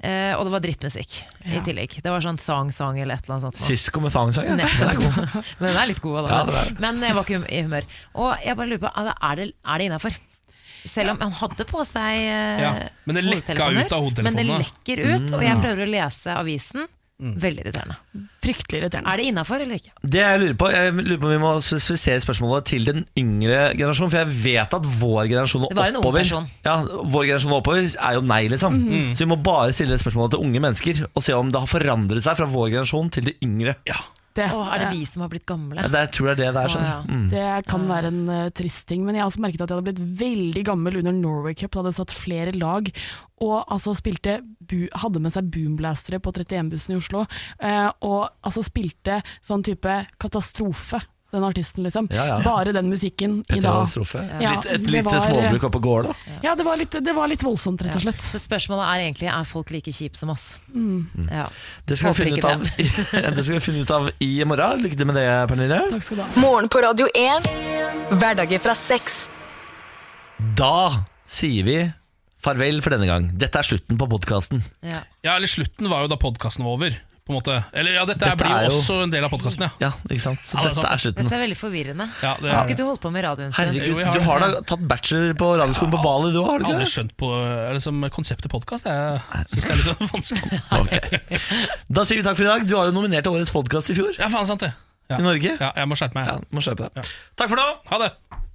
Speaker 3: Eh, og det var drittmusikk i
Speaker 1: Ja.
Speaker 3: tillegg. Det var sånn thang-sang eller et eller annet sånt. nå.
Speaker 1: Sisko med thang-sang. ja. Den er god.
Speaker 3: Nettopp. Men den er litt god, da.
Speaker 1: Ja, den er det.
Speaker 3: Men jeg var ikke i humør. Og jeg bare lurer på, er det, er det innafor? Selv om han hadde på seg eh,
Speaker 2: Ja, men det lekka
Speaker 3: hodetelefoner,
Speaker 2: ut av hodetelefonene.
Speaker 3: Men det lekker ut, og
Speaker 1: Mm.
Speaker 3: jeg prøver å lese avisen. Veldig irriterende.
Speaker 9: Mm. Fryktelig irriterende.
Speaker 3: Er det innafor eller ikke?
Speaker 1: Det jeg lurer på, jeg lurer på om vi må spesifisere spørsmålet til den yngre generasjonen. For jeg vet at vår generasjon og
Speaker 3: Det var en ung
Speaker 1: oppover
Speaker 3: person.
Speaker 1: ja, Vår generasjon og oppover er jo nei, liksom.
Speaker 3: Mhm.
Speaker 1: Så vi må bare stille spørsmålet til unge mennesker og se om det har forandret seg fra vår generasjon til de yngre.
Speaker 3: Åh, er det vi som har blitt gamle?
Speaker 1: Ja, det er- tror jeg det er det er.
Speaker 3: Å, ja.
Speaker 1: Sånn. Mm.
Speaker 9: Det kan være en eh, trist ting, men jeg har også merket at jeg hadde blitt veldig gammel under Norway Cup. Da hadde jeg satt flere lag og altså spilte bu hadde med seg boomblastere på 31-bussen i Oslo. eh, og altså spilte sånn type katastrofe, den artisten, liksom.
Speaker 1: Ja, ja.
Speaker 9: Bare den musikken i
Speaker 1: Petter
Speaker 9: dag.
Speaker 1: Katastrofe.
Speaker 9: Ja,
Speaker 1: Litt, et
Speaker 9: det
Speaker 1: lite
Speaker 9: var- eh,
Speaker 1: småbruk oppe og går, da.
Speaker 9: Ja, det var, litt, det var litt voldsomt, rett og slett.
Speaker 3: Så spørsmålet er egentlig er folk like kjipe som oss.
Speaker 9: Mm.
Speaker 3: Ja.
Speaker 1: Det skal, vi
Speaker 3: Håper
Speaker 1: finne ut
Speaker 3: ikke
Speaker 1: av, [laughs] det skal vi finne ut av i morgen. Lykke til med det, Pernille.
Speaker 9: Takk skal du ha.
Speaker 4: Morgen på Radio 1. Hverdager fra seks.
Speaker 1: Da sier vi farvel for denne gang. Dette er slutten på podkasten.
Speaker 3: Ja.
Speaker 2: eller slutten var jo da podkasten var over. På en måte. Eller ja, dette,
Speaker 1: Dette
Speaker 2: blir
Speaker 1: er
Speaker 2: jo
Speaker 1: jo-
Speaker 2: også en del av podkasten, ja.
Speaker 1: Ja, ikke sant? Så
Speaker 2: Ja, det er
Speaker 1: dette
Speaker 2: sant.
Speaker 1: er slutten.
Speaker 3: Dette er veldig forvirrende.
Speaker 2: Ja, det er-
Speaker 3: Har ikke du holdt på med radio en stund?
Speaker 1: Herregud, du har da tatt bachelor på radioskolen på Bali, du har
Speaker 2: Jeg
Speaker 1: du ikke
Speaker 2: har aldri
Speaker 1: det?
Speaker 2: skjønt på er det som konseptet podkast. Jeg syns det er litt [laughs] vanskelig.
Speaker 1: [laughs] Da sier vi takk for i dag. Du har jo nominert til årets podkast i fjor.
Speaker 2: Ja, faen sant det.
Speaker 1: I Norge.
Speaker 2: Ja, jeg må skjerpe meg.
Speaker 1: Takk for nå.
Speaker 2: Ha det.